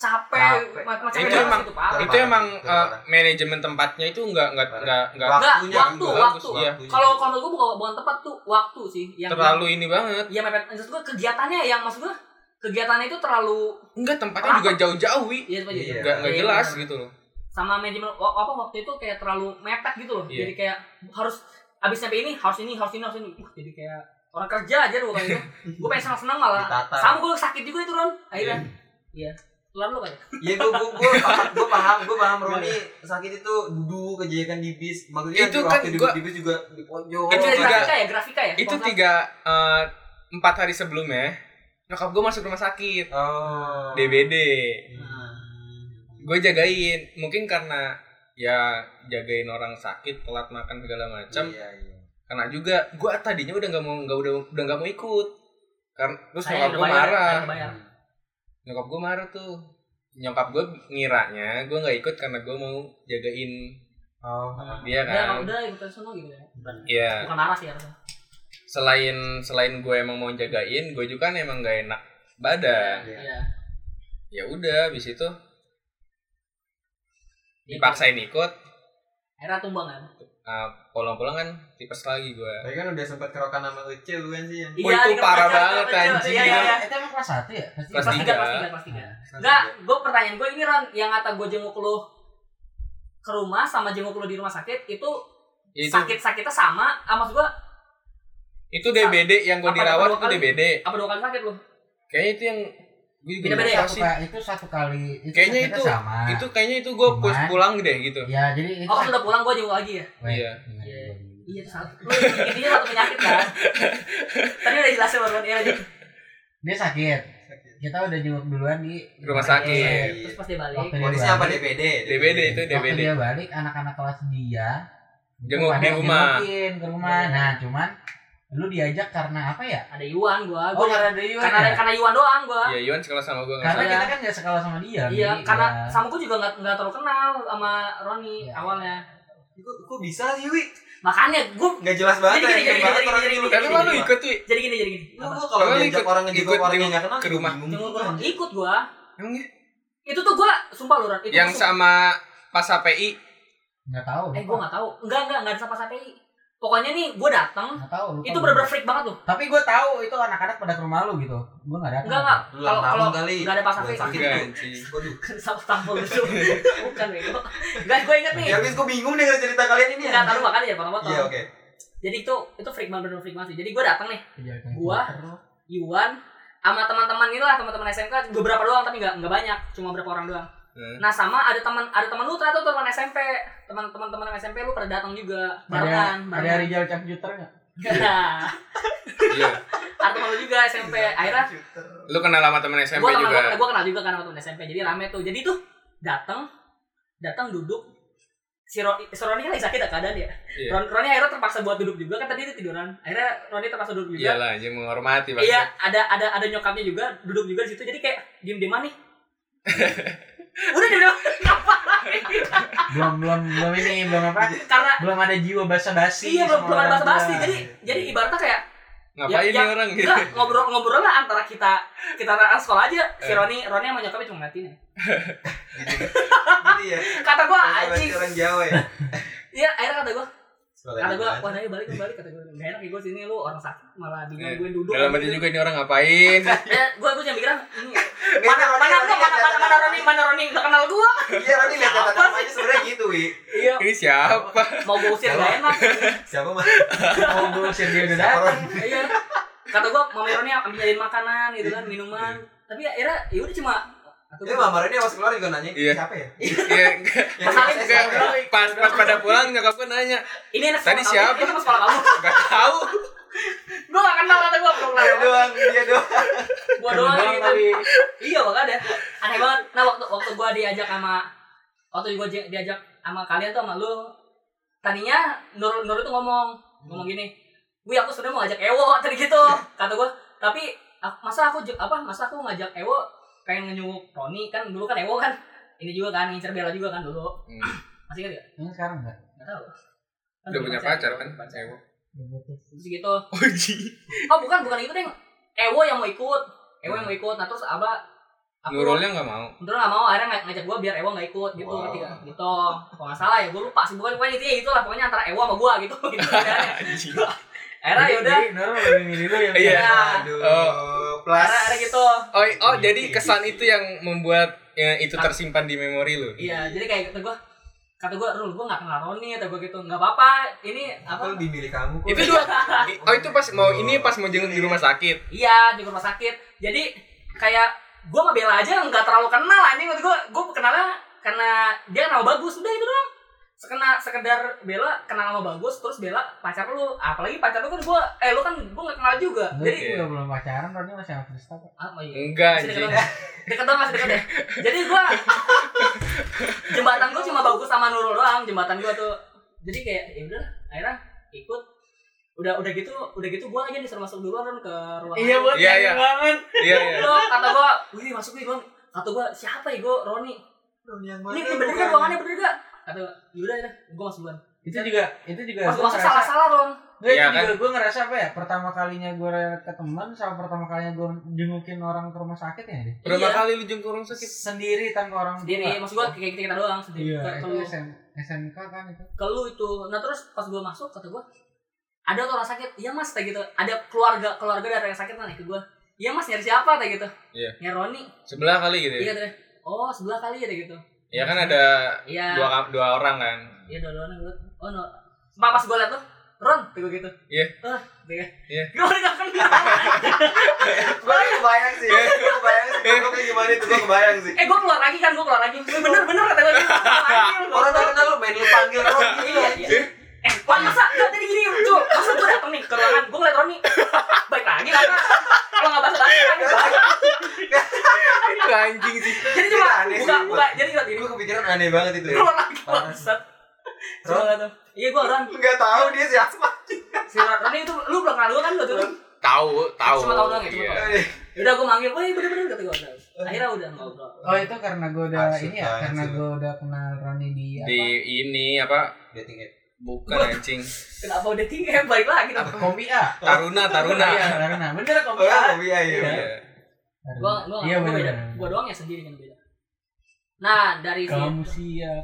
[SPEAKER 4] capek,
[SPEAKER 5] Capek.
[SPEAKER 4] macam
[SPEAKER 2] Itu
[SPEAKER 4] capek
[SPEAKER 2] emang-
[SPEAKER 4] itu gitu, parah
[SPEAKER 2] itu emang
[SPEAKER 5] Parah.
[SPEAKER 2] eh, manajemen tempatnya itu nggak nggak
[SPEAKER 5] Parah.
[SPEAKER 2] nggak nggak
[SPEAKER 5] Wah,
[SPEAKER 4] enggak
[SPEAKER 5] Waktunya
[SPEAKER 4] waktu
[SPEAKER 5] juga
[SPEAKER 2] bagus,
[SPEAKER 4] waktu
[SPEAKER 2] iya.
[SPEAKER 4] kalau kalau menurut gue bukan bukan tepat tuh waktu sih yang
[SPEAKER 2] terlalu ini banget
[SPEAKER 4] Iya mepet. Maksud gue kegiatannya yang maksud gue kegiatannya itu terlalu
[SPEAKER 2] enggak tempatnya juga jauh-jauh wi
[SPEAKER 4] ya apa
[SPEAKER 5] Iya.
[SPEAKER 4] ya?
[SPEAKER 2] nggak nggak
[SPEAKER 4] Iya,
[SPEAKER 2] jelas
[SPEAKER 4] benar.
[SPEAKER 2] gitu loh
[SPEAKER 4] Sama manajemen wa- apa waktu itu kayak terlalu mepet gitu loh.
[SPEAKER 2] Iya.
[SPEAKER 4] Jadi kayak harus abis nyampe ini harus ini harus ini harus ini. Uh, jadi kayak orang kerja aja dulu kayak gitu. gue pengen senang-senang malah.
[SPEAKER 5] Ditata.
[SPEAKER 4] Sama gue sakit juga itu Ron. Akhirnya. Iya. Kelar lu kali.
[SPEAKER 5] Iya gue gue gue paham gue paham gue paham Roni sakit itu duduk kejadian di bis maksudnya
[SPEAKER 2] Itu
[SPEAKER 5] di
[SPEAKER 2] kan
[SPEAKER 5] waktu duduk
[SPEAKER 2] gua-
[SPEAKER 5] di bis juga di pojok.
[SPEAKER 2] Itu
[SPEAKER 4] Itu
[SPEAKER 2] tiga-
[SPEAKER 4] grafika ya, grafika ya.
[SPEAKER 2] itu
[SPEAKER 4] Kalau nggak-
[SPEAKER 2] tiga eh, empat hari sebelumnya nyokap gue masuk rumah sakit
[SPEAKER 5] Oh.
[SPEAKER 2] DBD
[SPEAKER 5] Hmm.
[SPEAKER 2] gue jagain mungkin karena ya jagain orang sakit telat makan segala macam
[SPEAKER 5] Iya iya.
[SPEAKER 2] karena juga gue tadinya udah nggak mau nggak udah udah nggak mau ikut karena terus
[SPEAKER 4] Saya
[SPEAKER 2] nyokap
[SPEAKER 4] udah
[SPEAKER 2] gue
[SPEAKER 4] bayar, kan?
[SPEAKER 2] marah
[SPEAKER 4] saya udah bayar.
[SPEAKER 2] nyokap gue marah tuh nyokap gue ngiranya gue nggak ikut karena gue mau jagain
[SPEAKER 5] Oh.
[SPEAKER 4] Udah,
[SPEAKER 2] dia kan
[SPEAKER 4] udah ikutan sono gitu ya.
[SPEAKER 2] Iya.
[SPEAKER 4] Bukan marah sih harusnya.
[SPEAKER 2] selain selain gue emang mau jagain gue juga kan emang gak enak badan
[SPEAKER 5] Iya.
[SPEAKER 4] Iya.
[SPEAKER 2] ya udah abis itu dipaksain ikut
[SPEAKER 4] Akhirnya tumbang kan.
[SPEAKER 2] nah, pulang-pulang kan tipes lagi gue
[SPEAKER 5] Tapi kan udah sempat kerokan sama Uce lu kan sih yang
[SPEAKER 2] Wah, itu
[SPEAKER 4] di
[SPEAKER 2] parah
[SPEAKER 4] kerja,
[SPEAKER 2] banget,
[SPEAKER 4] kerja.
[SPEAKER 2] anjing.
[SPEAKER 4] Iya, iya, iya.
[SPEAKER 3] Itu emang kelas satu ya? Pasti
[SPEAKER 2] Kelas
[SPEAKER 4] Kelas tiga,
[SPEAKER 2] tiga.
[SPEAKER 4] kelas tiga, kelas tiga. Enggak, gue pertanyaan gue ini Ron, yang kata gue jenguk lu ke rumah sama jenguk lu di rumah sakit itu,
[SPEAKER 2] itu
[SPEAKER 4] sakit-sakitnya sama, ah, maksud gue
[SPEAKER 2] itu DBD yang gue
[SPEAKER 4] Apa
[SPEAKER 2] dirawat
[SPEAKER 4] dua
[SPEAKER 2] itu
[SPEAKER 4] kali?
[SPEAKER 2] DBD
[SPEAKER 4] apa dua kali sakit lu?
[SPEAKER 2] kayaknya itu yang gue juga
[SPEAKER 4] Beda-beda ya,
[SPEAKER 2] lupa
[SPEAKER 3] Satu
[SPEAKER 2] sih.
[SPEAKER 3] ka- itu satu kali itu
[SPEAKER 2] Kayaknya
[SPEAKER 3] sakitnya
[SPEAKER 2] itu-
[SPEAKER 3] sama.
[SPEAKER 2] itu kayaknya itu gue
[SPEAKER 3] Cuma-
[SPEAKER 2] pulang deh gitu
[SPEAKER 3] Ya, jadi itu
[SPEAKER 4] Oh pas
[SPEAKER 3] sakit-
[SPEAKER 4] udah pulang gue jenguk lagi ya?
[SPEAKER 3] Weh,
[SPEAKER 2] Iya.
[SPEAKER 3] dengar
[SPEAKER 4] Iya.
[SPEAKER 3] dulu.
[SPEAKER 4] Iya itu satu, lu intinya satu penyakit kan? Tadi udah jelasin baru ya lanjut.
[SPEAKER 3] Dia sakit. Kita udah jenguk duluan di
[SPEAKER 2] Rumah sakit.
[SPEAKER 4] Iya, Terus pas dia balik,
[SPEAKER 3] Waktu dia
[SPEAKER 5] Kondisinya apa
[SPEAKER 3] balik-
[SPEAKER 5] DBD?
[SPEAKER 2] DBD itu
[SPEAKER 3] Waktu
[SPEAKER 2] DBD
[SPEAKER 3] dia balik anak-anak kelas dia itu
[SPEAKER 2] Jenguk
[SPEAKER 3] pada
[SPEAKER 2] di rumah.
[SPEAKER 3] jengukin ke rumah.
[SPEAKER 4] Iya.
[SPEAKER 3] Nah, cuman lu diajak karena apa ya?
[SPEAKER 4] ada Iwan gue,
[SPEAKER 3] Oh,
[SPEAKER 4] gue
[SPEAKER 3] karena ada Yuan
[SPEAKER 4] karena
[SPEAKER 3] ya?
[SPEAKER 4] karena Iwan doang gue.
[SPEAKER 2] Iya, Yuan sekolah sama gue
[SPEAKER 3] Karena
[SPEAKER 4] Iya.
[SPEAKER 3] kita kan gak sekolah sama dia.
[SPEAKER 4] Iya,
[SPEAKER 3] jadi
[SPEAKER 4] karena
[SPEAKER 3] ya.
[SPEAKER 4] sama gue juga nggak nggak terlalu kenal sama Roni
[SPEAKER 3] Iya.
[SPEAKER 4] awalnya.
[SPEAKER 5] Kok kok bisa sih Wi?
[SPEAKER 4] Makanya gue
[SPEAKER 5] Nggak jelas banget
[SPEAKER 4] Jadi,
[SPEAKER 5] ya,
[SPEAKER 4] jadi,
[SPEAKER 5] kayak
[SPEAKER 4] jadi,
[SPEAKER 5] banget
[SPEAKER 4] jadi,
[SPEAKER 5] orang
[SPEAKER 4] jadi,
[SPEAKER 5] nyuruh.
[SPEAKER 4] jadi.
[SPEAKER 2] tapi malu ikut tuh
[SPEAKER 4] jadi gini jadi gini.
[SPEAKER 5] Lu gua kalau
[SPEAKER 2] Lu
[SPEAKER 5] diajak
[SPEAKER 2] ikut-
[SPEAKER 5] orang ngejenguk
[SPEAKER 2] ikut
[SPEAKER 5] orang yang
[SPEAKER 2] jenguk
[SPEAKER 5] nggak kenal
[SPEAKER 2] ke rumah.
[SPEAKER 5] bingung
[SPEAKER 4] Jenguk
[SPEAKER 5] gua.
[SPEAKER 4] gua, ikut gua.
[SPEAKER 2] emang ya?
[SPEAKER 4] Itu tuh gua sumpah lu Ran. Itu
[SPEAKER 2] yang
[SPEAKER 4] gua sumpah.
[SPEAKER 2] sama pas HPI
[SPEAKER 3] nggak tahu.
[SPEAKER 4] Eh
[SPEAKER 3] lupa.
[SPEAKER 4] gua enggak tahu. Enggak enggak enggak ada sama SPI. Pokoknya nih gua datang
[SPEAKER 3] nggak tahu. lupa
[SPEAKER 4] itu
[SPEAKER 3] gua.
[SPEAKER 4] bener-bener freak banget tuh.
[SPEAKER 3] Tapi gue tahu itu anak-anak pada ke rumah lu gitu. Gue nggak datang.
[SPEAKER 4] Enggak enggak.
[SPEAKER 5] Lu
[SPEAKER 4] Kalau
[SPEAKER 5] ulang tahun
[SPEAKER 4] kalau
[SPEAKER 5] kali.
[SPEAKER 4] nggak ada pas
[SPEAKER 5] Bulan
[SPEAKER 4] sakit.
[SPEAKER 5] sakit
[SPEAKER 2] Enggak,
[SPEAKER 5] lu.
[SPEAKER 2] anjing.
[SPEAKER 5] Waduh.
[SPEAKER 4] Sama tampol itu. Bukan bego. Enggak gua inget nih.
[SPEAKER 5] Ya habis gua bingung denger cerita kalian ini.
[SPEAKER 4] Enggak tahu
[SPEAKER 5] anjing.
[SPEAKER 4] makanya ya potong-potong.
[SPEAKER 5] Iya oke.
[SPEAKER 4] Jadi itu itu freak banget bener freak banget sih. Jadi gua datang nih
[SPEAKER 3] Kejadian gitu.
[SPEAKER 4] Gua?
[SPEAKER 3] terus.
[SPEAKER 4] Iwan sama teman-teman inilah teman-teman SMK beberapa doang tapi nggak nggak banyak cuma beberapa orang doang
[SPEAKER 2] Hmm.
[SPEAKER 4] nah sama ada teman ada teman lu ternyata teman SMP teman teman teman SMP lu pada datang juga
[SPEAKER 3] Ada
[SPEAKER 4] barengan
[SPEAKER 3] ada
[SPEAKER 4] barengan.
[SPEAKER 3] Rizal Cangcuter nggak?
[SPEAKER 4] Nah,
[SPEAKER 2] iya
[SPEAKER 4] atau malu juga SMP. Akhirnya
[SPEAKER 2] lu kenal sama temen SMP
[SPEAKER 4] gue kenal,
[SPEAKER 2] juga
[SPEAKER 4] gua, gua kenal juga kan sama temen SMP. Jadi rame tuh. Jadi tuh datang, datang duduk. si Ro- si Roni kan lagi sakit ya keadaan ya.
[SPEAKER 2] Iya.
[SPEAKER 4] Ron- Roni akhirnya terpaksa buat duduk juga kan tadi dia tiduran. Akhirnya Roni terpaksa duduk juga.
[SPEAKER 2] Iyalah, aja menghormati bang.
[SPEAKER 4] Iya, ada ada ada nyokapnya juga duduk juga di situ. Jadi kayak diem diem nih. Udah diem diem apa lagi?
[SPEAKER 3] belum belum belum ini belum apa
[SPEAKER 2] Iya.
[SPEAKER 4] Karena
[SPEAKER 3] belum ada jiwa basa basi
[SPEAKER 4] iya belum belum ada bahasa basi. Jadi jadi
[SPEAKER 2] Iya.
[SPEAKER 4] ibaratnya kayak Ya,
[SPEAKER 2] Ngapain
[SPEAKER 4] ya.
[SPEAKER 2] nih orang gitu?
[SPEAKER 4] enggak ngobrol ngobrol lah antara kita kita anak sekolah aja. Si
[SPEAKER 2] Iya.
[SPEAKER 4] Roni Roni sama nyokapnya cuma ngatin ya.
[SPEAKER 5] Gitu ya.
[SPEAKER 4] Kata gua
[SPEAKER 2] Iya,
[SPEAKER 4] anjing.
[SPEAKER 5] Orang Jawa ya.
[SPEAKER 4] Iya, akhirnya kata gua
[SPEAKER 5] Sekolah
[SPEAKER 4] kata gua
[SPEAKER 5] gimana?
[SPEAKER 4] wah nanya balik balik kata gua enggak enak ya gua sini lu orang sakit malah
[SPEAKER 2] Iya.
[SPEAKER 4] bingung gue duduk.
[SPEAKER 2] Dalam hati juga ini orang ngapain?
[SPEAKER 4] Eh, gue gue jangan mikirnya hmm,
[SPEAKER 5] Nggak,
[SPEAKER 4] mana mana
[SPEAKER 5] Roni,
[SPEAKER 4] mana mana
[SPEAKER 5] Roni, lihat
[SPEAKER 4] mana mana
[SPEAKER 5] catatan-
[SPEAKER 4] Roni mana Roni nggak kenal gue
[SPEAKER 5] Iya, Roni lihat
[SPEAKER 4] Siapa
[SPEAKER 5] catatan
[SPEAKER 4] sih?
[SPEAKER 5] aja sebenarnya gitu, Wi.
[SPEAKER 4] iya
[SPEAKER 2] Ini siapa?
[SPEAKER 4] mau gue usir nggak enak
[SPEAKER 5] Siapa mah?
[SPEAKER 3] oh gue sih dia udah
[SPEAKER 5] Siapa
[SPEAKER 3] datang
[SPEAKER 5] Roni?
[SPEAKER 4] iya kata gue mama Roni ambilin makanan gitu kan minuman
[SPEAKER 2] Iya.
[SPEAKER 4] tapi akhirnya ya udah cuma atau
[SPEAKER 5] Ini
[SPEAKER 4] gua-
[SPEAKER 5] Mama Roni pas keluar juga nanya,
[SPEAKER 2] Iya.
[SPEAKER 5] siapa ya?
[SPEAKER 2] Iya, enggak.
[SPEAKER 5] Yang
[SPEAKER 4] Mas Alif,
[SPEAKER 5] pas
[SPEAKER 2] Enggak,
[SPEAKER 5] siapa ya?
[SPEAKER 2] Pas pas pada pulang nyokap gue nanya,
[SPEAKER 4] ini anak
[SPEAKER 2] Tadi
[SPEAKER 4] sekolah kamu,
[SPEAKER 2] siapa?
[SPEAKER 4] ini anak sekolah kamu
[SPEAKER 2] enggak tahu.
[SPEAKER 4] gue nggak kenal kata gue belum
[SPEAKER 5] Dia
[SPEAKER 4] kenal
[SPEAKER 5] Iya, doang, dia doang.
[SPEAKER 4] gue
[SPEAKER 3] Keren
[SPEAKER 4] doang
[SPEAKER 3] banget
[SPEAKER 4] gitu
[SPEAKER 3] tapi
[SPEAKER 4] iya makanya aneh banget nah waktu waktu gue diajak sama waktu gue diajak sama kalian tuh sama lu tadinya Nur Nur itu ngomong
[SPEAKER 2] Hmm.
[SPEAKER 4] ngomong gini wih aku sebenarnya mau ngajak Ewo tadi gitu
[SPEAKER 2] Iya.
[SPEAKER 4] kata gue tapi a- masa aku ju- apa masa aku ngajak Ewo pengen ngenyuk Roni kan dulu kan Ewo kan ini juga kan ngincer Bella juga kan dulu
[SPEAKER 2] Hmm.
[SPEAKER 4] masih kan ya
[SPEAKER 3] ini sekarang enggak
[SPEAKER 4] nggak tahu Kan
[SPEAKER 2] Udah punya pacar kan? Ewo.
[SPEAKER 4] terus gitu
[SPEAKER 2] Oji.
[SPEAKER 4] oh bukan bukan itu deh Ewo yang mau ikut Ewo
[SPEAKER 2] Hmm.
[SPEAKER 4] yang mau ikut nah terus abah aku-
[SPEAKER 2] Nurulnya enggak mau.
[SPEAKER 4] Menurut gak mau akhirnya ng- ngajak gue biar Ewa gak ikut gitu
[SPEAKER 5] Wow.
[SPEAKER 4] ngerti gak? Gitu Kalau gak salah ya gue lupa sih Pokoknya, pokoknya intinya gitu lah Pokoknya antara Ewa sama gue gitu gitu pilihannya.
[SPEAKER 2] Anjing.
[SPEAKER 4] Akhirnya ya yaudah
[SPEAKER 3] Jadi, Nora lebih milih lu yang
[SPEAKER 2] Iya.
[SPEAKER 5] Aduh, plus.
[SPEAKER 4] Akhirnya akhirnya gitu
[SPEAKER 2] Oh, oh jadi kesan itu yang membuat ya, itu tersimpan di memori lu.
[SPEAKER 4] Iya jadi kayak kata gue Kata gue Rul gue gak kenal Roni Kata gue gitu Gak apa-apa Ini apa
[SPEAKER 5] Aku lebih milih kamu kok. Iya.
[SPEAKER 2] Itu dua. Oh itu pas mau ini pas mau jenguk di rumah sakit.
[SPEAKER 4] Iya di rumah sakit Jadi kayak Gue sama Bella aja gak terlalu kenal anjing Kata gue Gue kenalnya Karena dia kenal bagus Udah itu doang Sekena, sekedar Bella kenal sama bagus terus Bella pacar lu apalagi pacar lu kan gue eh lu kan gue gak kenal juga
[SPEAKER 3] Lu
[SPEAKER 4] jadi
[SPEAKER 3] juga belum pacaran Roni masih sama Krista kok
[SPEAKER 4] apa ya
[SPEAKER 2] Enggak
[SPEAKER 4] Masih
[SPEAKER 2] anjing.
[SPEAKER 4] deket dong. Deket dong masih deket ya. Jadi gua jembatan gua cuma bagus sama Nurul doang jembatan gua tuh. Jadi kayak ya udah akhirnya ikut udah udah gitu udah gitu gua aja disuruh masuk duluan Ron, ke ruangan
[SPEAKER 3] buat
[SPEAKER 2] Iya, iya.
[SPEAKER 3] banget
[SPEAKER 2] Iya iya.
[SPEAKER 4] Belum, kata gua wih masuk nih Ron kata gua siapa ya gua Roni ini, ini bener
[SPEAKER 2] kan?
[SPEAKER 4] gak ruangannya bener gak kata gua yaudah ya gua masuk duluan
[SPEAKER 3] itu juga itu juga
[SPEAKER 4] masuk
[SPEAKER 3] Iya, gua
[SPEAKER 4] masuk
[SPEAKER 3] ngerasa-
[SPEAKER 4] salah salah Ron
[SPEAKER 3] Nggak,
[SPEAKER 2] Iya,
[SPEAKER 3] itu juga gue ngerasa apa ya pertama kalinya gue ke teman sama pertama kalinya gue jengukin orang ke rumah sakit ya deh
[SPEAKER 2] Berapa
[SPEAKER 4] Iya.
[SPEAKER 2] kali lu jenguk rumah sakit?
[SPEAKER 3] sendiri tanpa orang
[SPEAKER 4] sendiri
[SPEAKER 3] tua.
[SPEAKER 4] maksud gua kayak kita kita doang sendiri
[SPEAKER 3] iya
[SPEAKER 4] Ke-
[SPEAKER 3] itu
[SPEAKER 4] ke-
[SPEAKER 3] SM, SMK kan itu
[SPEAKER 4] keluh itu nah terus pas gue masuk kata gue ada tuh orang sakit iya mas kayak gitu ada keluarga keluarga dari yang sakit kan ke gue iya mas nyari siapa kayak gitu
[SPEAKER 2] Iya.
[SPEAKER 4] nyari Roni
[SPEAKER 2] Sebelah kali gitu.
[SPEAKER 4] iya
[SPEAKER 2] ya?
[SPEAKER 4] deh oh sebelah kali ya kayak gitu
[SPEAKER 2] Ya kan ada
[SPEAKER 4] iya
[SPEAKER 2] dua dua orang kan.
[SPEAKER 4] iya dua duanya gue oh no pas pas gue liat tuh Ron kayak gue gitu
[SPEAKER 2] Iya.
[SPEAKER 4] ah kayak
[SPEAKER 2] Iya.
[SPEAKER 4] gue udah gak kenal
[SPEAKER 5] Gue kebayang sih,
[SPEAKER 2] Iya.
[SPEAKER 5] gue kebayang sih. Gue kayak gimana itu, gue kebayang sih.
[SPEAKER 4] eh gue keluar lagi kan gue keluar lagi Gue bener bener kata gue gitu Anjing, gua
[SPEAKER 5] Orang tak
[SPEAKER 4] keluar.
[SPEAKER 5] kenal lu main lu panggil orang gitu.
[SPEAKER 4] Iya, iya. Eh, Wan masa nggak tadi gini lucu? Masa gue dateng nih ke ruangan, gue ngeliat Roni Baik lagi lah, Kak. kalau nggak bahasa bahasa kan baik. Iya.
[SPEAKER 2] Itu anjing sih.
[SPEAKER 4] Jadi cuma
[SPEAKER 5] Aneh sih,
[SPEAKER 4] buka,
[SPEAKER 5] gua.
[SPEAKER 4] buka, jadi cuma gini
[SPEAKER 5] Gue kepikiran aneh banget itu. ya.
[SPEAKER 4] Keluar lagi,
[SPEAKER 5] Parah.
[SPEAKER 4] bangsat Cuma
[SPEAKER 5] Ron?
[SPEAKER 4] nggak tahu. Iya gue Ron,
[SPEAKER 5] Nggak tahu dia siapa.
[SPEAKER 4] si Ron, Roni itu lu belum kenal gue kan gue tuh
[SPEAKER 2] Tahu, tahu.
[SPEAKER 4] Cuma tahu doang ya, cuma
[SPEAKER 2] Iya.
[SPEAKER 4] Udah gue manggil, woi bener-bener kata gue Akhirnya udah ngobrol
[SPEAKER 3] oh itu karena gue udah
[SPEAKER 5] Asik
[SPEAKER 3] ini ya
[SPEAKER 5] banget
[SPEAKER 3] karena
[SPEAKER 5] sih.
[SPEAKER 3] gue udah kenal Roni di,
[SPEAKER 2] Di ini apa?
[SPEAKER 5] Dating app.
[SPEAKER 2] Bukan
[SPEAKER 4] Gua-
[SPEAKER 2] anjing.
[SPEAKER 4] Kenapa udah tinggal, balik lagi
[SPEAKER 3] apa kombi A
[SPEAKER 2] Taruna, Taruna.
[SPEAKER 3] iya Taruna bener kombi
[SPEAKER 5] Oh,
[SPEAKER 3] A
[SPEAKER 5] iya, iya.
[SPEAKER 2] Iya.
[SPEAKER 3] Taruna.
[SPEAKER 4] Gue gue
[SPEAKER 3] iya
[SPEAKER 4] gue
[SPEAKER 3] bener
[SPEAKER 4] beda, gue doang ya sendiri kan beda Nah dari si
[SPEAKER 3] kamu ya. siap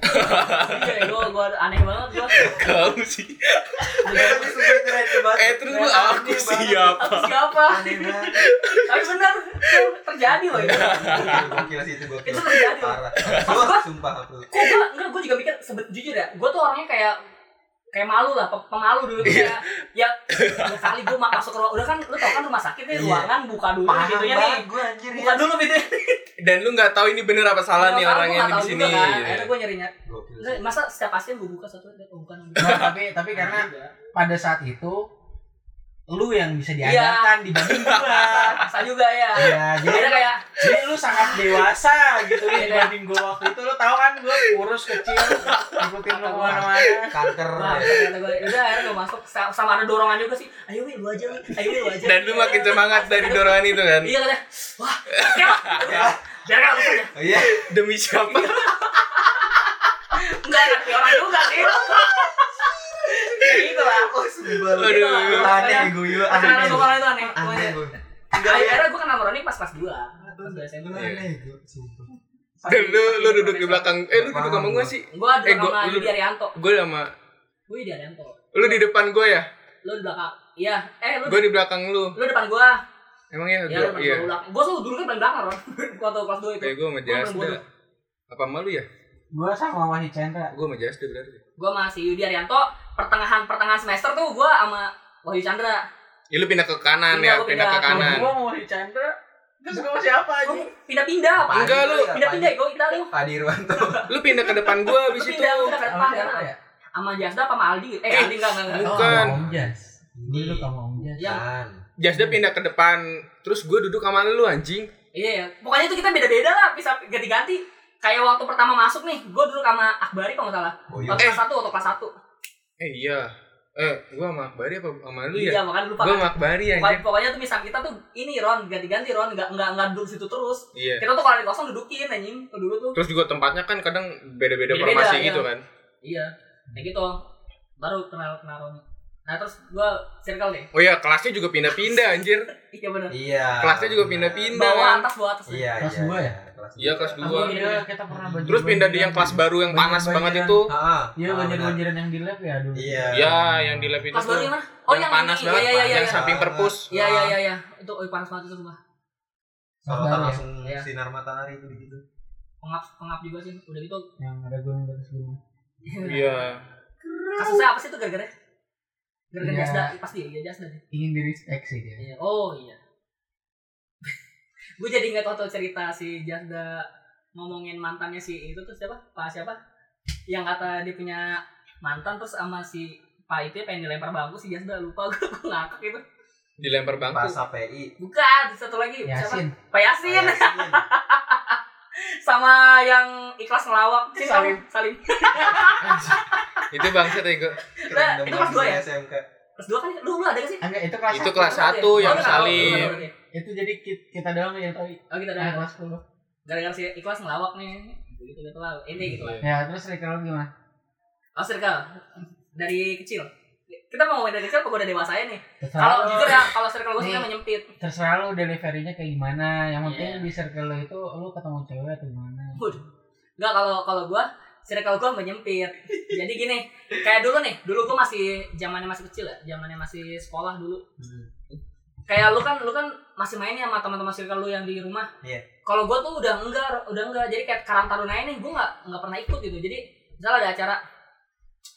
[SPEAKER 4] Iya gue gue aneh banget gue
[SPEAKER 2] Kamu sih.
[SPEAKER 5] Tapi sumpah itu aneh banget.
[SPEAKER 2] Eh terus lu,
[SPEAKER 4] Iya,
[SPEAKER 2] aku
[SPEAKER 5] Aneh banget.
[SPEAKER 4] Aku
[SPEAKER 2] siapa?
[SPEAKER 4] siapa?
[SPEAKER 5] Aneh banget.
[SPEAKER 4] Tapi bener, itu terjadi loh itu
[SPEAKER 5] Gokil sih itu gokil.
[SPEAKER 4] Oh, iya. Itu terjadi loh
[SPEAKER 5] Parah.
[SPEAKER 4] Maksud
[SPEAKER 5] Gua
[SPEAKER 4] gua-
[SPEAKER 5] sumpah aku.
[SPEAKER 4] kok gue enggak gue juga mikir sebet jujur ya gue tuh orangnya kayak kayak malu lah pe- pemalu dulu kayak ya
[SPEAKER 2] Iya.
[SPEAKER 4] dua kali gue masuk ke ruang udah kan lu tau kan rumah sakit nih
[SPEAKER 5] Iya.
[SPEAKER 4] ruangan buka dulu
[SPEAKER 5] Parah
[SPEAKER 4] gitu ya nih
[SPEAKER 5] banget gue anjir. ya.
[SPEAKER 4] buka dulu gitu
[SPEAKER 2] Dan lu nggak tahu ini bener apa salah nih orang yang di sini. Iya.
[SPEAKER 4] kan akhirnya gue nyarinya
[SPEAKER 5] Gokil
[SPEAKER 4] Nggak,
[SPEAKER 5] sih.
[SPEAKER 4] masa setiap pasien gue buka satu oh, bukan
[SPEAKER 3] Nah, tapi tapi karena
[SPEAKER 4] ya.
[SPEAKER 3] pada saat itu lu yang bisa
[SPEAKER 4] Iya.
[SPEAKER 3] diajarkan dibanding gue
[SPEAKER 4] paksa juga ya
[SPEAKER 3] Iya, jadi
[SPEAKER 4] akhirnya kayak
[SPEAKER 3] jadi lu sangat dewasa gitu ya
[SPEAKER 4] Iya.
[SPEAKER 3] dibanding gue waktu itu lu tahu kan gue kurus kecil ngikutin
[SPEAKER 4] Kata
[SPEAKER 3] lu
[SPEAKER 4] gua.
[SPEAKER 3] kemana-mana
[SPEAKER 5] kanker
[SPEAKER 4] Wah,
[SPEAKER 5] ya.
[SPEAKER 4] kata gue, udah akhirnya gue masuk Sa- sama ada dorongan juga sih. Ayo wih, lu aja wih, ayo wih, lu aja.
[SPEAKER 2] Dan lu makin semangat dari dorongan itu kan.
[SPEAKER 4] Iya katanya, wah, ya, ya, jangan aku saja.
[SPEAKER 5] Oh, iya
[SPEAKER 2] Demi siapa?
[SPEAKER 4] Iya. Enggak ngerti orang juga sih. Kayak gitu lah.
[SPEAKER 5] oh sumpah lu.
[SPEAKER 2] Aduh.
[SPEAKER 5] aneh gue juga
[SPEAKER 4] Karena
[SPEAKER 5] aneh
[SPEAKER 4] gue malah itu aneh.
[SPEAKER 5] aneh
[SPEAKER 4] Pokoknya.
[SPEAKER 5] gue
[SPEAKER 2] ya.
[SPEAKER 4] Akhirnya gue kenal Roni pas kelas 2 Pas dua SMP.
[SPEAKER 2] Iya.
[SPEAKER 5] Lu aneh gue sumpah
[SPEAKER 2] Dan lu lu duduk di belakang. Eh lu duduk sama gue sih.
[SPEAKER 4] Gue
[SPEAKER 2] Eh,
[SPEAKER 4] duduk
[SPEAKER 2] gua-
[SPEAKER 4] sama
[SPEAKER 2] lu-
[SPEAKER 4] Yudi Arianto.
[SPEAKER 2] Gue sama
[SPEAKER 4] Gue Yudi Arianto.
[SPEAKER 2] lu di depan gue ya.
[SPEAKER 4] Lu di belakang. Iya, eh lu
[SPEAKER 2] Gue di belakang lu.
[SPEAKER 4] lu depan gue.
[SPEAKER 2] Emang
[SPEAKER 4] Iya,
[SPEAKER 2] ya? Gua-
[SPEAKER 4] lu paling
[SPEAKER 2] Iya.
[SPEAKER 4] belakang. Gue tuh dulu kan paling belakang Ron. Waktu kelas 2 itu.
[SPEAKER 2] Kayak gue sama
[SPEAKER 4] Gua paling
[SPEAKER 2] Jasda.
[SPEAKER 4] bodoh.
[SPEAKER 2] Apa sama lu ya?
[SPEAKER 3] gue sama sama si Chandra
[SPEAKER 2] Gue sama Jasda berarti.
[SPEAKER 4] Gue masih Yudi Arianto. Pertengahan pertengahan semester tuh gue sama Wahyu Chandra.
[SPEAKER 2] Ya lu pindah ke kanan
[SPEAKER 4] Pindah,
[SPEAKER 2] ya,
[SPEAKER 4] gua
[SPEAKER 2] pindah ke
[SPEAKER 4] pindah.
[SPEAKER 2] kanan.
[SPEAKER 3] gue mau si Chandra terus gue masih apa aja
[SPEAKER 4] Gua pindah-pindah apa?
[SPEAKER 2] Enggak, Iya, lu.
[SPEAKER 4] Pindah-pindah gue kita lu.
[SPEAKER 5] Pak Dirwanto
[SPEAKER 2] Lu pindah ke depan gue
[SPEAKER 4] Lu
[SPEAKER 2] abis itu. Iya.
[SPEAKER 4] pindah lu pindah ke depan
[SPEAKER 3] Sama siapa
[SPEAKER 4] kan.
[SPEAKER 3] ya?
[SPEAKER 4] Sama Jasda apa sama Aldi? Eh, Aldi enggak enggak enggak.
[SPEAKER 3] Oh,
[SPEAKER 2] Bukan.
[SPEAKER 3] sama Om Jas Gua duduk sama Om Jas
[SPEAKER 4] Iya.
[SPEAKER 5] kan
[SPEAKER 2] Jasda pindah ke depan. Terus gue duduk sama lu anjing.
[SPEAKER 4] Iya, ya. pokoknya itu kita beda-beda lah, bisa ganti-ganti. Kayak waktu pertama masuk nih, gue duduk sama Akbari kalau nggak salah.
[SPEAKER 5] oh iya
[SPEAKER 4] Waktu kelas satu, waktu kelas satu.
[SPEAKER 2] Eh iya. Eh, gue sama Akbari apa sama lu
[SPEAKER 4] Iya,
[SPEAKER 2] ya?
[SPEAKER 4] makanya lupa.
[SPEAKER 2] Gue
[SPEAKER 4] Kan?
[SPEAKER 2] sama Akbari
[SPEAKER 4] Pokoknya,
[SPEAKER 2] anjing.
[SPEAKER 4] pokoknya tuh misal kita tuh ini Ron ganti-ganti Ron nggak nggak nggak duduk situ terus.
[SPEAKER 2] Iya.
[SPEAKER 4] Kita tuh kalau ada kosong dudukin anjing tuh dulu tuh.
[SPEAKER 2] Terus juga tempatnya kan kadang beda-beda
[SPEAKER 4] Beda-beda,
[SPEAKER 2] formasi
[SPEAKER 4] iya.
[SPEAKER 2] gitu kan.
[SPEAKER 4] Iya, kayak gitu. Baru kenal kenal Ron. Nah terus gue circle deh.
[SPEAKER 2] Oh iya, kelasnya juga pindah-pindah anjir.
[SPEAKER 4] Iya benar.
[SPEAKER 5] iya
[SPEAKER 2] Kelasnya juga
[SPEAKER 5] benar.
[SPEAKER 2] pindah-pindah
[SPEAKER 4] Bawah
[SPEAKER 2] kan.
[SPEAKER 4] atas bawah atas.
[SPEAKER 5] iya
[SPEAKER 3] Kelas
[SPEAKER 5] iya
[SPEAKER 3] dua ya?
[SPEAKER 5] kelas
[SPEAKER 2] Iya, kelas
[SPEAKER 3] Sama
[SPEAKER 2] dua.
[SPEAKER 3] dia,
[SPEAKER 4] Iya.
[SPEAKER 3] kita pernah baju
[SPEAKER 2] Terus pindah di yang kelas baru yang panas banget itu.
[SPEAKER 5] Ah, ah.
[SPEAKER 3] Iya
[SPEAKER 5] Ah, benar.
[SPEAKER 3] banjir-banjiran yang di lab ya dulu.
[SPEAKER 5] iya
[SPEAKER 2] Iya, yang di lab itu.
[SPEAKER 4] Kelas baru
[SPEAKER 2] tuh.
[SPEAKER 4] yang mana? Oh yang,
[SPEAKER 2] panas
[SPEAKER 4] ini.
[SPEAKER 2] banget,
[SPEAKER 4] Iya iya iya.
[SPEAKER 2] yang
[SPEAKER 4] iya.
[SPEAKER 2] samping perpus.
[SPEAKER 4] Iya iya iya iya. Itu oh, panas banget itu sumpah.
[SPEAKER 3] Iya.
[SPEAKER 5] sorotan langsung
[SPEAKER 4] Iya.
[SPEAKER 5] sinar matahari itu gitu
[SPEAKER 4] Pengap pengap juga sih. Udah gitu.
[SPEAKER 3] Yang ada gunung batas gunung.
[SPEAKER 2] Iya.
[SPEAKER 4] Kasusnya apa sih itu gara-gara? Gara-gara
[SPEAKER 3] Iya.
[SPEAKER 4] Jasda pasti ya, Jasda deh.
[SPEAKER 3] Ingin di respect sih dia.
[SPEAKER 4] Iya. Oh iya. gue jadi ingat waktu cerita si Jasda ngomongin mantannya si itu tuh siapa? Pak siapa? Yang kata dia punya mantan terus sama si Pak itu pengen dilempar bangku si Jasda lupa gue gue ngakak gitu.
[SPEAKER 2] Dilempar
[SPEAKER 5] pas
[SPEAKER 2] bangku.
[SPEAKER 5] API
[SPEAKER 4] Bukan satu lagi siapa?
[SPEAKER 3] Yasin.
[SPEAKER 4] Pak Yasin
[SPEAKER 5] Yasin.
[SPEAKER 4] sama yang ikhlas ngelawak si
[SPEAKER 3] Salim.
[SPEAKER 4] Salim. Salim.
[SPEAKER 2] Itu bangsat ya gue.
[SPEAKER 5] Keren
[SPEAKER 4] Nah, itu kelas
[SPEAKER 5] banget
[SPEAKER 4] dua ya?
[SPEAKER 5] SMK
[SPEAKER 4] Terus dua kan lu lu ada gak sih?
[SPEAKER 3] Ah,
[SPEAKER 4] ya?
[SPEAKER 3] Enggak, itu kelas
[SPEAKER 2] Itu
[SPEAKER 3] satu.
[SPEAKER 2] kelas satu
[SPEAKER 4] Oh, lu nggak tahu, lu
[SPEAKER 2] yang
[SPEAKER 4] nggak
[SPEAKER 2] Salim.
[SPEAKER 4] tahu berarti.
[SPEAKER 3] Itu jadi ki- kita doang yang tahu.
[SPEAKER 4] Oh kita
[SPEAKER 3] Nah,
[SPEAKER 4] ada
[SPEAKER 3] kelas 10.
[SPEAKER 4] gara-gara si ikhlas ngelawak nih gitu gitu lah ini gitu lah
[SPEAKER 3] Ya, terus circle lu gimana?
[SPEAKER 4] oh circle dari kecil kita mau ngomongin dari kecil apa gue udah dewasa ya nih kalau
[SPEAKER 3] Terserah lu,
[SPEAKER 4] jujur ya kalau circle gue sebenarnya
[SPEAKER 3] Nah. Nih.
[SPEAKER 4] menyempit
[SPEAKER 3] terserah lu delivery-nya kayak gimana. Yang penting
[SPEAKER 4] Iya.
[SPEAKER 3] di circle lu itu lu ketemu cewek atau gimana.
[SPEAKER 4] waduh nggak kalau kalau gue circle gue menyempit jadi gini kayak dulu nih dulu gue masih zamannya masih kecil ya zamannya masih sekolah dulu kayak lu kan lu kan masih main ya sama teman-teman circle lu yang di rumah.
[SPEAKER 5] Iya.
[SPEAKER 4] Kalau gua tuh udah enggak, udah enggak. Jadi kayak karang taruna ini gua enggak enggak pernah ikut gitu. Jadi misalnya ada acara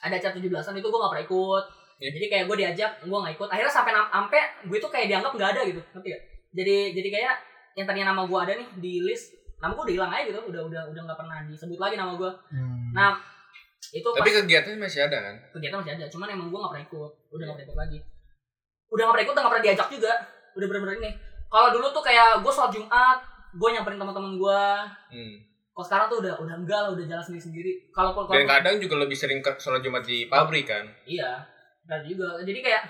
[SPEAKER 4] ada acara 17-an itu gua enggak pernah ikut.
[SPEAKER 2] Iya.
[SPEAKER 4] Jadi kayak gua diajak, gua enggak ikut. Akhirnya sampai nam- sampai gue tuh kayak dianggap enggak ada gitu. Ngerti gak? Jadi jadi kayak yang tadinya nama gua ada nih di list, nama gua udah hilang aja gitu. Udah udah udah enggak pernah disebut lagi nama gua.
[SPEAKER 3] Hmm.
[SPEAKER 4] Nah, Itu
[SPEAKER 2] Tapi kegiatannya masih ada kan?
[SPEAKER 4] kegiatan masih ada cuman emang gue gak pernah ikut udah gak pernah ikut lagi udah gak pernah ikut gak pernah diajak juga udah bener-bener ini kalau dulu tuh kayak gue sholat jumat gue nyamperin teman-teman gue
[SPEAKER 2] Hmm.
[SPEAKER 4] kalau sekarang tuh udah udah enggak lah udah jalan sendiri sendiri kalaupun
[SPEAKER 2] Dan
[SPEAKER 4] kalau
[SPEAKER 2] kadang juga lebih sering ke sholat Jumat di pabrik kan.
[SPEAKER 4] iya dan juga jadi kayak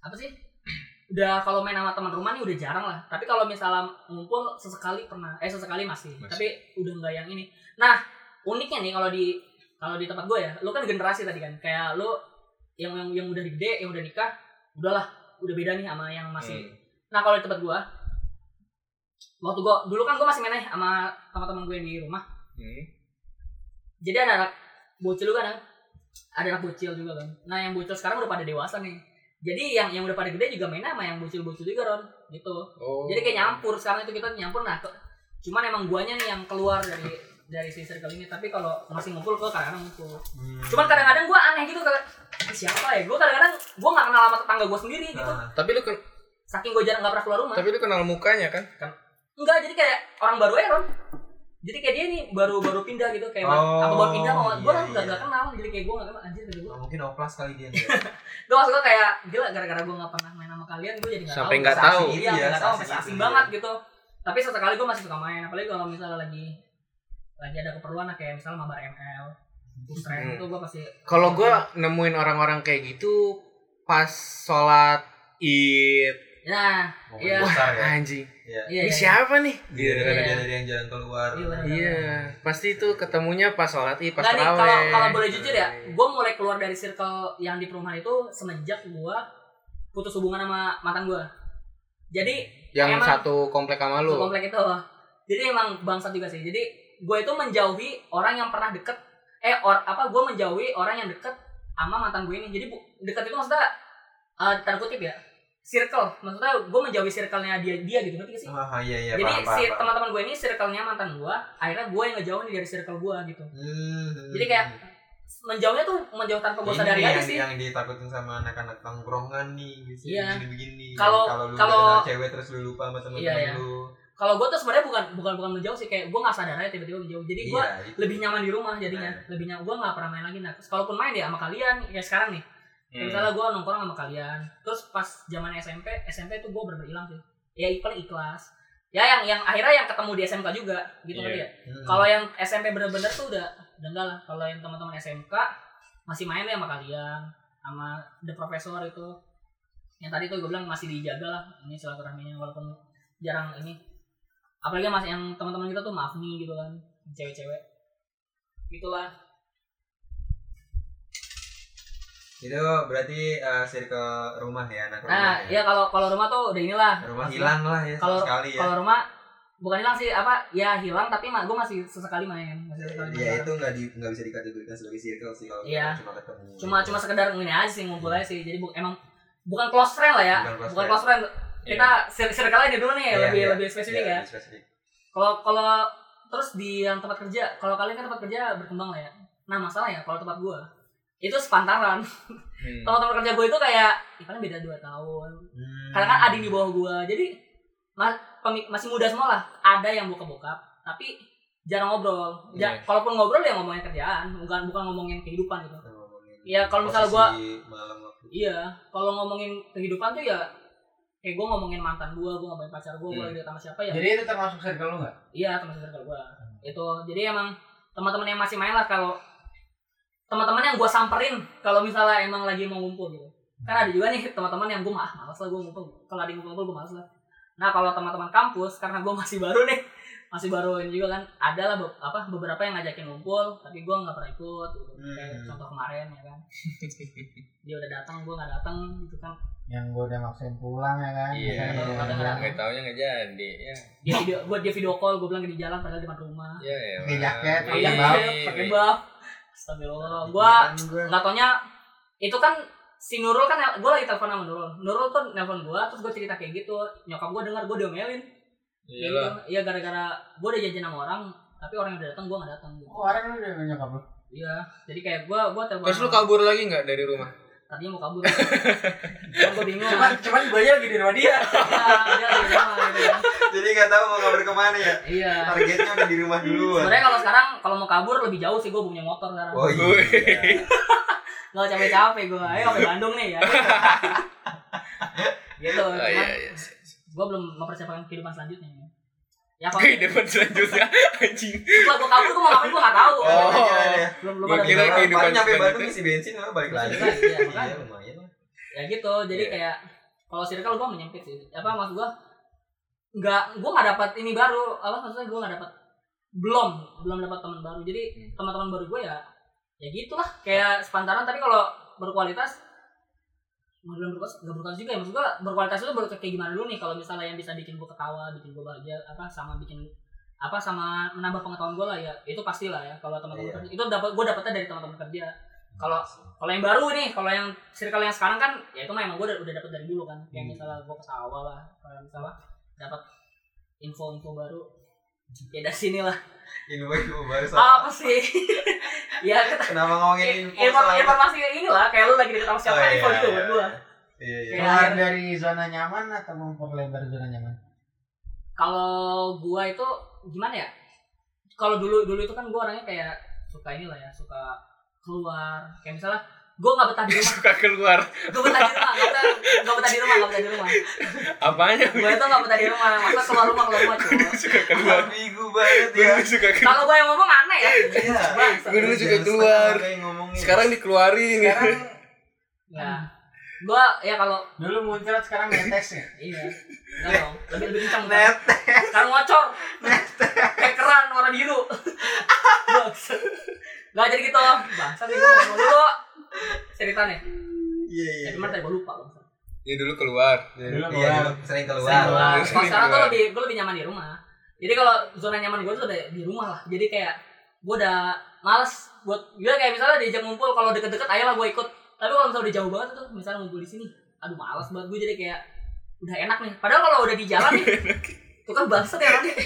[SPEAKER 4] apa sih udah kalau main sama teman rumah nih udah jarang lah tapi kalau misalnya ngumpul sesekali pernah eh sesekali masih,
[SPEAKER 2] Masih.
[SPEAKER 4] tapi udah nggak yang ini nah uniknya nih kalau di kalau di tempat gue ya lu kan generasi tadi kan kayak lu yang yang yang udah gede yang udah nikah udahlah udah beda nih sama yang masih
[SPEAKER 2] Hmm.
[SPEAKER 4] Nah kalau di tempat gua waktu gua dulu kan gua masih main aja sama teman-teman gue yang di rumah.
[SPEAKER 2] Hmm.
[SPEAKER 4] Jadi ada anak bocil juga kan, ada anak bocil juga kan. Nah yang bocil sekarang udah pada dewasa nih. Jadi yang yang udah pada gede juga main sama yang bocil-bocil juga Ron gitu.
[SPEAKER 2] Oh.
[SPEAKER 4] Jadi kayak nyampur sekarang itu kita nyampur nah ke- cuman emang guanya nih yang keluar dari dari si circle ini tapi kalau masih ngumpul gua kadang-kadang ngumpul cuman
[SPEAKER 5] Ah,
[SPEAKER 4] kadang-kadang gua aneh gitu kayak "Ini siapa ya gua kadang-kadang gua nggak kenal sama tetangga gua sendiri gitu
[SPEAKER 5] Nah,
[SPEAKER 2] Tapi lu ken-
[SPEAKER 4] saking gua jarang nggak pernah keluar rumah
[SPEAKER 2] tapi lu kenal mukanya kan?
[SPEAKER 4] Enggak, jadi kayak orang baru aja Ron. Jadi kayak dia nih baru baru pindah gitu kayak
[SPEAKER 5] Oh,
[SPEAKER 4] apa baru pindah sama gue
[SPEAKER 5] iya,
[SPEAKER 4] nggak
[SPEAKER 5] iya.
[SPEAKER 4] nggak kenal jadi kayak gue nggak kenal anjir gitu gue.
[SPEAKER 5] nah, mungkin oplas kali dia
[SPEAKER 4] Iya. Gue maksud gue kayak gila gara-gara gue nggak pernah main sama kalian gue jadi nggak tahu.
[SPEAKER 2] Sampai nggak
[SPEAKER 4] Masih
[SPEAKER 2] tahu.
[SPEAKER 4] asing, Iya
[SPEAKER 5] Iya,
[SPEAKER 4] nggak tahu
[SPEAKER 5] asing
[SPEAKER 4] masih asing
[SPEAKER 5] gitu,
[SPEAKER 4] banget gitu. Tapi sesekali gue masih suka main apalagi kalau misalnya lagi lagi ada keperluan lah, kayak misalnya mabar ML Stres itu gue pasti
[SPEAKER 2] Hmm. Kalau gua nemuin orang-orang kayak gitu pas sholat id,
[SPEAKER 4] ya
[SPEAKER 5] Momen
[SPEAKER 4] Iya.
[SPEAKER 5] besar ya.
[SPEAKER 2] anjing.
[SPEAKER 5] Iya.
[SPEAKER 4] iya
[SPEAKER 2] Ini
[SPEAKER 4] iya.
[SPEAKER 2] siapa nih?
[SPEAKER 5] Dia
[SPEAKER 2] Gitu.
[SPEAKER 5] ada
[SPEAKER 4] Iya.
[SPEAKER 5] dari yang jalan keluar.
[SPEAKER 4] Iya, benar.
[SPEAKER 2] Iya, pasti itu ketemunya pas sholat id, pas
[SPEAKER 4] iya. Nggak nih, kalau
[SPEAKER 2] terawih.
[SPEAKER 4] kalau boleh jujur ya, gue mulai keluar dari circle yang di perumahan itu semenjak gue putus hubungan sama mantan gue. Jadi
[SPEAKER 2] Yang
[SPEAKER 4] emang-
[SPEAKER 2] satu komplek sama lu.
[SPEAKER 4] sekomplek itu, gitu. jadi emang bangsat juga sih. Jadi gue itu menjauhi orang yang pernah deket, eh or, apa gue menjauhi orang yang deket sama mantan gue ini. Jadi bu, deket itu maksudnya eh tanda kutip ya, circle. Maksudnya gue menjauhi circle-nya dia dia gitu ngerti gak sih?
[SPEAKER 5] Ah, iya iya.
[SPEAKER 4] Jadi
[SPEAKER 5] paham, paham,
[SPEAKER 4] si
[SPEAKER 5] paham.
[SPEAKER 4] teman-teman gue ini circle-nya mantan gue, akhirnya gue yang ngejauh nih dari circle gue gitu.
[SPEAKER 5] Hmm.
[SPEAKER 4] Jadi kayak menjauhnya tuh menjauh tanpa gue
[SPEAKER 5] Ini
[SPEAKER 4] sadari
[SPEAKER 5] yang,
[SPEAKER 4] aja sih.
[SPEAKER 5] yang ditakutin sama anak-anak tongkrongan nih gitu
[SPEAKER 4] Iya.
[SPEAKER 5] begini-begini
[SPEAKER 4] Kalau- kalau-
[SPEAKER 5] lu kalau cewek terus lu lupa sama teman-teman
[SPEAKER 4] Iya, iya.
[SPEAKER 5] lu
[SPEAKER 4] Kalau gue tuh sebenarnya bukan bukan bukan menjauh sih kayak gue nggak sadar aja tiba-tiba menjauh. Jadi gue
[SPEAKER 5] Iya, itu.
[SPEAKER 4] lebih nyaman di rumah jadinya.
[SPEAKER 5] Nah.
[SPEAKER 4] Lebih nyaman gue nggak pernah main lagi. Nah, terus kalaupun main ya sama kalian ya sekarang nih.
[SPEAKER 2] Hmm.
[SPEAKER 4] Kayak Misalnya gue nongkrong sama kalian. Terus pas zaman SMP SMP tuh gue bener hilang sih. Ya paling ikhlas. Ya yang yang akhirnya yang ketemu di SMK juga gitu kan
[SPEAKER 2] Iya.
[SPEAKER 4] ya.
[SPEAKER 5] Hmm.
[SPEAKER 4] Kalau yang SMP bener-bener tuh udah udah enggak lah. Kalau yang teman-teman SMK masih main deh sama kalian, sama the professor itu. Yang tadi tuh gue bilang masih dijaga lah ini silaturahminya walaupun jarang ini. Apalagi yang masih yang teman-teman kita tuh maaf nih gitu kan, cewek-cewek. Itulah.
[SPEAKER 5] itu berarti eh, circle rumah ya anak rumah
[SPEAKER 4] Nah, ya kalau kalau rumah tuh udah inilah.
[SPEAKER 5] rumah
[SPEAKER 4] Masih-
[SPEAKER 5] hilang lah ya sama
[SPEAKER 4] Kalau-
[SPEAKER 5] sekali ya
[SPEAKER 4] Kalau rumah bukan hilang sih apa ya hilang tapi gue masih sesekali main masih sesekali
[SPEAKER 5] ya
[SPEAKER 4] main.
[SPEAKER 5] itu nggak di nggak bisa dikategorikan sebagai circle sih kalau
[SPEAKER 4] Iya.
[SPEAKER 5] cuma ketemu gitu.
[SPEAKER 4] cuma cuma sekedar ini aja sih ngumpul aja sih jadi bu- emang bukan close friend lah ya
[SPEAKER 5] Bukan close
[SPEAKER 4] bukan
[SPEAKER 5] friend.
[SPEAKER 4] close friend kita cir- circle aja dulu nih
[SPEAKER 5] Iya,
[SPEAKER 4] lebih
[SPEAKER 5] iya.
[SPEAKER 4] lebih spesifik ya kalau kalau terus di yang tempat kerja kalau kalian kan tempat kerja berkembang lah ya nah masalah ya kalau tempat gua itu sepantaran
[SPEAKER 2] Hmm.
[SPEAKER 4] kalau tempat kerja gua itu kayak "Ih, paling beda 2 tahun karena
[SPEAKER 5] Hmm.
[SPEAKER 4] kan adik di bawah gua jadi ma- pemi- masih muda semua lah ada yang buka bokap tapi jarang ngobrol ja-
[SPEAKER 2] Iya.
[SPEAKER 4] kalaupun ngobrol ya ngomongin kerjaan bukan bukan ngomongin kehidupan gitu
[SPEAKER 5] Hmm.
[SPEAKER 4] Iya, kalau misalnya gua-
[SPEAKER 5] Oh, malam waktu
[SPEAKER 4] Iya, kalau ngomongin kehidupan tuh ya kayak gue ngomongin mantan gue, gue ngomongin pacar gue, gue
[SPEAKER 2] Hmm.
[SPEAKER 4] lagi deket sama siapa ya.
[SPEAKER 3] Jadi itu termasuk circle lu nggak?
[SPEAKER 4] iya, teman circle gue. Itu. Jadi emang teman-teman yang masih main lah kalau teman-teman yang gue samperin kalau misalnya emang lagi mau ngumpul gitu. Kan ada juga nih teman-teman yang gue mah malas lah gue ngumpul. Kalau ada yang ngumpul gue malas lah. Nah kalau teman-teman kampus karena gue masih baru nih masih baru ini juga kan ada lah be- apa beberapa yang ngajakin ngumpul tapi gue nggak pernah ikut gitu. Kayak
[SPEAKER 5] Hmm.
[SPEAKER 4] contoh kemarin ya kan dia udah datang gue nggak datang gitu kan
[SPEAKER 3] Yang gue udah maksain pulang ya kan?
[SPEAKER 2] Iya.
[SPEAKER 3] Misalnya
[SPEAKER 4] Kalau
[SPEAKER 3] gitu.
[SPEAKER 4] kadang-kadang-
[SPEAKER 2] Nggak taunya nggak jadi. Ya,
[SPEAKER 4] dia video gue dia video call gue bilang di jalan padahal di depan rumah
[SPEAKER 2] ya, ya.
[SPEAKER 3] Pakai jaket,
[SPEAKER 4] pakai
[SPEAKER 2] Iya,
[SPEAKER 3] bab,
[SPEAKER 2] iya,
[SPEAKER 4] pakai
[SPEAKER 2] iya.
[SPEAKER 4] buff astagfirullah gue
[SPEAKER 5] Pikiran gua.
[SPEAKER 4] nggak taunya itu kan si Nurul kan gue lagi telepon sama Nurul Nurul tuh nelfon gue terus gue cerita kayak gitu nyokap gue dengar gue diomelin
[SPEAKER 2] Iya
[SPEAKER 4] Iya
[SPEAKER 2] lah.
[SPEAKER 4] iya gara-gara gue udah janjian sama orang tapi orang yang udah datang gue nggak datang gitu
[SPEAKER 3] Oh, orang lu udah nyokap lu.
[SPEAKER 4] iya jadi kayak gue gue telepon
[SPEAKER 2] Terus lu
[SPEAKER 4] sama-
[SPEAKER 2] kabur lagi nggak dari rumah?
[SPEAKER 4] tadinya mau kabur Cuman gue bingung
[SPEAKER 3] Cuman cuman gue aja lagi di rumah
[SPEAKER 4] Iya,
[SPEAKER 3] dia.
[SPEAKER 4] dia lagi di rumah gitu kan.
[SPEAKER 5] jadi nggak tahu mau kabar kemana ya
[SPEAKER 4] iya
[SPEAKER 5] targetnya udah di rumah dulu
[SPEAKER 4] sebenarnya kalau sekarang kalau mau kabur lebih jauh sih gue punya motor sekarang
[SPEAKER 5] oh iya
[SPEAKER 4] Gak capek-capek gue, ayo sampai Bandung nih ya Gitu,
[SPEAKER 2] Oh,
[SPEAKER 4] cuman
[SPEAKER 2] iya, iya.
[SPEAKER 4] gue belum mempersiapkan kehidupan selanjutnya Ya kalau
[SPEAKER 2] Oke, depan selanjutnya anjing.
[SPEAKER 4] setelah gue kabur, gue mau ngapain gue gak tau
[SPEAKER 5] Ya,
[SPEAKER 2] Oh.
[SPEAKER 5] makanya ya.
[SPEAKER 4] Belum belum
[SPEAKER 2] Gua
[SPEAKER 4] ada
[SPEAKER 2] kira
[SPEAKER 4] kehidupan.
[SPEAKER 2] kehidupan
[SPEAKER 5] Paling nyampe
[SPEAKER 2] selanjutnya.
[SPEAKER 5] Bandung isi bensin malah balik lagi
[SPEAKER 4] Iya, iya,
[SPEAKER 5] iya
[SPEAKER 4] makanya.
[SPEAKER 5] lumayan lah
[SPEAKER 4] Ya gitu, jadi
[SPEAKER 2] Iya.
[SPEAKER 4] kayak kalau circle gue menyempit sih Apa maksud gue Nggak, gue gak dapat ini baru Apa maksudnya gue gak dapat Belum, belum dapat teman baru Jadi teman-teman baru gue ya Ya gitulah, kayak sepantaran Tapi kalau berkualitas mau bilang berkualitas gak berkualitas juga ya maksud gua berkualitas itu ber kayak gimana dulu nih kalau misalnya yang bisa bikin gua ketawa bikin gua bahagia apa sama bikin apa sama menambah pengetahuan gua lah ya itu pastilah ya kalau teman-teman
[SPEAKER 5] Iya.
[SPEAKER 4] kerja itu dapat gua dapatnya dari teman-teman kerja kalau kalau yang baru nih kalau yang circle yang sekarang kan ya itu mah emang gua udah, udah dapat dari dulu kan kayak
[SPEAKER 5] Hmm.
[SPEAKER 4] misalnya gua ketawa lah kalau misalnya dapat info-info baru ya dari sinilah
[SPEAKER 5] info info baru
[SPEAKER 4] apa
[SPEAKER 5] soal
[SPEAKER 4] sih ya kita
[SPEAKER 5] kenapa ngomongin info
[SPEAKER 4] Inform-
[SPEAKER 5] soal-
[SPEAKER 4] informasi inilah kayak lu lagi deket sama
[SPEAKER 5] Oh,
[SPEAKER 4] siapa info gitu buat gua
[SPEAKER 5] iya iya
[SPEAKER 4] Iya.
[SPEAKER 3] Keluar dari zona nyaman atau memperlebar zona nyaman?
[SPEAKER 4] kalau gua itu gimana ya kalau dulu dulu itu kan gua orangnya kayak suka inilah ya suka keluar kayak misalnya gue nggak betah di rumah
[SPEAKER 2] suka keluar
[SPEAKER 4] gue betah di rumah nggak betah nggak betah di rumah nggak betah di rumah
[SPEAKER 2] apanya
[SPEAKER 4] gue itu nggak betah di rumah masa keluar rumah keluar rumah cuy
[SPEAKER 2] suka keluar
[SPEAKER 5] Ambigu banget
[SPEAKER 2] gue
[SPEAKER 5] ya.
[SPEAKER 2] dulu suka keluar
[SPEAKER 4] kalau gue yang ngomong aneh ya
[SPEAKER 5] Iya.
[SPEAKER 4] Bangsa.
[SPEAKER 2] Gue dulu juga
[SPEAKER 5] Jangan
[SPEAKER 2] keluar.
[SPEAKER 5] setengah kayak ngomongin.
[SPEAKER 2] sekarang dikeluarin ya
[SPEAKER 5] Sekarang
[SPEAKER 4] ya gue ya kalau
[SPEAKER 3] Dulu muncrat sekarang netes ya.
[SPEAKER 4] iya enggak dong lebih lebih kencang
[SPEAKER 5] net
[SPEAKER 4] Kan ngocor. Kayak keran warna biru. Bangsat. Nggak jadi gitu. Bangsat nih gua ngomong dulu. Cerita nih.
[SPEAKER 5] Iya iya.
[SPEAKER 4] Ya, cuman tadi gua lupa. bangsat.
[SPEAKER 2] ya dulu keluar
[SPEAKER 3] Dulu
[SPEAKER 5] Iya
[SPEAKER 3] keluar.
[SPEAKER 5] dulu sering
[SPEAKER 4] Saya
[SPEAKER 5] keluar.
[SPEAKER 4] keluar.
[SPEAKER 2] Keluar.
[SPEAKER 4] Kalau sekarang tuh
[SPEAKER 2] Keluar.
[SPEAKER 4] lebih gua lebih nyaman di rumah. Jadi kalau zona nyaman gua tuh udah di rumah lah. Jadi kayak gua udah males buat gua kayak misalnya diajak ngumpul kalau deket-deket ayolah gua ikut. Tapi kalau misalnya udah jauh banget tuh misalnya ngumpul di sini, aduh males banget gua jadi kayak udah enak nih. Padahal kalau udah di jalan nih Tuh kan bangsat ya orangnya.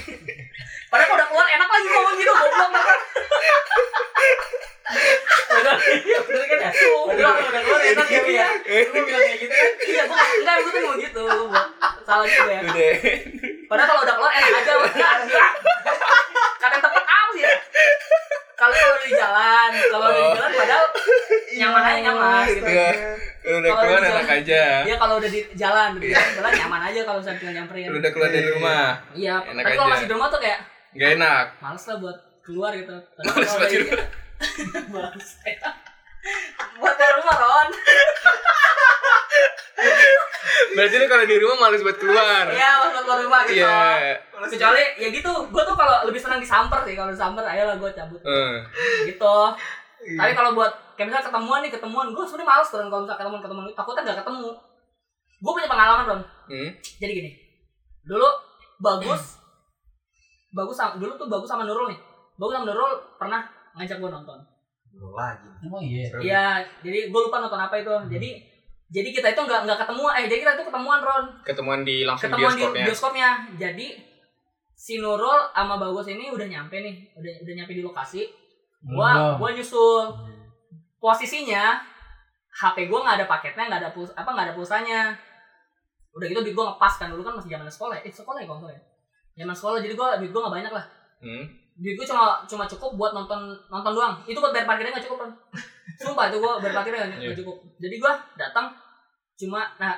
[SPEAKER 4] Padahal kalau udah keluar enak lagi ngomong gitu goblok banget. Padahal iya, bener kan ya? Padahal kalau udah keluar enak ya. Iya,
[SPEAKER 3] Lu bilang kayak gitu kan?
[SPEAKER 4] iya gua enggak gua tuh mau gitu. Gua buat salah juga ya.
[SPEAKER 2] udah
[SPEAKER 4] Padahal kalau udah keluar enak aja enggak. Kadang tempat apa sih ya? Kalau kalau di jalan, kalau di jalan padahal nyaman aja nyaman gitu.
[SPEAKER 2] Oh. Iya. Kalau udah
[SPEAKER 4] Kalau
[SPEAKER 2] keluar
[SPEAKER 4] di
[SPEAKER 2] enak
[SPEAKER 4] jalan.
[SPEAKER 2] aja
[SPEAKER 4] Dia kalau udah di jalan, di jalan nyaman aja kalau misalnya tinggal nyamperin.
[SPEAKER 2] Kalau udah keluar dari rumah
[SPEAKER 4] Iya,
[SPEAKER 2] Enak
[SPEAKER 4] tapi kalau
[SPEAKER 2] aja.
[SPEAKER 4] masih di rumah tuh kayak
[SPEAKER 2] nggak enak
[SPEAKER 4] males lah buat keluar gitu. Tapi
[SPEAKER 2] Males
[SPEAKER 4] kalau
[SPEAKER 2] buat
[SPEAKER 4] dari-
[SPEAKER 2] di rumah.
[SPEAKER 4] Males. ya. buat ke rumah Ron.
[SPEAKER 2] berarti lu kalau di rumah males buat keluar
[SPEAKER 4] Iya, males buat keluar rumah gitu.
[SPEAKER 2] iya
[SPEAKER 4] Kecuali ya gitu, gue tuh kalau lebih senang disamper sih kalau disamper, ayolah gue cabut
[SPEAKER 2] Eh,
[SPEAKER 4] gitu. Tapi kalau buat kayak misalnya ketemuan nih ketemuan, gue sebenarnya males tuh kalau misalnya ketemuan ketemuan itu takutnya nggak ketemu. Gue punya pengalaman Ron.
[SPEAKER 2] hmm.
[SPEAKER 4] Jadi gini, dulu bagus, bagus sama, dulu tuh bagus sama Nurul nih. Bagus sama Nurul pernah ngajak gue nonton.
[SPEAKER 5] Lu lagi.
[SPEAKER 3] Emang iya.
[SPEAKER 4] Iya, jadi gue lupa nonton apa itu. Jadi jadi kita itu nggak nggak ketemu, eh jadi kita itu ketemuan Ron,
[SPEAKER 2] ketemuan di langsung
[SPEAKER 4] ketemuan
[SPEAKER 2] bioskopnya
[SPEAKER 4] di bioskopnya. Jadi si Nurul sama Bagus ini udah nyampe nih, udah udah nyampe di lokasi. Gua gua nyusul posisinya HP gua nggak ada paketnya, nggak ada puls, apa nggak ada pulsanya. Udah gitu duit gua ngepas kan dulu kan masih zaman sekolah, ya. eh sekolah ya kalau nggak salah ya. Zaman sekolah jadi gua duit gua nggak banyak lah.
[SPEAKER 2] Hmm.
[SPEAKER 4] Duit gua cuma cuma cukup buat nonton nonton doang. Itu buat bayar parkirnya nggak cukup kan. Sumpah itu gua bayar parkirnya nggak
[SPEAKER 5] Iya.
[SPEAKER 4] nggak cukup. Jadi gua datang cuma nah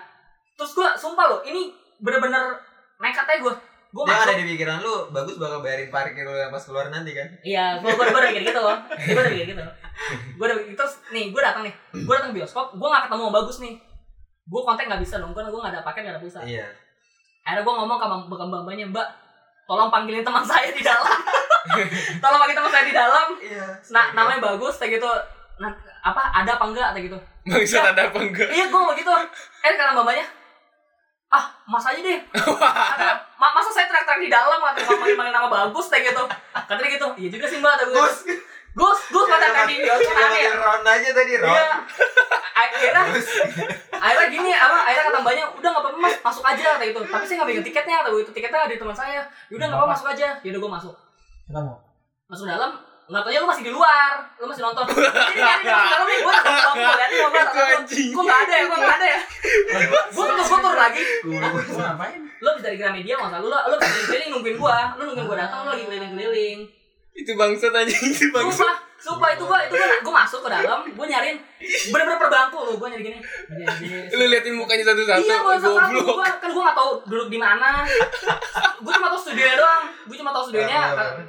[SPEAKER 4] terus gua sumpah loh ini bener-bener nekat aja gua. Gua
[SPEAKER 5] Dia
[SPEAKER 4] masuk
[SPEAKER 5] ada di pikiran lu bagus bakal bayarin parkir lu yang pas keluar nanti kan.
[SPEAKER 4] Iya, gue gue gue udah mikir gitu, gue udah mikir gitu. Gue udah gitu. terus nih gue datang nih, gue datang bioskop, gue nggak ketemu sama bagus nih. Gue kontak nggak bisa dong, karena gue nggak ada paket nggak ada pulsa.
[SPEAKER 5] Iya.
[SPEAKER 4] Akhirnya gue ngomong ke mbak mbak mbaknya mbak, tolong panggilin teman saya di dalam, tolong panggil teman saya di dalam.
[SPEAKER 5] Iya.
[SPEAKER 4] Nah namanya bagus, kayak gitu. Nah, apa ada apa enggak kayak gitu?
[SPEAKER 2] Maksud ada apa enggak?
[SPEAKER 4] Iya gue mau gitu. Eh karena mbak mbaknya, ah mas aja deh. Kata, "Ma- masa saya teriak-teriak di dalam atau panggil-panggil nama bagus kayak gitu. Katanya gitu. Iya juga sih mbak. kata gue.
[SPEAKER 5] Gus.
[SPEAKER 4] Gus, Gus kata tadi Gus aneh ya.
[SPEAKER 5] Iya, Ron aja tadi Ron.
[SPEAKER 4] Iya. A- Akhirnya, akhirnya gini, apa? Akhirnya kata mbaknya, udah nggak apa-apa mas, masuk aja kata gitu. Tapi saya nggak pegang tiketnya, kata itu tiketnya ada di teman saya. "Ya Udah nggak apa-apa masuk aja. Yaudah gue masuk,
[SPEAKER 3] Ketemu.
[SPEAKER 4] masuk dalam. Nggak taunya lu masih di luar, lu masih nonton. Jadi nyari di dalam nih, gue nggak tahu gue liatin gue nggak
[SPEAKER 2] Itu
[SPEAKER 4] tahu.
[SPEAKER 2] anjing.
[SPEAKER 4] Kok nggak ada ya, kok nggak ada ya. Gue tuh gue turun lagi,
[SPEAKER 3] Gua ngapain?
[SPEAKER 4] lu bisa dari Gramedia masa lu, lu bisa keliling nungguin gue, lu nungguin gue datang, lu lagi keliling-keliling.
[SPEAKER 2] Itu bangsat anjing itu bangsat.
[SPEAKER 4] Sumpah, sumpah itu gua itu gua, gua masuk ke dalam, gua nyariin bener-bener perbangku loh, gua nyari gini. Iya, iya.
[SPEAKER 2] Lu liatin mukanya satu-satu. Oh,
[SPEAKER 4] Iya, gua satu satu
[SPEAKER 2] goblok.
[SPEAKER 4] gua kan gua enggak tahu duduk di mana. gua cuma tahu studionya doang. Gua cuma tahu studionya.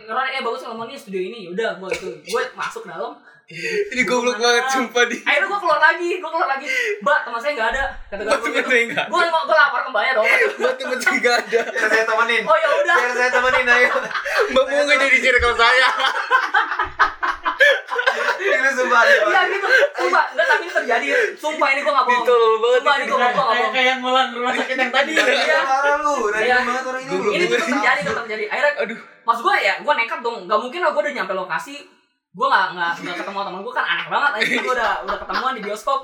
[SPEAKER 4] Ron eh bagus ngomong nih studio ini. Yaudah, gua itu gua masuk ke dalam.
[SPEAKER 2] Ini goblok banget sumpah di.
[SPEAKER 4] Akhirnya gua keluar lagi, gua keluar lagi. Mbak, teman saya enggak ada. Kata
[SPEAKER 2] Gua
[SPEAKER 4] gua
[SPEAKER 2] tuh
[SPEAKER 4] gitu.
[SPEAKER 2] bener enggak.
[SPEAKER 4] Gua gua lapar ke mbaknya dong.
[SPEAKER 2] Gua tuh bener enggak ada.
[SPEAKER 5] Biar saya temenin.
[SPEAKER 4] Oh ya udah.
[SPEAKER 5] Biar saya temenin ayo.
[SPEAKER 2] Mbak mau enggak jadi circle saya.
[SPEAKER 5] Ini sumpah aja.
[SPEAKER 4] Iya gitu. Sumpah, enggak tapi ini terjadi. Sumpah ini gua enggak bohong.
[SPEAKER 2] Tolol banget.
[SPEAKER 4] Sumpah ini gua enggak bohong.
[SPEAKER 3] Kayak kayak ngulang rumah sakit yang tadi.
[SPEAKER 4] Iya.
[SPEAKER 5] Parah lu, rajin
[SPEAKER 4] Iya.
[SPEAKER 5] banget orang ini. lu.
[SPEAKER 4] ini tuh terjadi tuh terjadi akhirnya
[SPEAKER 2] Aduh.
[SPEAKER 4] maksud gue ya gue nekat dong nggak mungkin lah gue udah nyampe lokasi gue nggak nggak nggak ketemu teman gue kan aneh banget aja gue udah udah ketemuan di bioskop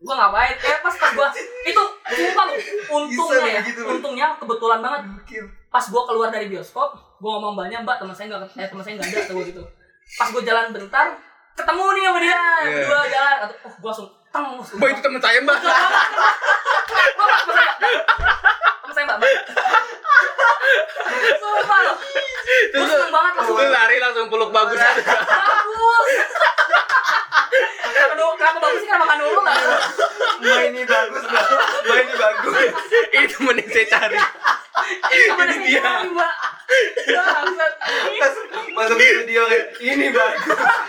[SPEAKER 4] gue ngapain eh pas pas gue itu sumpah lu, untungnya
[SPEAKER 5] Bisa
[SPEAKER 4] ya
[SPEAKER 5] begitu, lu.
[SPEAKER 4] untungnya kebetulan banget
[SPEAKER 5] Gokil.
[SPEAKER 4] pas gue keluar dari bioskop gue ngomong banyak mbak teman saya nggak eh, teman saya nggak ada atau gitu pas gue jalan bentar ketemu nih sama dia
[SPEAKER 2] Iya.
[SPEAKER 4] gue jalan atau oh gue langsung teng langsung-
[SPEAKER 2] Mbak itu teman saya, Mbak.
[SPEAKER 4] Mbak, mbak, mbak, saya, mbak. Mbak, saya, mbak, mbak. Sumpah loh. Gue seneng banget langsung.
[SPEAKER 2] Lu lari langsung peluk bagus.
[SPEAKER 4] Bagus. Kenapa nu- kenapa bagus sih? Kenapa kan nu-
[SPEAKER 2] Ini temen yang saya cari. Ini dia.
[SPEAKER 4] Mbak. Bangsat.
[SPEAKER 5] masuk studio kayak ini bagus